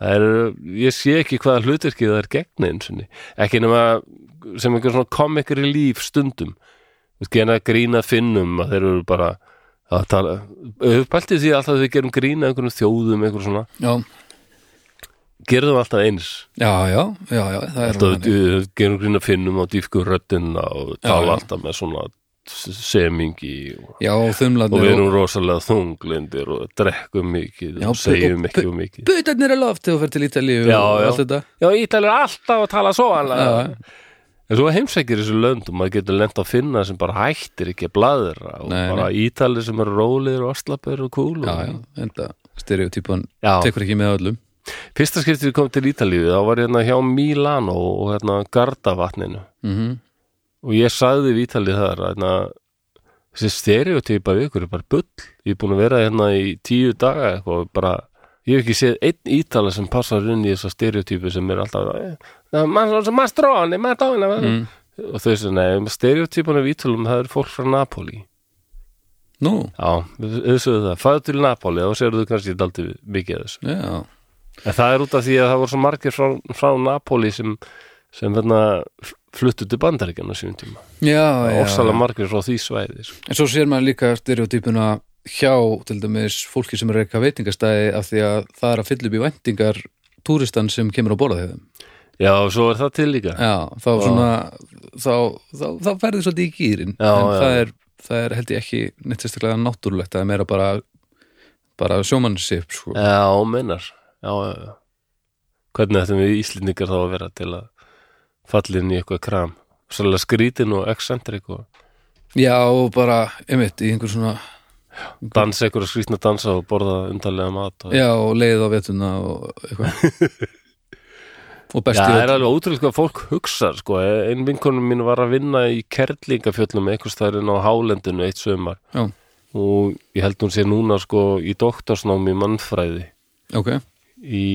S1: Það eru, ég sé ekki hvaða hlutverki það er gegn eins og ekki nema sem einhver svona comic relief stundum Þú veist, gena grína finnum að þeir eru bara að tala Hefur pæltið því alltaf að við gerum grína einhverjum þjóðum, einhverjum svona
S2: Já,
S1: Gerðum alltaf eins
S2: já, já, já, já það er
S1: Alltaf
S2: þannig.
S1: við gerum grína finnum á dýfku röddina og
S2: já.
S1: tala alltaf með svona semingi og,
S2: Já, þumlarnir
S1: og við erum rosalega þunglindir og drekkum mikið
S2: Já,
S1: og segjum
S2: bu-
S1: ekki um mikið
S2: Butarnir er loft þegar þú fer til Ítalíu
S1: Já,
S2: og
S1: já.
S2: allt þetta
S1: Já, Ítalir er alltaf að tala svo
S2: Já,
S1: alveg. En svo heimsækir þessu lönd og maður getur lent að finna sem bara hættir ekki að bladra og
S2: Nei,
S1: bara Ítalir sem eru rólir og aslapir og kúl
S2: Já,
S1: og...
S2: já, enda stereotypan
S1: Já.
S2: tekur ekki með öllum
S1: Fyrsta skiptið við komum til Ítalíu þá var ég hérna hjá Milano og hérna Gardavatninu
S2: mm
S1: og ég sagði við Ítalið þar hérna, þessi stereotypa við ykkur er bara bull ég er búin að vera hérna í tíu daga eitthvað, og bara, ég hef ekki séð einn Ítala sem passar inn í þessa stereotypu sem er alltaf eh, na- ma- ma- mastrone, madonna mm. og þau sem, nei, stereotypunum við Ítalum það er fólk frá Napoli
S2: Nú,
S1: já, þau sögðu það, fæðu til Napoli þá segir þau kannski daldið mikið af þessu
S2: já,
S1: en það er út af því að það voru svo margir frá, frá Napoli sem, sem hérna, fluttu til bandaríkjana sínum tíma
S2: já, já
S1: ofsalega margir frá því svæði sko.
S2: En svo sér maður líka stereotypuna hjá til dæmis fólki sem er að reyka veitingastæði af því að það er að fylla upp í væntingar túristan sem kemur á borða þeim
S1: Já, og svo er það til líka
S2: Já, þá svona þá, þá, þá ferði svolítið í gýrin
S1: Já,
S2: en
S1: já.
S2: Það, er, það er held ég ekki neitt sérstaklega náttúrulegt það er meira bara, bara sjómannsip sko.
S1: Já, meinar já, já, já. Hvernig ættum við Íslendingar þá að vera til að falla inn í eitthvað kram Svolítið skrítin og excentrik og
S2: Já, og bara, einmitt, í einhver svona
S1: dansa eitthvað skrítna dansa og borða undarlega mat og...
S2: Já, og leið á vetuna og eitthvað Og
S1: Já,
S2: besti
S1: það er
S2: öll-
S1: alveg ótrúlega hvað fólk hugsa sko. Einn vinkonum mín var að vinna í kerlingafjöllum eitthvað stærinn á hálendinu eitt sömar
S2: Já,
S1: og ég held hún sé núna sko, í doktorsnámi í mannfræði
S2: ok,
S1: í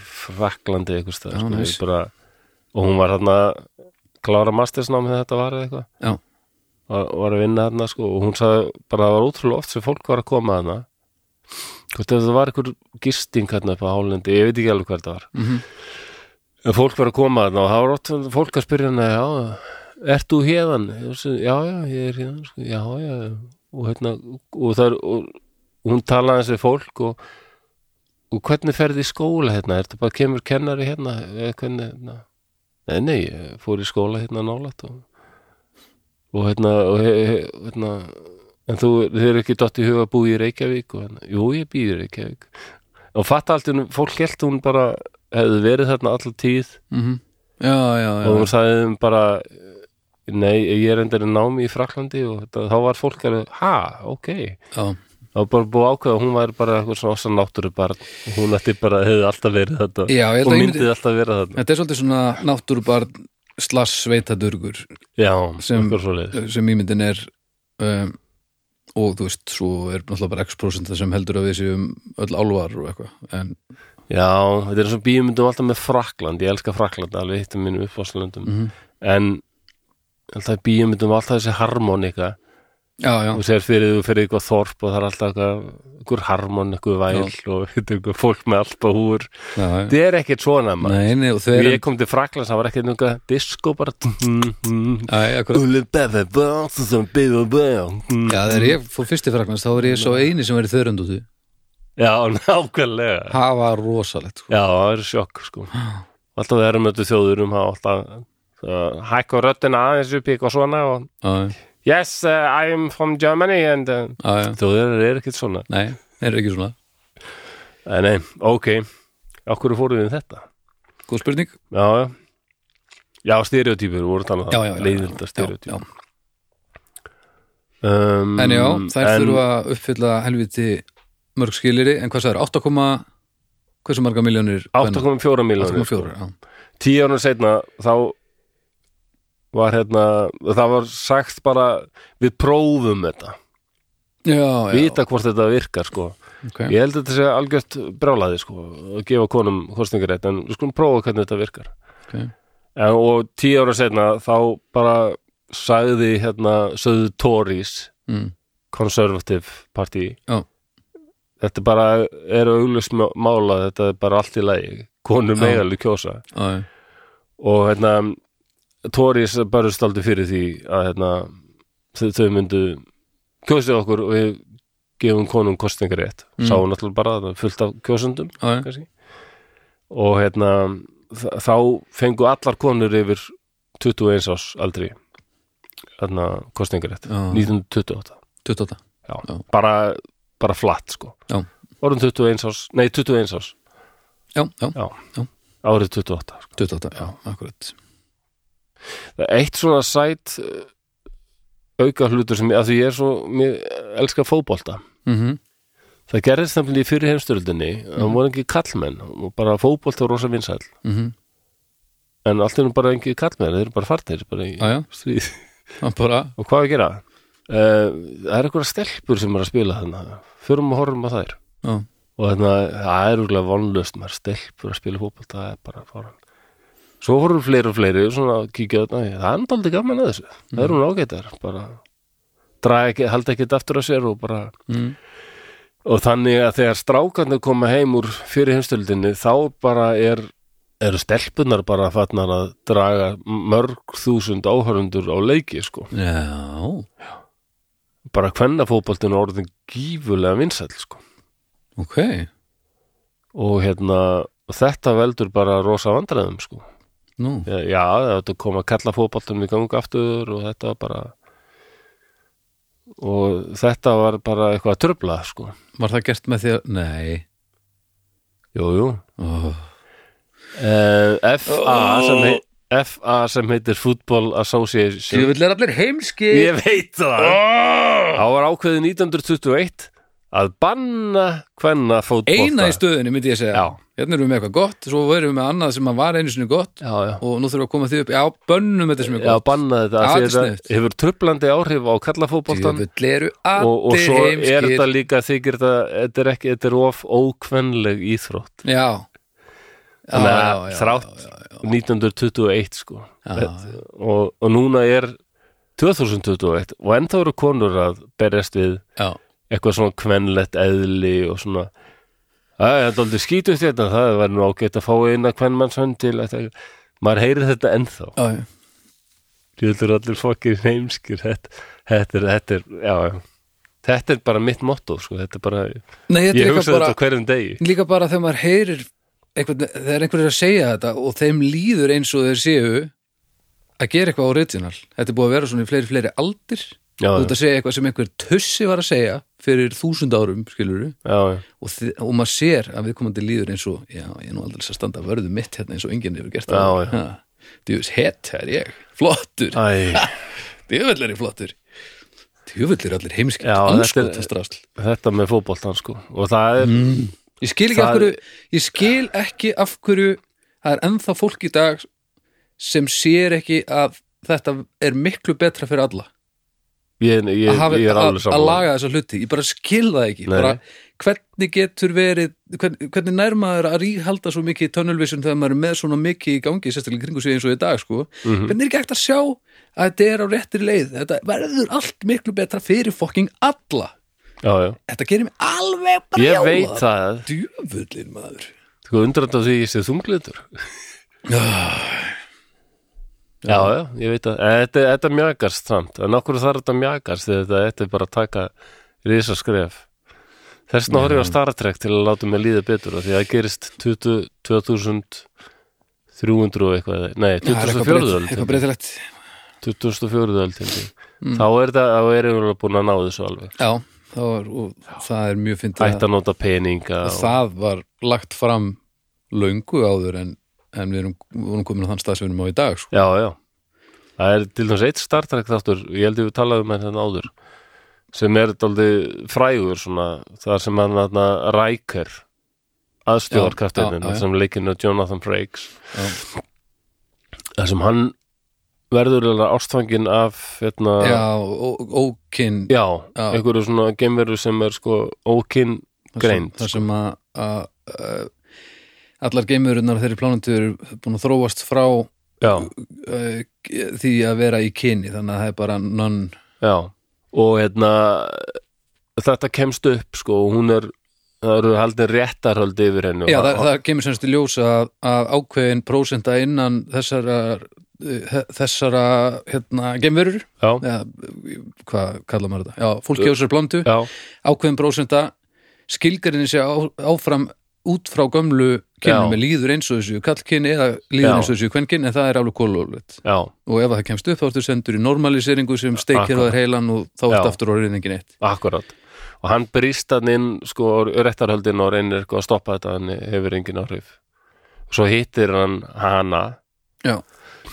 S1: Fraklandi eitthvað stað
S2: Já,
S1: sko,
S2: nice.
S1: ég bara, og hún var þarna að klára mastersnámið þetta var eða eitthvað
S2: já,
S1: var, var að vinna þarna sko, og hún sagði bara að það var ótrúlega oft sem fólk var að koma þarna hvort ef það var einhver gisting hérna upp á hálendi, ég veit ekki alveg hvað þetta var
S2: Mhm.
S1: en fólk var að koma þarna og það var oft fólk að spyrja hana já, ert þú hérðan? já, já, ég er hérðan sko, já, já, og hérna og, það er, og hún talaði þessi fólk og, og hvernig ferði í skóla hérna, er þetta bara kemur kennari hérna, eða hvernig hérna? nei, nei, ég fór í skóla hérna nálætt og og hérna, og, he- he- hérna en þú, þau eru ekki dott í huga að búi í Reykjavík og hérna, jú ég býði í Reykjavík og fatta allt, í einu, fólk held hún bara hefði verið þarna alltaf tíð
S2: mm já, já, já
S1: og hún sagði þeim bara nei, ég er endur í námi í Fraklandi og þetta, þá var fólk alveg, ha, ok
S2: Já,
S1: þá var bara búið að ákveða, að hún var bara eitthvað svona ossa náttúru barn, hún ætti bara hefði alltaf verið þetta
S2: Já, ég held
S1: og
S2: að ég
S1: myndið alltaf verið þetta
S2: þetta er svolítið svona náttúrubarn slass sveitadurgur
S1: já,
S2: Sem-
S1: okkur svo leið
S2: eh, sem ímyndin er um, og þú veist, svo er náttúrulega bara x% sem heldur að við séum öll álvar og eitthvað en
S1: Já, þetta er eins og bíumyndum alltaf með Frakland, ég elska Frakland alveg hittum mínum uppáslöndum mm -hmm. en alltaf bíumyndum alltaf þessi harmonika
S2: já, já,
S1: og sér fyrir þú fyrir eitthvað þorp og það er alltaf eitthvað, einhver harmon, eitthvað væl og eitthvað fólk með alltaf húr
S2: já, já.
S1: þetta er ekkert svona maður
S2: Nei, nei, og þau
S1: Þegar
S2: eru
S1: ég kom til Fraklands, það var ekkert einhver disco bara
S2: Æ, akkurat.
S1: Úlum befe, bæsum sem bíðu bæ
S2: Já, þegar ég fór fyrst í fragnast þá er ég svo eini sem verið þörundúti
S1: Já, nákvæmlega
S2: Það var rosalegt sko.
S1: Já, það er sjokk sko Alltaf við erum öllu þjóðurum það alltaf uh, hækka röddina aðeins upp í eitthvað svona og
S2: Já, já,
S1: Yes, uh, I'm from Germany and uh,
S2: já, já.
S1: Þjóður er ekkert svona
S2: Nei, það er ekki svona
S1: Nei, nei, ok Okkur fóruð við þetta
S2: Góð spurning
S1: Já, já Já, stereotypur, voru að tala um
S2: Já,
S1: það
S2: já, já, já.
S1: Leiðilda
S2: já.
S1: stereotypur um,
S2: Mm, En já, þær
S1: en-
S2: þurfa að uppfylla helviti mörg skiliri En hvað sagður, 8, hversu marga miljónir
S1: 8,4 miljonir
S2: 8,4 já.
S1: sko. Tíu ánum seinna þá var hérna það var sagt bara við prófum þetta
S2: já, já,
S1: vita hvort þetta virkar sko
S2: ok
S1: Ég held að þetta sé algjört brálaði sko að gefa konum kostningarétt en við skulum prófa hvernig þetta virkar
S2: ok.
S1: en, og tíu ára setna þá bara sagði hérna söðu Tories
S2: Mm.
S1: conservative party
S2: Já.
S1: þetta er bara er auglust mála, þetta er bara allt í lagi konur
S2: Já.
S1: mega alveg kjósa
S2: já,
S1: og hérna Tóris barust aldrei fyrir því að hérna þau, þau myndu kjósið okkur og við gefum konum kostningarétt
S2: Mm.
S1: mm. sáum náttúrulega bara þarna fullt af kjósundum
S2: já, já,
S1: kannski og hérna þ- þá fengu allar konur yfir 21 árs aldri hérna kostningarétt
S2: Já.
S1: 1928
S2: 28
S1: já.
S2: Já.
S1: bara, bara flatt sko
S2: Já.
S1: orðum 21 árs, nei 21 árs
S2: já, já,
S1: já,
S2: Já.
S1: árið 28 sko.
S2: 28, já, akkurat
S1: Það er eitt svona sæt eh, auka hlutur sem, að því ég er svo mér elska fótbolta
S2: mhm,
S1: það gerðist nefnilega í fyrir heimstyrldinni það voru ekki kallmenn og bara fótbolta var rosa vinsæll
S2: mhm,
S1: en allt er nú bara ekki kallmenn, þeir eru bara fartir bara í
S2: já, já
S1: stríð
S2: það bara,
S1: og hvað á að gera? Uh, það er eitthvað stelpur sem er að spila þarna förum og horfum að þær
S2: já,
S1: og þarna, það er úrlega vonlöst maður stelpur að spila fótbolta, það er bara foran svo horfum fleiri og fleiri og svona kíkja þarna, það er náttúrulega gaman að þessu það eru hún ágættar, bara draga ekki, halda ekki aftur að sér og bara
S2: mhm,
S1: og þannig að þegar strákarnir koma heim úr fyrir heimstöldinni þá bara er eru stelpunar bara farnar að draga mörg þúsund áhörundur á leiki sko.
S2: já
S1: bara kvennafótboltin er orðin gífulega vinsæll sko.
S2: ok,
S1: og hérna og þetta veldur bara rosa vandræðum sko.
S2: nú,
S1: já, já, þetta kom að kalla fótboltum í gangi aftur og þetta var bara og þetta var bara eitthvað að tröfla sko.
S2: var það gert með því að, nei
S1: jú, jú
S2: oh.
S1: Eh, FA
S2: Oh.
S1: sem heit FA sem heitir Football Association
S2: vil er allir heimski
S1: Ég veit það Þá var ákveðið 1921 að banna hvenna fótbolta
S2: eina í stöðunni myndi ég segja
S1: Já,
S2: hérna erum við með eitthvað gott, svo erum við með annað sem að var einu sinni gott
S1: já, já
S2: og nú þurfum við að koma því upp, já, bönnum þetta sem er
S1: Já,
S2: gott
S1: banna þetta
S2: Já,
S1: af því
S2: þetta er sniðugt.
S1: þetta hefur trublandi áhrif á kallafótboltan og,
S2: Djöfull eru
S1: og
S2: allir
S1: svo er
S2: heimskir
S1: þetta líka þykir þetta, þetta er ekki, þetta er of ókvenleg íþrótt
S2: Já, já,
S1: Þannig
S2: já,
S1: að
S2: já,
S1: þrátt
S2: já, já,
S1: 1921 sko
S2: já, já.
S1: og, og núna er 2021 og ennþá eru konur að berjast við
S2: Já,
S1: eitthvað svona kvenlegt eðli og svona Það er aldrei skítuð þetta, það var nú ágætt að fá eina kvenmannshönd til þetta. maður heyrir þetta ennþá
S2: já, já.
S1: þetta er allir fokkir heimskir þetta, þetta, er, þetta er, já, já þetta er bara mitt motto, sko þetta er bara,
S2: Nei, þetta
S1: ég
S2: er líka
S1: hugsa
S2: bara,
S1: þetta á hverjum degi
S2: líka bara þegar maður heyrir einhvern, þegar einhverjir að segja þetta og þeim líður eins og þeir séu að gera eitthvað original Þetta er búið að vera svona í fleiri, fleiri aldir
S1: já,
S2: Þú ert
S1: já,
S2: að segja eitthvað sem einhver tussi var að segja fyrir þúsund árum, skilur
S1: já, já,
S2: og, þi- og maður sér að viðkomandi líður eins og já, ég er nú aldrei að standa vörðu mitt hérna eins og enginn hefur gert
S1: Já, já.
S2: Djúvis, hett er ég, flottur
S1: æ
S2: djúvill er ég flottur djúvill er allir heimskilt,
S1: Já, þetta er-
S2: anskotast rásl
S1: þetta með fótboltan, sko og það er,
S2: Mm. ég skil ekki
S1: Það-
S2: af hverju ég skil ekki af hverju það er ennþá fólk í dag sem sér ekki að þetta er miklu betra fyrir alla
S1: ég, ég,
S2: að, hafa,
S1: ég er
S2: að,
S1: alveg
S2: að
S1: saman
S2: laga þessa hluti ég bara skil það ekki
S1: Nei.
S2: bara, hvernig getur verið hvernig, hvernig nærmaður að ríhalda svo mikið í tunnelvision þegar maður er með svona mikið í gangi sérstaklega í kringu sig eins og í dag sko
S1: Mhm.
S2: hvernig er ekki hægt að sjá að þetta er á réttri leið þetta verður allt miklu betra fyrir fokking alla
S1: já, já,
S2: þetta gerir mig alveg
S1: ég
S2: brjálaðan.
S1: veit það
S2: djöfullin maður
S1: sko undrandi á því ég sé þunglindur
S2: Ah.
S1: Já, já, ég veit að en þetta, þetta mjagast samt, en okkur þarf þetta mjagast þegar þetta, þetta er bara að taka risaskref þess vegna horfum ég á Star Trek til að láta mig líða betur af því að það gerist 20 2300 og eitthvað
S2: Það er
S1: nei,
S2: eitthvað
S1: 2004
S2: breyt-
S1: öld
S2: eitthvað Mm.
S1: held ég.
S2: breytilegt
S1: 2004 öld held ég. þá er þetta þá er ég búin að ná þessu alveg
S2: já, það, var, og, það er mjög fyndið að-
S1: ætti að nota
S2: og
S1: peninga og,
S2: það var lagt fram löngu áður en, en við erum, erum komin á þann stað sem við erum á í dag sko.
S1: Já, já Það er til dæmis eitt Star Trek þáttur ég held ég við talaðum með þetta hérna áður sem er daldi frægur svona, þar sem hann hann rækir
S2: Já, já,
S1: aðstjóðarkafteinin
S2: já.
S1: hérna, sem leikinu Jonathan Frakes
S2: Já.
S1: þar sem hann verður eiginlega ástfangin af hérna,
S2: já, og- og- ókinn
S1: já,
S2: Já.
S1: einhverju svona geimveru sem er sko ókinn
S2: þar sem-
S1: greind sko.
S2: þar sem að, að, að allar geimurinnar þeirri plánandi eru búin að þróast frá eh,
S1: já,
S2: uh, því að vera í kyni þannig að það er bara non
S1: já, og hérna þetta kemst upp sko og hún er það eru haldin réttarhöldi yfir henni og-
S2: Já, það, það kemur semst í ljósa að, að ákveðin prósenta innan þessara eh, þessara, hérna, gemverur
S1: já,
S2: eða, hvað kallar maður þetta? Já, fólki á sér blöndu,
S1: já,
S2: ákveðin prósenta skilgarinn sé á, áfram út frá gömlu
S1: Já.
S2: kynum með líður eins og þessu kallkyn eða líður
S1: Já.
S2: eins og þessu kvenkyn en það er alveg kólulegt
S1: já,
S2: og ef það kemst upp þá ertu sendur í normaliseringu sem steikir það
S1: Akkurat.
S2: heilan og þá ertu
S1: Já.
S2: aftur orðin engin eitt
S1: akkurat og hann brýst hann inn sko réttarhöldin og reynir eitthvað að stoppa þetta hann hefur engin áhrif svo hittir hann hana
S2: Já.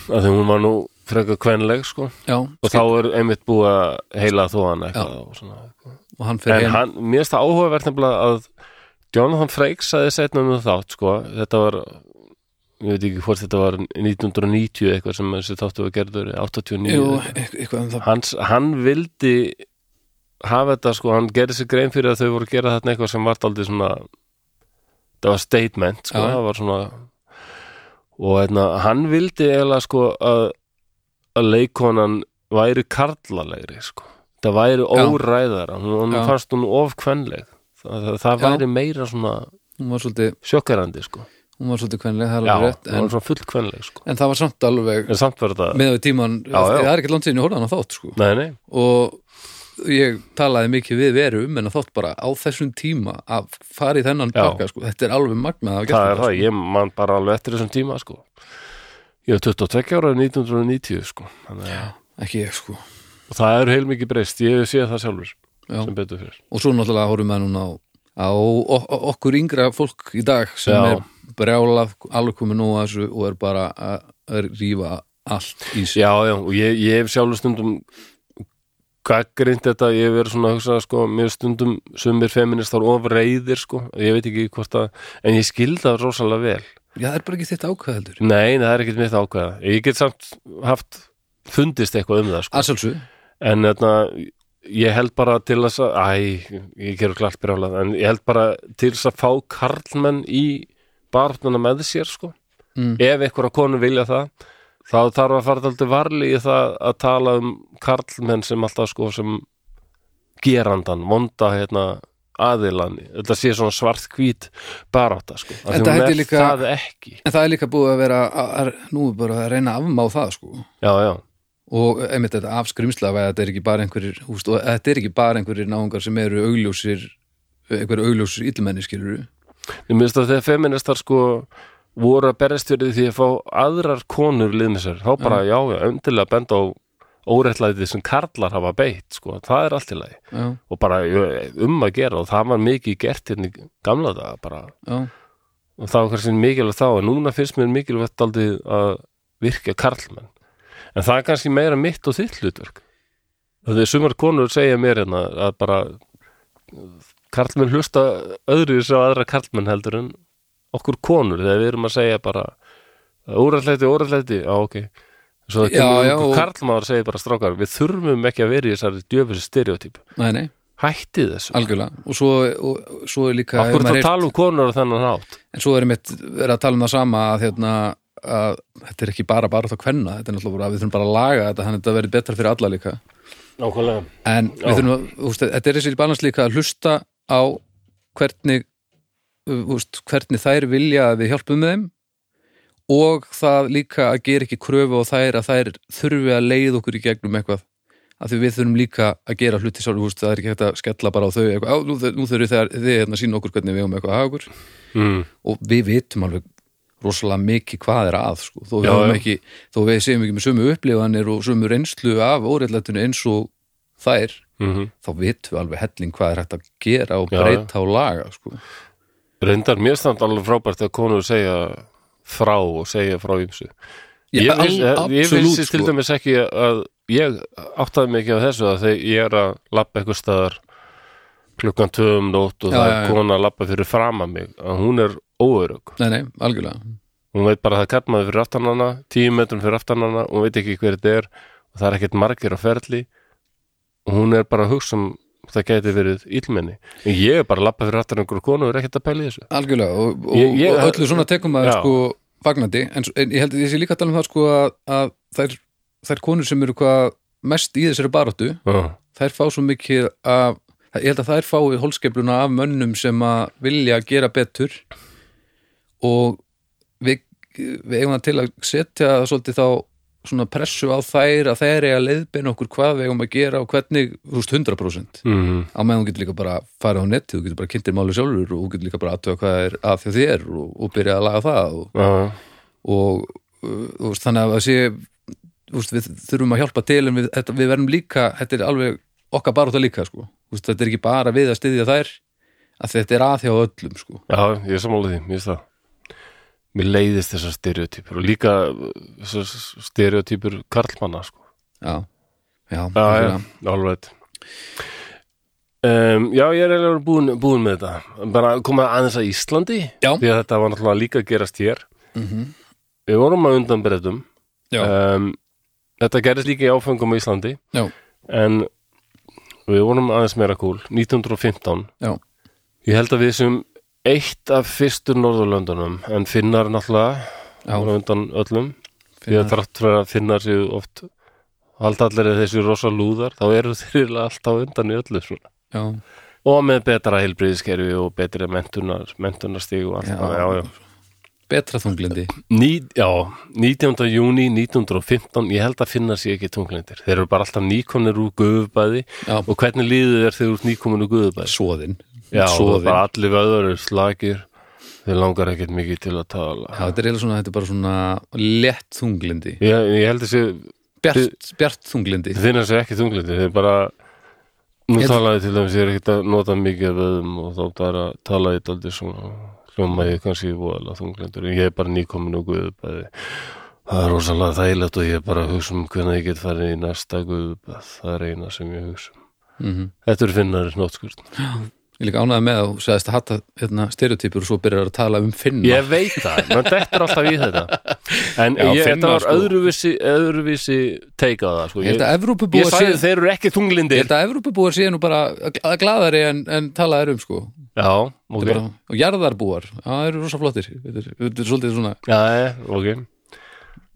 S1: að því hún var nú frekar kvenleg sko
S2: Já,
S1: og þá er einmitt búið að heila þó hann eitthvað og svona.
S2: og hann fer
S1: en
S2: heim
S1: hann, mér finnst það áhugavert nefnilega að Jonathan Frakes sagði setna um þátt sko, þetta var ég veit ekki hvort þetta var 1990 eitthvað sem þessi þáttu var gerður 89
S2: Jú,
S1: eitthvað.
S2: eit- eitthvað um það
S1: Hans, hann vildi hafa þetta sko, hann gerði sér grein fyrir að þau voru að gera þetta eitthvað sem var aldrei svona það var statement sko,
S2: Já.
S1: það var svona og hérna, hann vildi eiginlega sko að, að leikonan væri karlalegri sko. það væri
S2: Já.
S1: óræðara hún, hún
S2: Já.
S1: fannst hún of kvenleg það, það, það
S2: Já.
S1: væri meira svona
S2: hún var svolítið,
S1: sjokkarandi sko.
S2: hún var svolítið kvenleg, það er
S1: já,
S2: alveg rétt
S1: hún
S2: en,
S1: var svona full kvenleg sko.
S2: en það var samt alveg
S1: en samt verða það
S2: með við tíman,
S1: Já, já.
S2: það er ekkert langt síðan ég horfði á hana þátt sko.
S1: nei, nei,
S2: og ég talaði mikið við veru um en þátt bara á þessum tíma að fara í þennan
S1: Já.
S2: pakka sko. þetta er alveg magnað að hafa gert
S1: það er
S2: þetta,
S1: það, ég man bara alveg eftir þessum tíma sko. ég var 22 ára 1990 sko. Þannig, að-
S2: sko. ekki ég sko
S1: og það er heilmikið breyst, ég hef séð það sjálfur
S2: Já.
S1: sem betur fyrir
S2: og svo náttúrulega horfum við núna á, á o- o- okkur yngra fólk í dag sem
S1: Já.
S2: er brjálað alveg komið nóg að þessu og er bara að, að rífa allt í sig
S1: já, já, og ég, ég hef sjálfur stundum gaggrind þetta ég hef verið svona að hugsa, sko, mér finnst stundum sumir feministar of reyðir, sko ég veit ekki hvort að, en ég skil það rosalega vel,
S2: já, það er bara ekki þetta ákveðeldur
S1: nei, nei, það er ekkert mitt ákveða ég get samt haft fundist eitthvað um það, sko,
S2: Aðsálsu,
S1: en þetta ég held bara til þess að æ, ég gerur klart brjálað, en ég held bara til þess að fá karlmenn í barnuna með sér, sko
S2: mm,
S1: ef einhverja konur vilja það þá þarf að fara þaldi varli í það að tala um karlmenn sem alltaf sko sem gerandan, vonda hérna aðilan, þetta sé svona svart hvít baráta sko,
S2: En
S1: að því
S2: það
S1: hún
S2: hætti
S1: er
S2: líka-
S1: það ekki
S2: en það er líka búið að vera að, að, nú er bara að reyna að afmá það sko
S1: já, já,
S2: og einmitt þetta afskrimsla að þetta er ekki bara einhverjir húst, og þetta er ekki bara einhverjir náungar sem eru augljósir einhverjir augljósir illmenni skilur
S1: ég minnst að þegar feministar sko voru að berjast fyrir því að fá aðrar konur lið með sér, þá bara já, já, öndilega benda á óréttlætið sem karlar hafa beitt sko, það er allt í lagi
S2: já,
S1: og bara jö, um að gera og það var mikið gert hérna í gamla daga bara
S2: já,
S1: og það var kannski mikilvægt þá en núna finnst mér mikilvægt aldrei að virka karlmenn en það er kannski meira mitt og þitt hlutverk þegar sumar konur segja mér hérna að bara karlmenn hlusta öðru þess að aðra karlmenn heldur en okkur konur þegar við erum að segja bara úræðleiti, úræðleiti, á ok svo það
S2: Já,
S1: kemur
S2: já,
S1: okkur
S2: og-
S1: karlmaður segja bara strákar við þurfum ekki að vera í þessari djöfis stereotyp
S2: nei, nei,
S1: hætti þessu,
S2: algjörlega og svo, og, svo er líka
S1: okkur
S2: hefur
S1: það
S2: maður heyrt-
S1: tala um konur á þennan hátt
S2: en svo er einmitt verið að tala um það sama að, hérna, að þetta er ekki bara bara þá kvenna, þetta er náttúrulega bara að við þurfum bara að laga þetta, þannig að þetta verið betra fyrir alla líka
S1: Nákvæmlega
S2: en
S1: Já.
S2: við þurfum að, úst, þetta er þessi balans líka að hlusta á hvernig úst, hvernig þær vilja að við hjálpum með þeim og það líka að gera ekki kröfu á þær að þær þurfi að leið okkur í gegnum eitthvað að því við þurfum líka að gera hluti sjálf úst, það er ekki hægt að skella bara á þau eitthvað, á, nú, nú þurfi þær, þið hérna sína okkur hvernig við um eitthvað að hafa okkur
S1: mm.
S2: og við vitum alveg rosalega mikið hvað er að sko. þó, við
S1: Já,
S2: höfum
S1: já.
S2: ekki, þó við séum ekki með sömu upplifanir og sömu reynslu af óreitlættinu eins og þær
S1: Mm
S2: þá vitum við alveg helling hvað er hægt að gera og
S1: Já,
S2: breyta og laga sko.
S1: Reyndar mér stand alveg frábært að konur segja frá og segja frá ymsu
S2: Já,
S1: Ég,
S2: al-
S1: vissi- ég
S2: absolút,
S1: vissi
S2: sko.
S1: til dæmis ekki að ég áttaði mig ekki á þessu að þegar ég er að labba eitthvað staðar klukkan tvöum nótt og
S2: Já,
S1: það
S2: já,
S1: er
S2: já.
S1: kona að labba fyrir frama mig að hún er óörug
S2: Nei, nei, algjörlega
S1: hún veit bara að það er kallmaður fyrir aftan hana tíu metrum fyrir aftan hana, hún veit ekki hver þetta er og það er ekkert margir á ferli og hún er bara að hugsa um það gæti verið illmenni en ég er bara að labba fyrir aftan einhverju konu og er ekkert að pæla í þessu
S2: algjörlega og, og,
S1: Ég- ég-
S2: og öllu svona tekum maður
S1: Já.
S2: sko vagnandi en, s- en ég held að ég sé líka að tala um það sko að, að þær, þær konur sem eru hvað mest í þessari baráttu
S1: uh.
S2: þær fá svo mikið af ég held að þær fái holskepluna af mönnum sem að vilja gera betur og við, við eigum það til að setja svolítið þá svona pressu á þær að þær eiga leiðbein okkur hvað við eigum að gera og hvernig, þú veist, 100%
S1: mm.
S2: á meðan þú getur líka bara að fara á netið þú getur bara kynntir máli sjálfur og þú getur líka bara aðtöga hvað er að þjóð þér og, og byrja að laga það og,
S1: já,
S2: og uh, þú veist, þannig að það sé þú veist, við þurfum að hjálpa til en við, þetta, við verðum líka, þetta er alveg okkar baróta líka sko. Þú veist, þetta er ekki bara við að styðja þær að þetta er að hjá öllum sko.
S1: já, ég er sammála því, mér finnst það Mér leiðist þessar stereotypur og líka uh, þessar stereotypur karlmanna, sko
S2: já, já,
S1: Já,
S2: algjörlega.
S1: já, all right um, Já, ég er eiginlega búin, búin með þetta bara komað aðeins að Íslandi
S2: Já.
S1: því að þetta var náttúrulega líka að gerast hér Við vorum að undan breytum
S2: Já.
S1: um, Þetta gerist líka í áfengum á Íslandi
S2: já,
S1: en við vorum aðeins meira kúl 1915
S2: já,
S1: Ég held að við sem eitt af fyrstur Norðurlöndunum en finnar náttúrulega
S2: Já.
S1: voru á undan öllum því að þrátt fyrir að finnar séu oft haldallir eða þessi rosa lúðar þá eru þeir alltaf undan í öllu svona.
S2: já,
S1: og með betra heilbriðiskerfi og betra mentunar, mentunarstig og allt
S2: Já.
S1: það, já, já.
S2: betra þunglindi
S1: Ný, já, 19. júni 1915, ég held að finna sér ekki tunglindir, þeir eru bara alltaf nýkomnir úr guðubæði
S2: já,
S1: og hvernig líður þér þegar þú ert nýkomin úr guðubæði
S2: svoðin
S1: já, og það
S2: Soðin.
S1: er bara allir vöður eru slagir, þeir langar ekkert mikið til að tala
S2: já, þetta er eiginlega svona, þetta er bara svona lett þunglindi,
S1: ég, ég held að sér
S2: bjart, bjart þunglindi
S1: Þeir finna sér ekki þunglindi, þeir bara Nú
S2: Ég-
S1: talaði til þeim, ég er ekkert að nota mikið af vöðum og þá bara talaði þetta aldrei svona hljóma ég kannski voðalega þunglindur en ég er bara nýkomin og guðubæði það er rosalega þægilegt og ég er bara að hugsa um hvernig ég get farið í næsta guðubæð það er eina sem ég hugsa um
S2: mm
S1: Þetta eru finnari nótskurð
S2: ég er líka ánæði með að þú segðist að hatta hérna, stereotypur og svo byrjar að tala um finna
S1: Ég veit það, menn þetta er alltaf í þetta En
S2: Já,
S1: ég,
S2: finna,
S1: þetta var
S2: sko.
S1: öðruvísi, öðruvísi teika það sko.
S2: Ég held
S1: Ég,
S2: að
S1: ég
S2: Evrópubúar séu
S1: sagði þeir eru ekki
S2: Ég
S1: þunglindir
S2: held að Evrópubúar séu nú bara að að glaðari en, en talaðir um sko
S1: Já,
S2: Þetta
S1: ok
S2: er bara, og jarðarbúar, já, það eru rosa flottir þetta er, þetta er svolítið svona
S1: Já, já, ok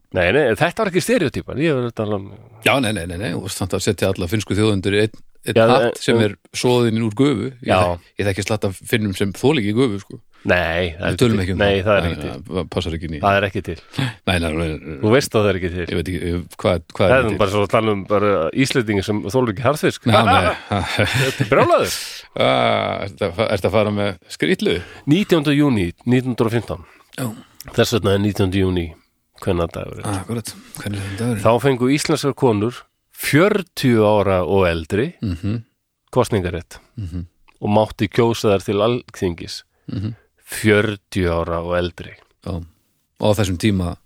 S1: Nei, nei, þetta var ekki stereotypan Ég var að tala um
S2: já, nei, nei, nei, nei, og þannig að setja alla finnsku þjóðundur í einn ein
S1: Já,
S2: hatt
S1: en-
S2: sem er svoðin úr gufu ég,
S1: Já.
S2: ég þekki slatt af finnum sem þólíki gufu sko.
S1: Nei, það er
S2: við tölum
S1: ekki
S2: ekki um
S1: Nei, það er ekki til
S2: það, það passar ekki ný nei,
S1: Það er ekki til
S2: nei, nei, nei,
S1: Þú veist að það er ekki til
S2: ég veit ekki eh, hvað, hvað
S1: Það
S2: er
S1: er nú
S2: þetta
S1: bara svo að tala um bara Íslendingi sem þólur ekki harðfisk
S2: Ná, nei, ha,
S1: Þetta er brjálaður
S2: ah, ertu að fa- ertu að fara með skrýtlu?
S1: 19. júni 1915
S2: Já,
S1: Þess vegna er 19. júni Hvenna dagur
S2: akkurat, hvernig er þetta
S1: Þá fengu íslenskar konur 40 ára og eldri
S2: mm -hmm.
S1: kostningarétt
S2: Mhm.
S1: og mátti kjósa þar til alþingis 40 ára og eldri
S2: Já, og á þessum tíma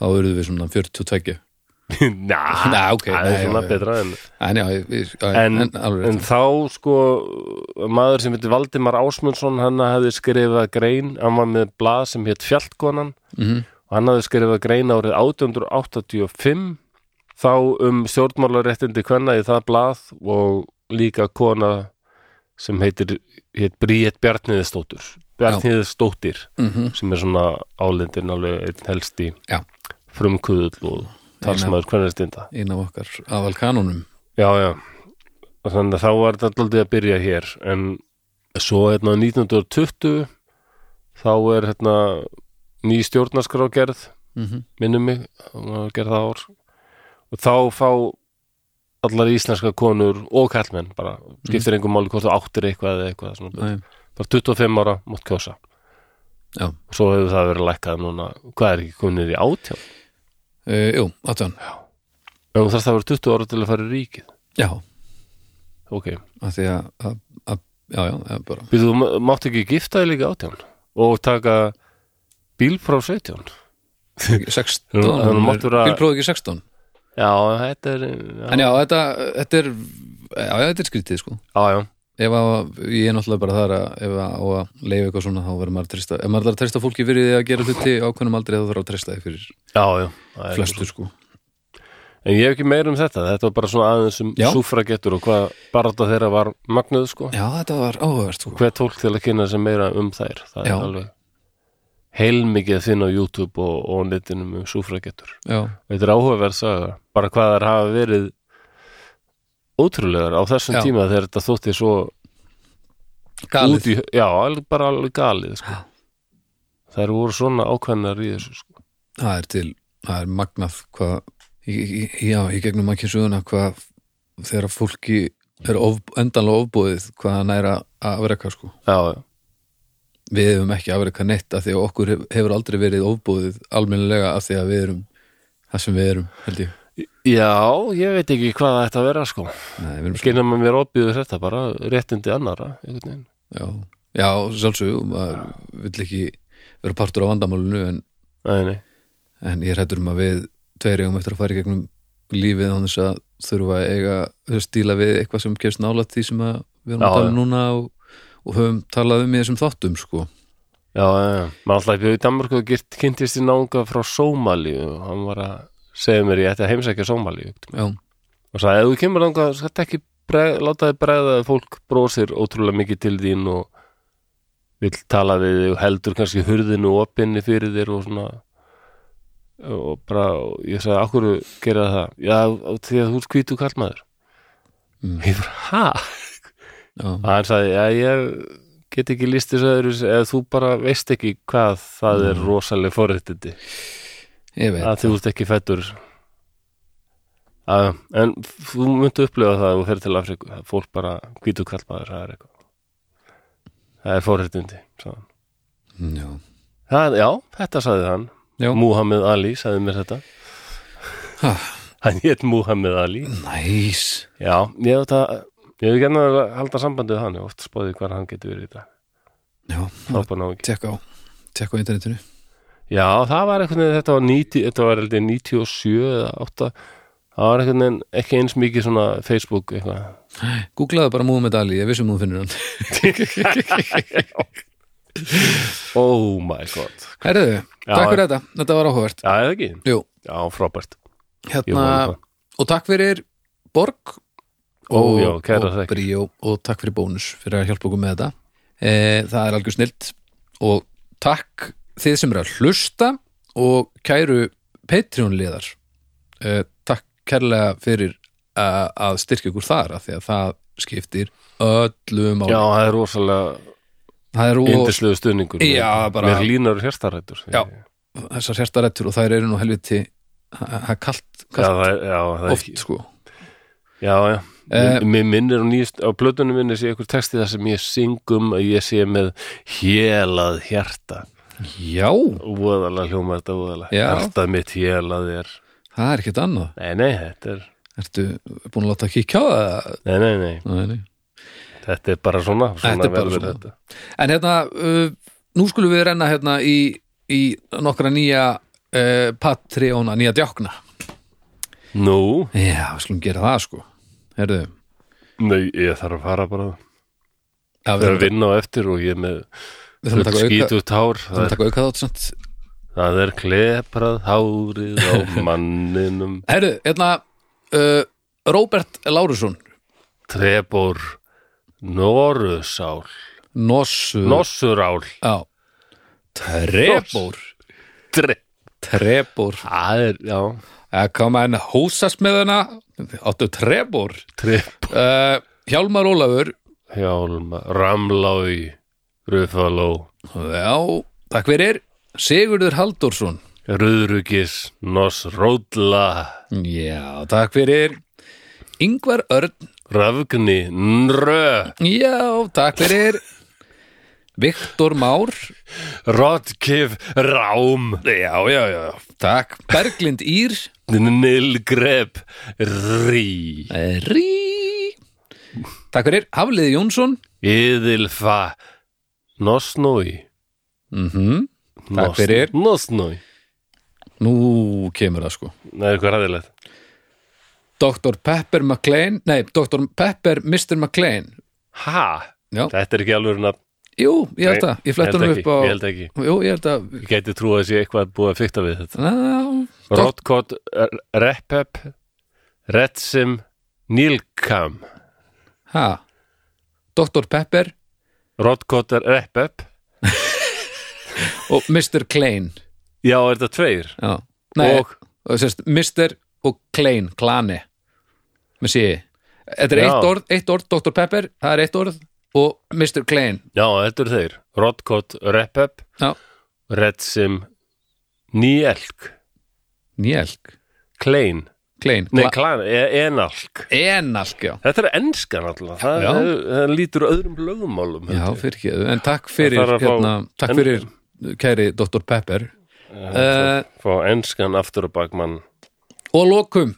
S2: þá eruðum við svona 42
S1: Ná,
S2: Nei, ok,
S1: það
S2: nei,
S1: er svona
S2: já, já.
S1: betra en,
S2: En já, ég, ég, en,
S1: en,
S2: en alveg
S1: en
S2: rétt.
S1: þá sko maður sem heitir Valdimar Ásmundsson hann hefði skrifað grein hann var með blað sem hétt Fjallkonan
S2: Mhm.
S1: og hann hefði skrifað grein árið 1885 þá um stjórnmálaréttindi kvenna í það blað og líka kona sem heitir hétt Bríett Bjarniðistóttur Bjarniðistóttir
S2: Mhm.
S1: sem er svona álindin alveg einn helsti
S2: Já.
S1: frumkuðull og talsmaður kvennastinda
S2: Einn af okkar aðal kanónum
S1: Já, já Og þannig að þá var þetta alltaf að byrja hér en svo hérna 1920 þá er hérna ný stjórnarskrá gerð
S2: Mhm.
S1: minnum mig, hún var gerð það ár og þá fá allar íslenska konur og kallmenn bara, skiptir engum máli hvort þú áttir eitthvað eða eitthvað, svona,
S2: Nei,
S1: bara 25 ára mátt kjósa
S2: Já,
S1: og svo hefur það verið lækkað núna, hvað er ekki konur í átján
S2: uh, jú, 18
S1: en þú þarfst að vera 20 ára til að fara í ríkið
S2: Já,
S1: ok,
S2: að því að, að, að Já, já, eða bara
S1: Við þú ma- mátt ekki gifta þig líka átján og taka bílpróf 17 Nú,
S2: 16
S1: nú máttu vera-
S2: Bílprófið ekki 16
S1: Já, þetta er
S2: En
S1: Já,
S2: já, þetta, þetta er Já, já, þetta er skrítið sko
S1: já, já,
S2: Ef að, ég er náttúrulega bara þar að ef að á að leifa eitthvað svona þá verður maður að treysta ef maður ætlar að treysta fólki fyrir því að gera hluti ákveðnum aldrei þá þarf að treysta því fyrir
S1: já, já það er-
S2: flestu sko
S1: En ég hef ekki meira um þetta, þetta var bara svona aðeins um
S2: Já.
S1: súfragettur og hvað barata þeirra var magnuð sko
S2: Já, þetta var áhugavert sko
S1: Hvet tólk til að kynna sem meira um þær Það
S2: Já.
S1: er alveg heilmikið að finna á YouTube og, og netinum um súfragettur
S2: Já,
S1: Þetta er áhugaverð saga, bara hvað þær hafa verið ótrúlegar á þessum
S2: Já.
S1: tíma þegar þetta þótti svo
S2: Galið.
S1: út í, já, alveg- bara alveg galið sko. þær voru svona ákveðnar í þessu sko.
S2: það er til, það er magnað hvað, í, í, já, í gegnum ekki söguna hvað þegar fólki er of, endanlega ofbúið hvað hann er að afreka sko
S1: já, já,
S2: við hefum ekki afreka neitt af því að okkur hef- hefur aldrei verið ofbúið almennilega af því að við erum það sem við erum, held ég
S1: já, ég veit ekki hvað það ætti að vera sko.
S2: Nei, við erum sko,
S1: skynna með mér opið þetta bara réttindi annara einhvern veginn.
S2: já, já sjálfsögum, maður vill ekki vera partur á vandamálinu en,
S1: nei, nei,
S2: en ég hættur um að við tveir eigum eftir að fara í gegnum lífið án þess að þurfa að eiga þú veist, stíla við eitthvað sem kemst nála því sem að við erum
S1: Já,
S2: að tala um
S1: já.
S2: núna og, og höfum talað um í þessum þáttum sko.
S1: já, já, já maður alltaf í Danmarku og girt kynntist í nánga frá Sómali og hann var að segja mér ég ætti að heimsækja Sómali
S2: já,
S1: og sagði, ef þú kemur þangað, skalt ekki breg, láta þið bregða að fólk brosir ótrúlega mikið til þín og vill tala við þig og heldur kannski hurðinu opinni fyrir þér og svona og bara, og ég sagði, akkur gera það, já, af því að þú ert hvítu kallmaður
S2: Mm.
S1: ég bara, ha?
S2: já,
S1: og hann sagði, já, ég get ekki líst þessu öðru eða þú bara veist ekki hvað það er rosaleg forréttindi
S2: ég veit
S1: að þú ert ekki fættur að, en þú myndu upplifa það að þú ferð til Afriku að fólk bara hvítu kallmaður það er eitthvað það er forréttindi sagði hann.
S2: já,
S1: það, já, þetta sagði hann
S2: Já.
S1: Muhammad Ali sagði mér þetta
S2: Ha.
S1: hann hétt Muhammad Ali
S2: næs
S1: já, ég hef þetta ég hef genna að halda sambandið við hann ég hef oft spáði hvað hann getur verið í dag
S2: já,
S1: Frábær náungi.
S2: tekka á tekka á internetinu
S1: já, það var einhvern veginn þetta var, 90, þetta var held ég 97 eða 8 það var einhvern veginn ekki eins mikið svona Facebook eitthvað
S2: googlaðu bara Múhamed Ali, ég vissum þú finnur hann
S1: Oh my god
S2: herðu,
S1: Já,
S2: takk
S1: já.
S2: fyrir þetta, þetta var áhugavert
S1: Já, eða ekki?
S2: Jú,
S1: Já, frábært Ég
S2: hérna,
S1: fór um það.
S2: og takk fyrir Borg
S1: Ó,
S2: og,
S1: já, kærar
S2: og
S1: þakkir.
S2: Bríó og takk fyrir Bónus fyrir að hjálpa okkur með þetta e, það er algjör snilt og takk þið sem eru að hlusta og kæru Patreon-liðar e, takk kærlega fyrir a, að styrkja ykkur þar af því að það skiptir öllum á
S1: Já, það er rosalega
S2: það er og
S1: yndislegu stuðningur
S2: Já, bara-
S1: Mér línar hérstarættur
S2: Já. þessar hjartarættur og þær eru nú helviti það það er kalt,
S1: Já,
S2: kalt
S1: það er, já, það er
S2: oft sko
S1: Já, já
S2: Eh.
S1: Mér- Mér minnir á nýjast, á plötunum minni sé ykkur texti þar sem ég syngum að ég sé með hélað hjarta
S2: já,
S1: Voðalega hljóma þetta voðalega
S2: Já.
S1: Hjartað mitt hélað er
S2: það er ekkert annað
S1: Nei, nei, þetta er
S2: ertu búin að láta að kíkja á það
S1: Nei, nei, nei,
S2: Nei, nei.
S1: þetta er bara svona, svona
S2: Þetta er bara
S1: verður
S2: svona.
S1: þetta.
S2: en hérna, uh, nú skulum við renna hérna í, í nokkra nýja uh, Patreona, nýja djákna
S1: Nú,
S2: já, við skulum gera það sko herðu,
S1: nei, ég þarf að fara bara
S2: já, við
S1: Það er að
S2: þurfum
S1: vinna á eftir og ég er með
S2: við þurfum að taka auka,
S1: skítugt hár
S2: við þurfum
S1: það
S2: að
S1: er,
S2: taka auka þátt samt.
S1: það er kleprað hárið á manninum
S2: herðu, hérna uh, Robert Lárusson
S1: trebor norusál
S2: Nossur
S1: nossurál
S2: já, Trebor
S1: Tre-
S2: Trebor
S1: það er, já,
S2: að koma en hósasmiðuna áttu trebor
S1: trebor
S2: uh, Hjálmar Ólafur
S1: hjálma, ramlái rufaló,
S2: já, takk fyrir Sigurður Halldórsson
S1: röðrugis nosródla
S2: já, takk fyrir Ingvar Örn
S1: rafgni, nrö
S2: já, takk fyrir Viktor Már
S1: rotkif, rám já, já, já
S2: takk, Berglind Ír
S1: nilgrep, rí
S2: eh, Rí takk fyrir, Hafliði Jónsson
S1: Íðilfa Nosnói
S2: mhm Takk fyrir.
S1: Nosnói
S2: nú kemur það sko
S1: Það er eitthvað ræðilegt
S2: Dr. Pepper McLean nei, Dr. Pepper Mr. McLean
S1: Ha?
S2: Já.
S1: Þetta er ekki alveg nafn
S2: jú, ég held
S1: Nei,
S2: það, ég fletta
S1: held
S2: hann upp
S1: ekki,
S2: á
S1: Ég held ekki
S2: jú, ég held að
S1: Ég gæti trú að sé eitthvað búið að fykta við þetta
S2: Ná, Dok-
S1: Rottkott Reppep Retsim Nilkam
S2: ha, Dr. Pepper
S1: Rottkott Reppep
S2: og Mr. Klein
S1: Já, er þetta tveir?
S2: já. Nei,
S1: Og-
S2: og sérst, Mr. og Klein, klani með sé Þetta er
S1: Já.
S2: eitt orð, eitt orð, Dr. Pepper það er eitt orð og Mr. Klein
S1: Já, þetta eru þeir Rodcott Repep
S2: Já.
S1: Red Sim Nýelk
S2: Njelk,
S1: Klein
S2: Klein,
S1: Nei,
S2: Kla-
S1: klan, e enalk
S2: Enalk, já
S1: Þetta er enskan alltaf Það,
S2: Já.
S1: það, það lítur öðrum lögumálum
S2: Já,
S1: held ég.
S2: fyrir ekki, en takk fyrir
S1: þarf að fá-
S2: hérna, takk
S1: en-
S2: fyrir kæri Dr. Pepper uh,
S1: Fá enskan aftur á bakmann
S2: og lokum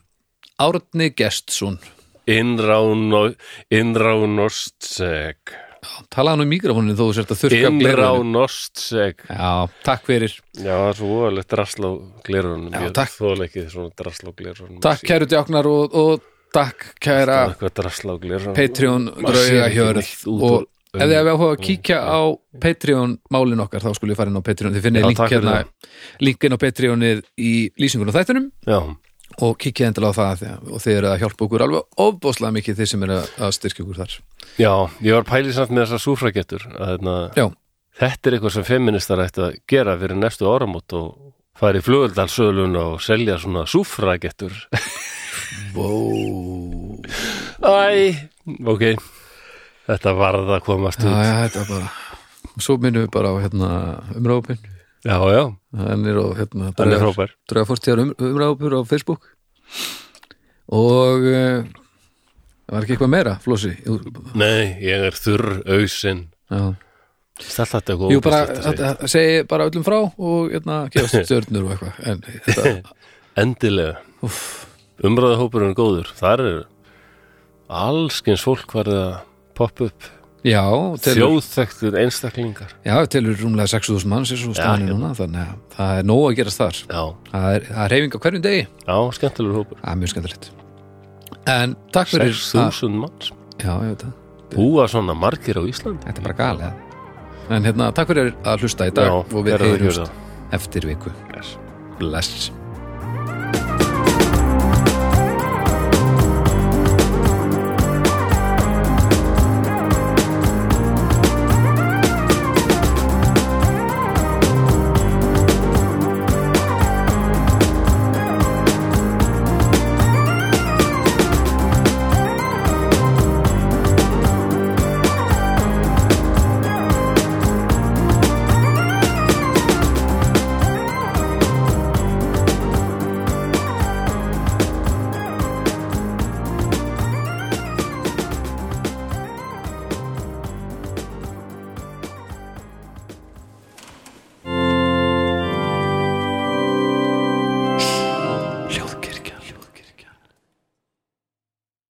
S2: Árni Gestsson
S1: Innrán Innránostseg
S2: talaði hann um mikrofónin þó þú sért að þurrka af gleraugun.
S1: Innránostseg
S2: Já, takk fyrir
S1: Já, það er svo voðalegt drasl á glerunum
S2: Já,
S1: Ég
S2: takk.
S1: þóla ekki svona drasl á glerunum
S2: Takk kæru djáknar og, og takk kæra
S1: Eitthvað drasl á glerunum
S2: Patreon
S1: Maður sér
S2: drauga
S1: ekki
S2: hjörð
S1: neitt út
S2: og
S1: úr-
S2: ef þið hefur áhuga að kíkja á Patreon málin okkar þá skulle ég fara inn á Patreon þið finnir
S1: Já,
S2: link
S1: takk fyrir
S2: hérna linkin á Patreonið í lýsingunum þættunum
S1: Já
S2: og kíkja endilega á það þegar- og þið eru að hjálpa okkur alveg ofbóðslega mikið þið sem eru að styrkja okkur þar
S1: Já, ég var pælið samt með þessar súfragettur að hérna,
S2: Já,
S1: þetta er eitthvað sem feministar ætti að gera fyrir næstu áramót og fara í flugöldalsölun og selja svona súfragettur
S2: wow.
S1: Æ, ok Þetta varð að komast
S2: já,
S1: út
S2: já, þetta var bara Svo minnum við bara á hérna, umræðupin
S1: Já, já,
S2: hann er á hérna,
S1: hann er frábær
S2: drauga fórstíðar um, umræðupur á Facebook og eh, það var ekki eitthvað meira, Flósi Jú,
S1: Nei, ég er þurr ausinn
S2: já
S1: Þetta er eitthvað
S2: Jú, bara,
S1: ógeðslegt að segja.
S2: þetta- segi bara öllum frá og hérna, gefast stjörnur og eitthvað en þetta,
S1: Endilega
S2: úff,
S1: Umræðahópurinn er góður Þar er allskins fólk varð að poppa upp
S2: já, telur,
S1: Þjóðþektur einstaklingar
S2: já, telur rúmlega 6.000 manns eins og staðan er
S1: Já,
S2: núna, þannig að það er nóg að gerast þar
S1: Já,
S2: það er, það er reyfing á hverjum degi
S1: já, skemmtilegur hópur
S2: það er mjög skemmtilegt en takk fyrir að,
S1: 6.000 manns
S2: já, ég veit það,
S1: Búa svona margir á Íslandi
S2: þetta er bara galið en hérna, takk fyrir að hlusta í dag
S1: Já,
S2: og við
S1: gerðu það, gerðu
S2: heyrjumst eftir viku
S1: Bless.
S2: bless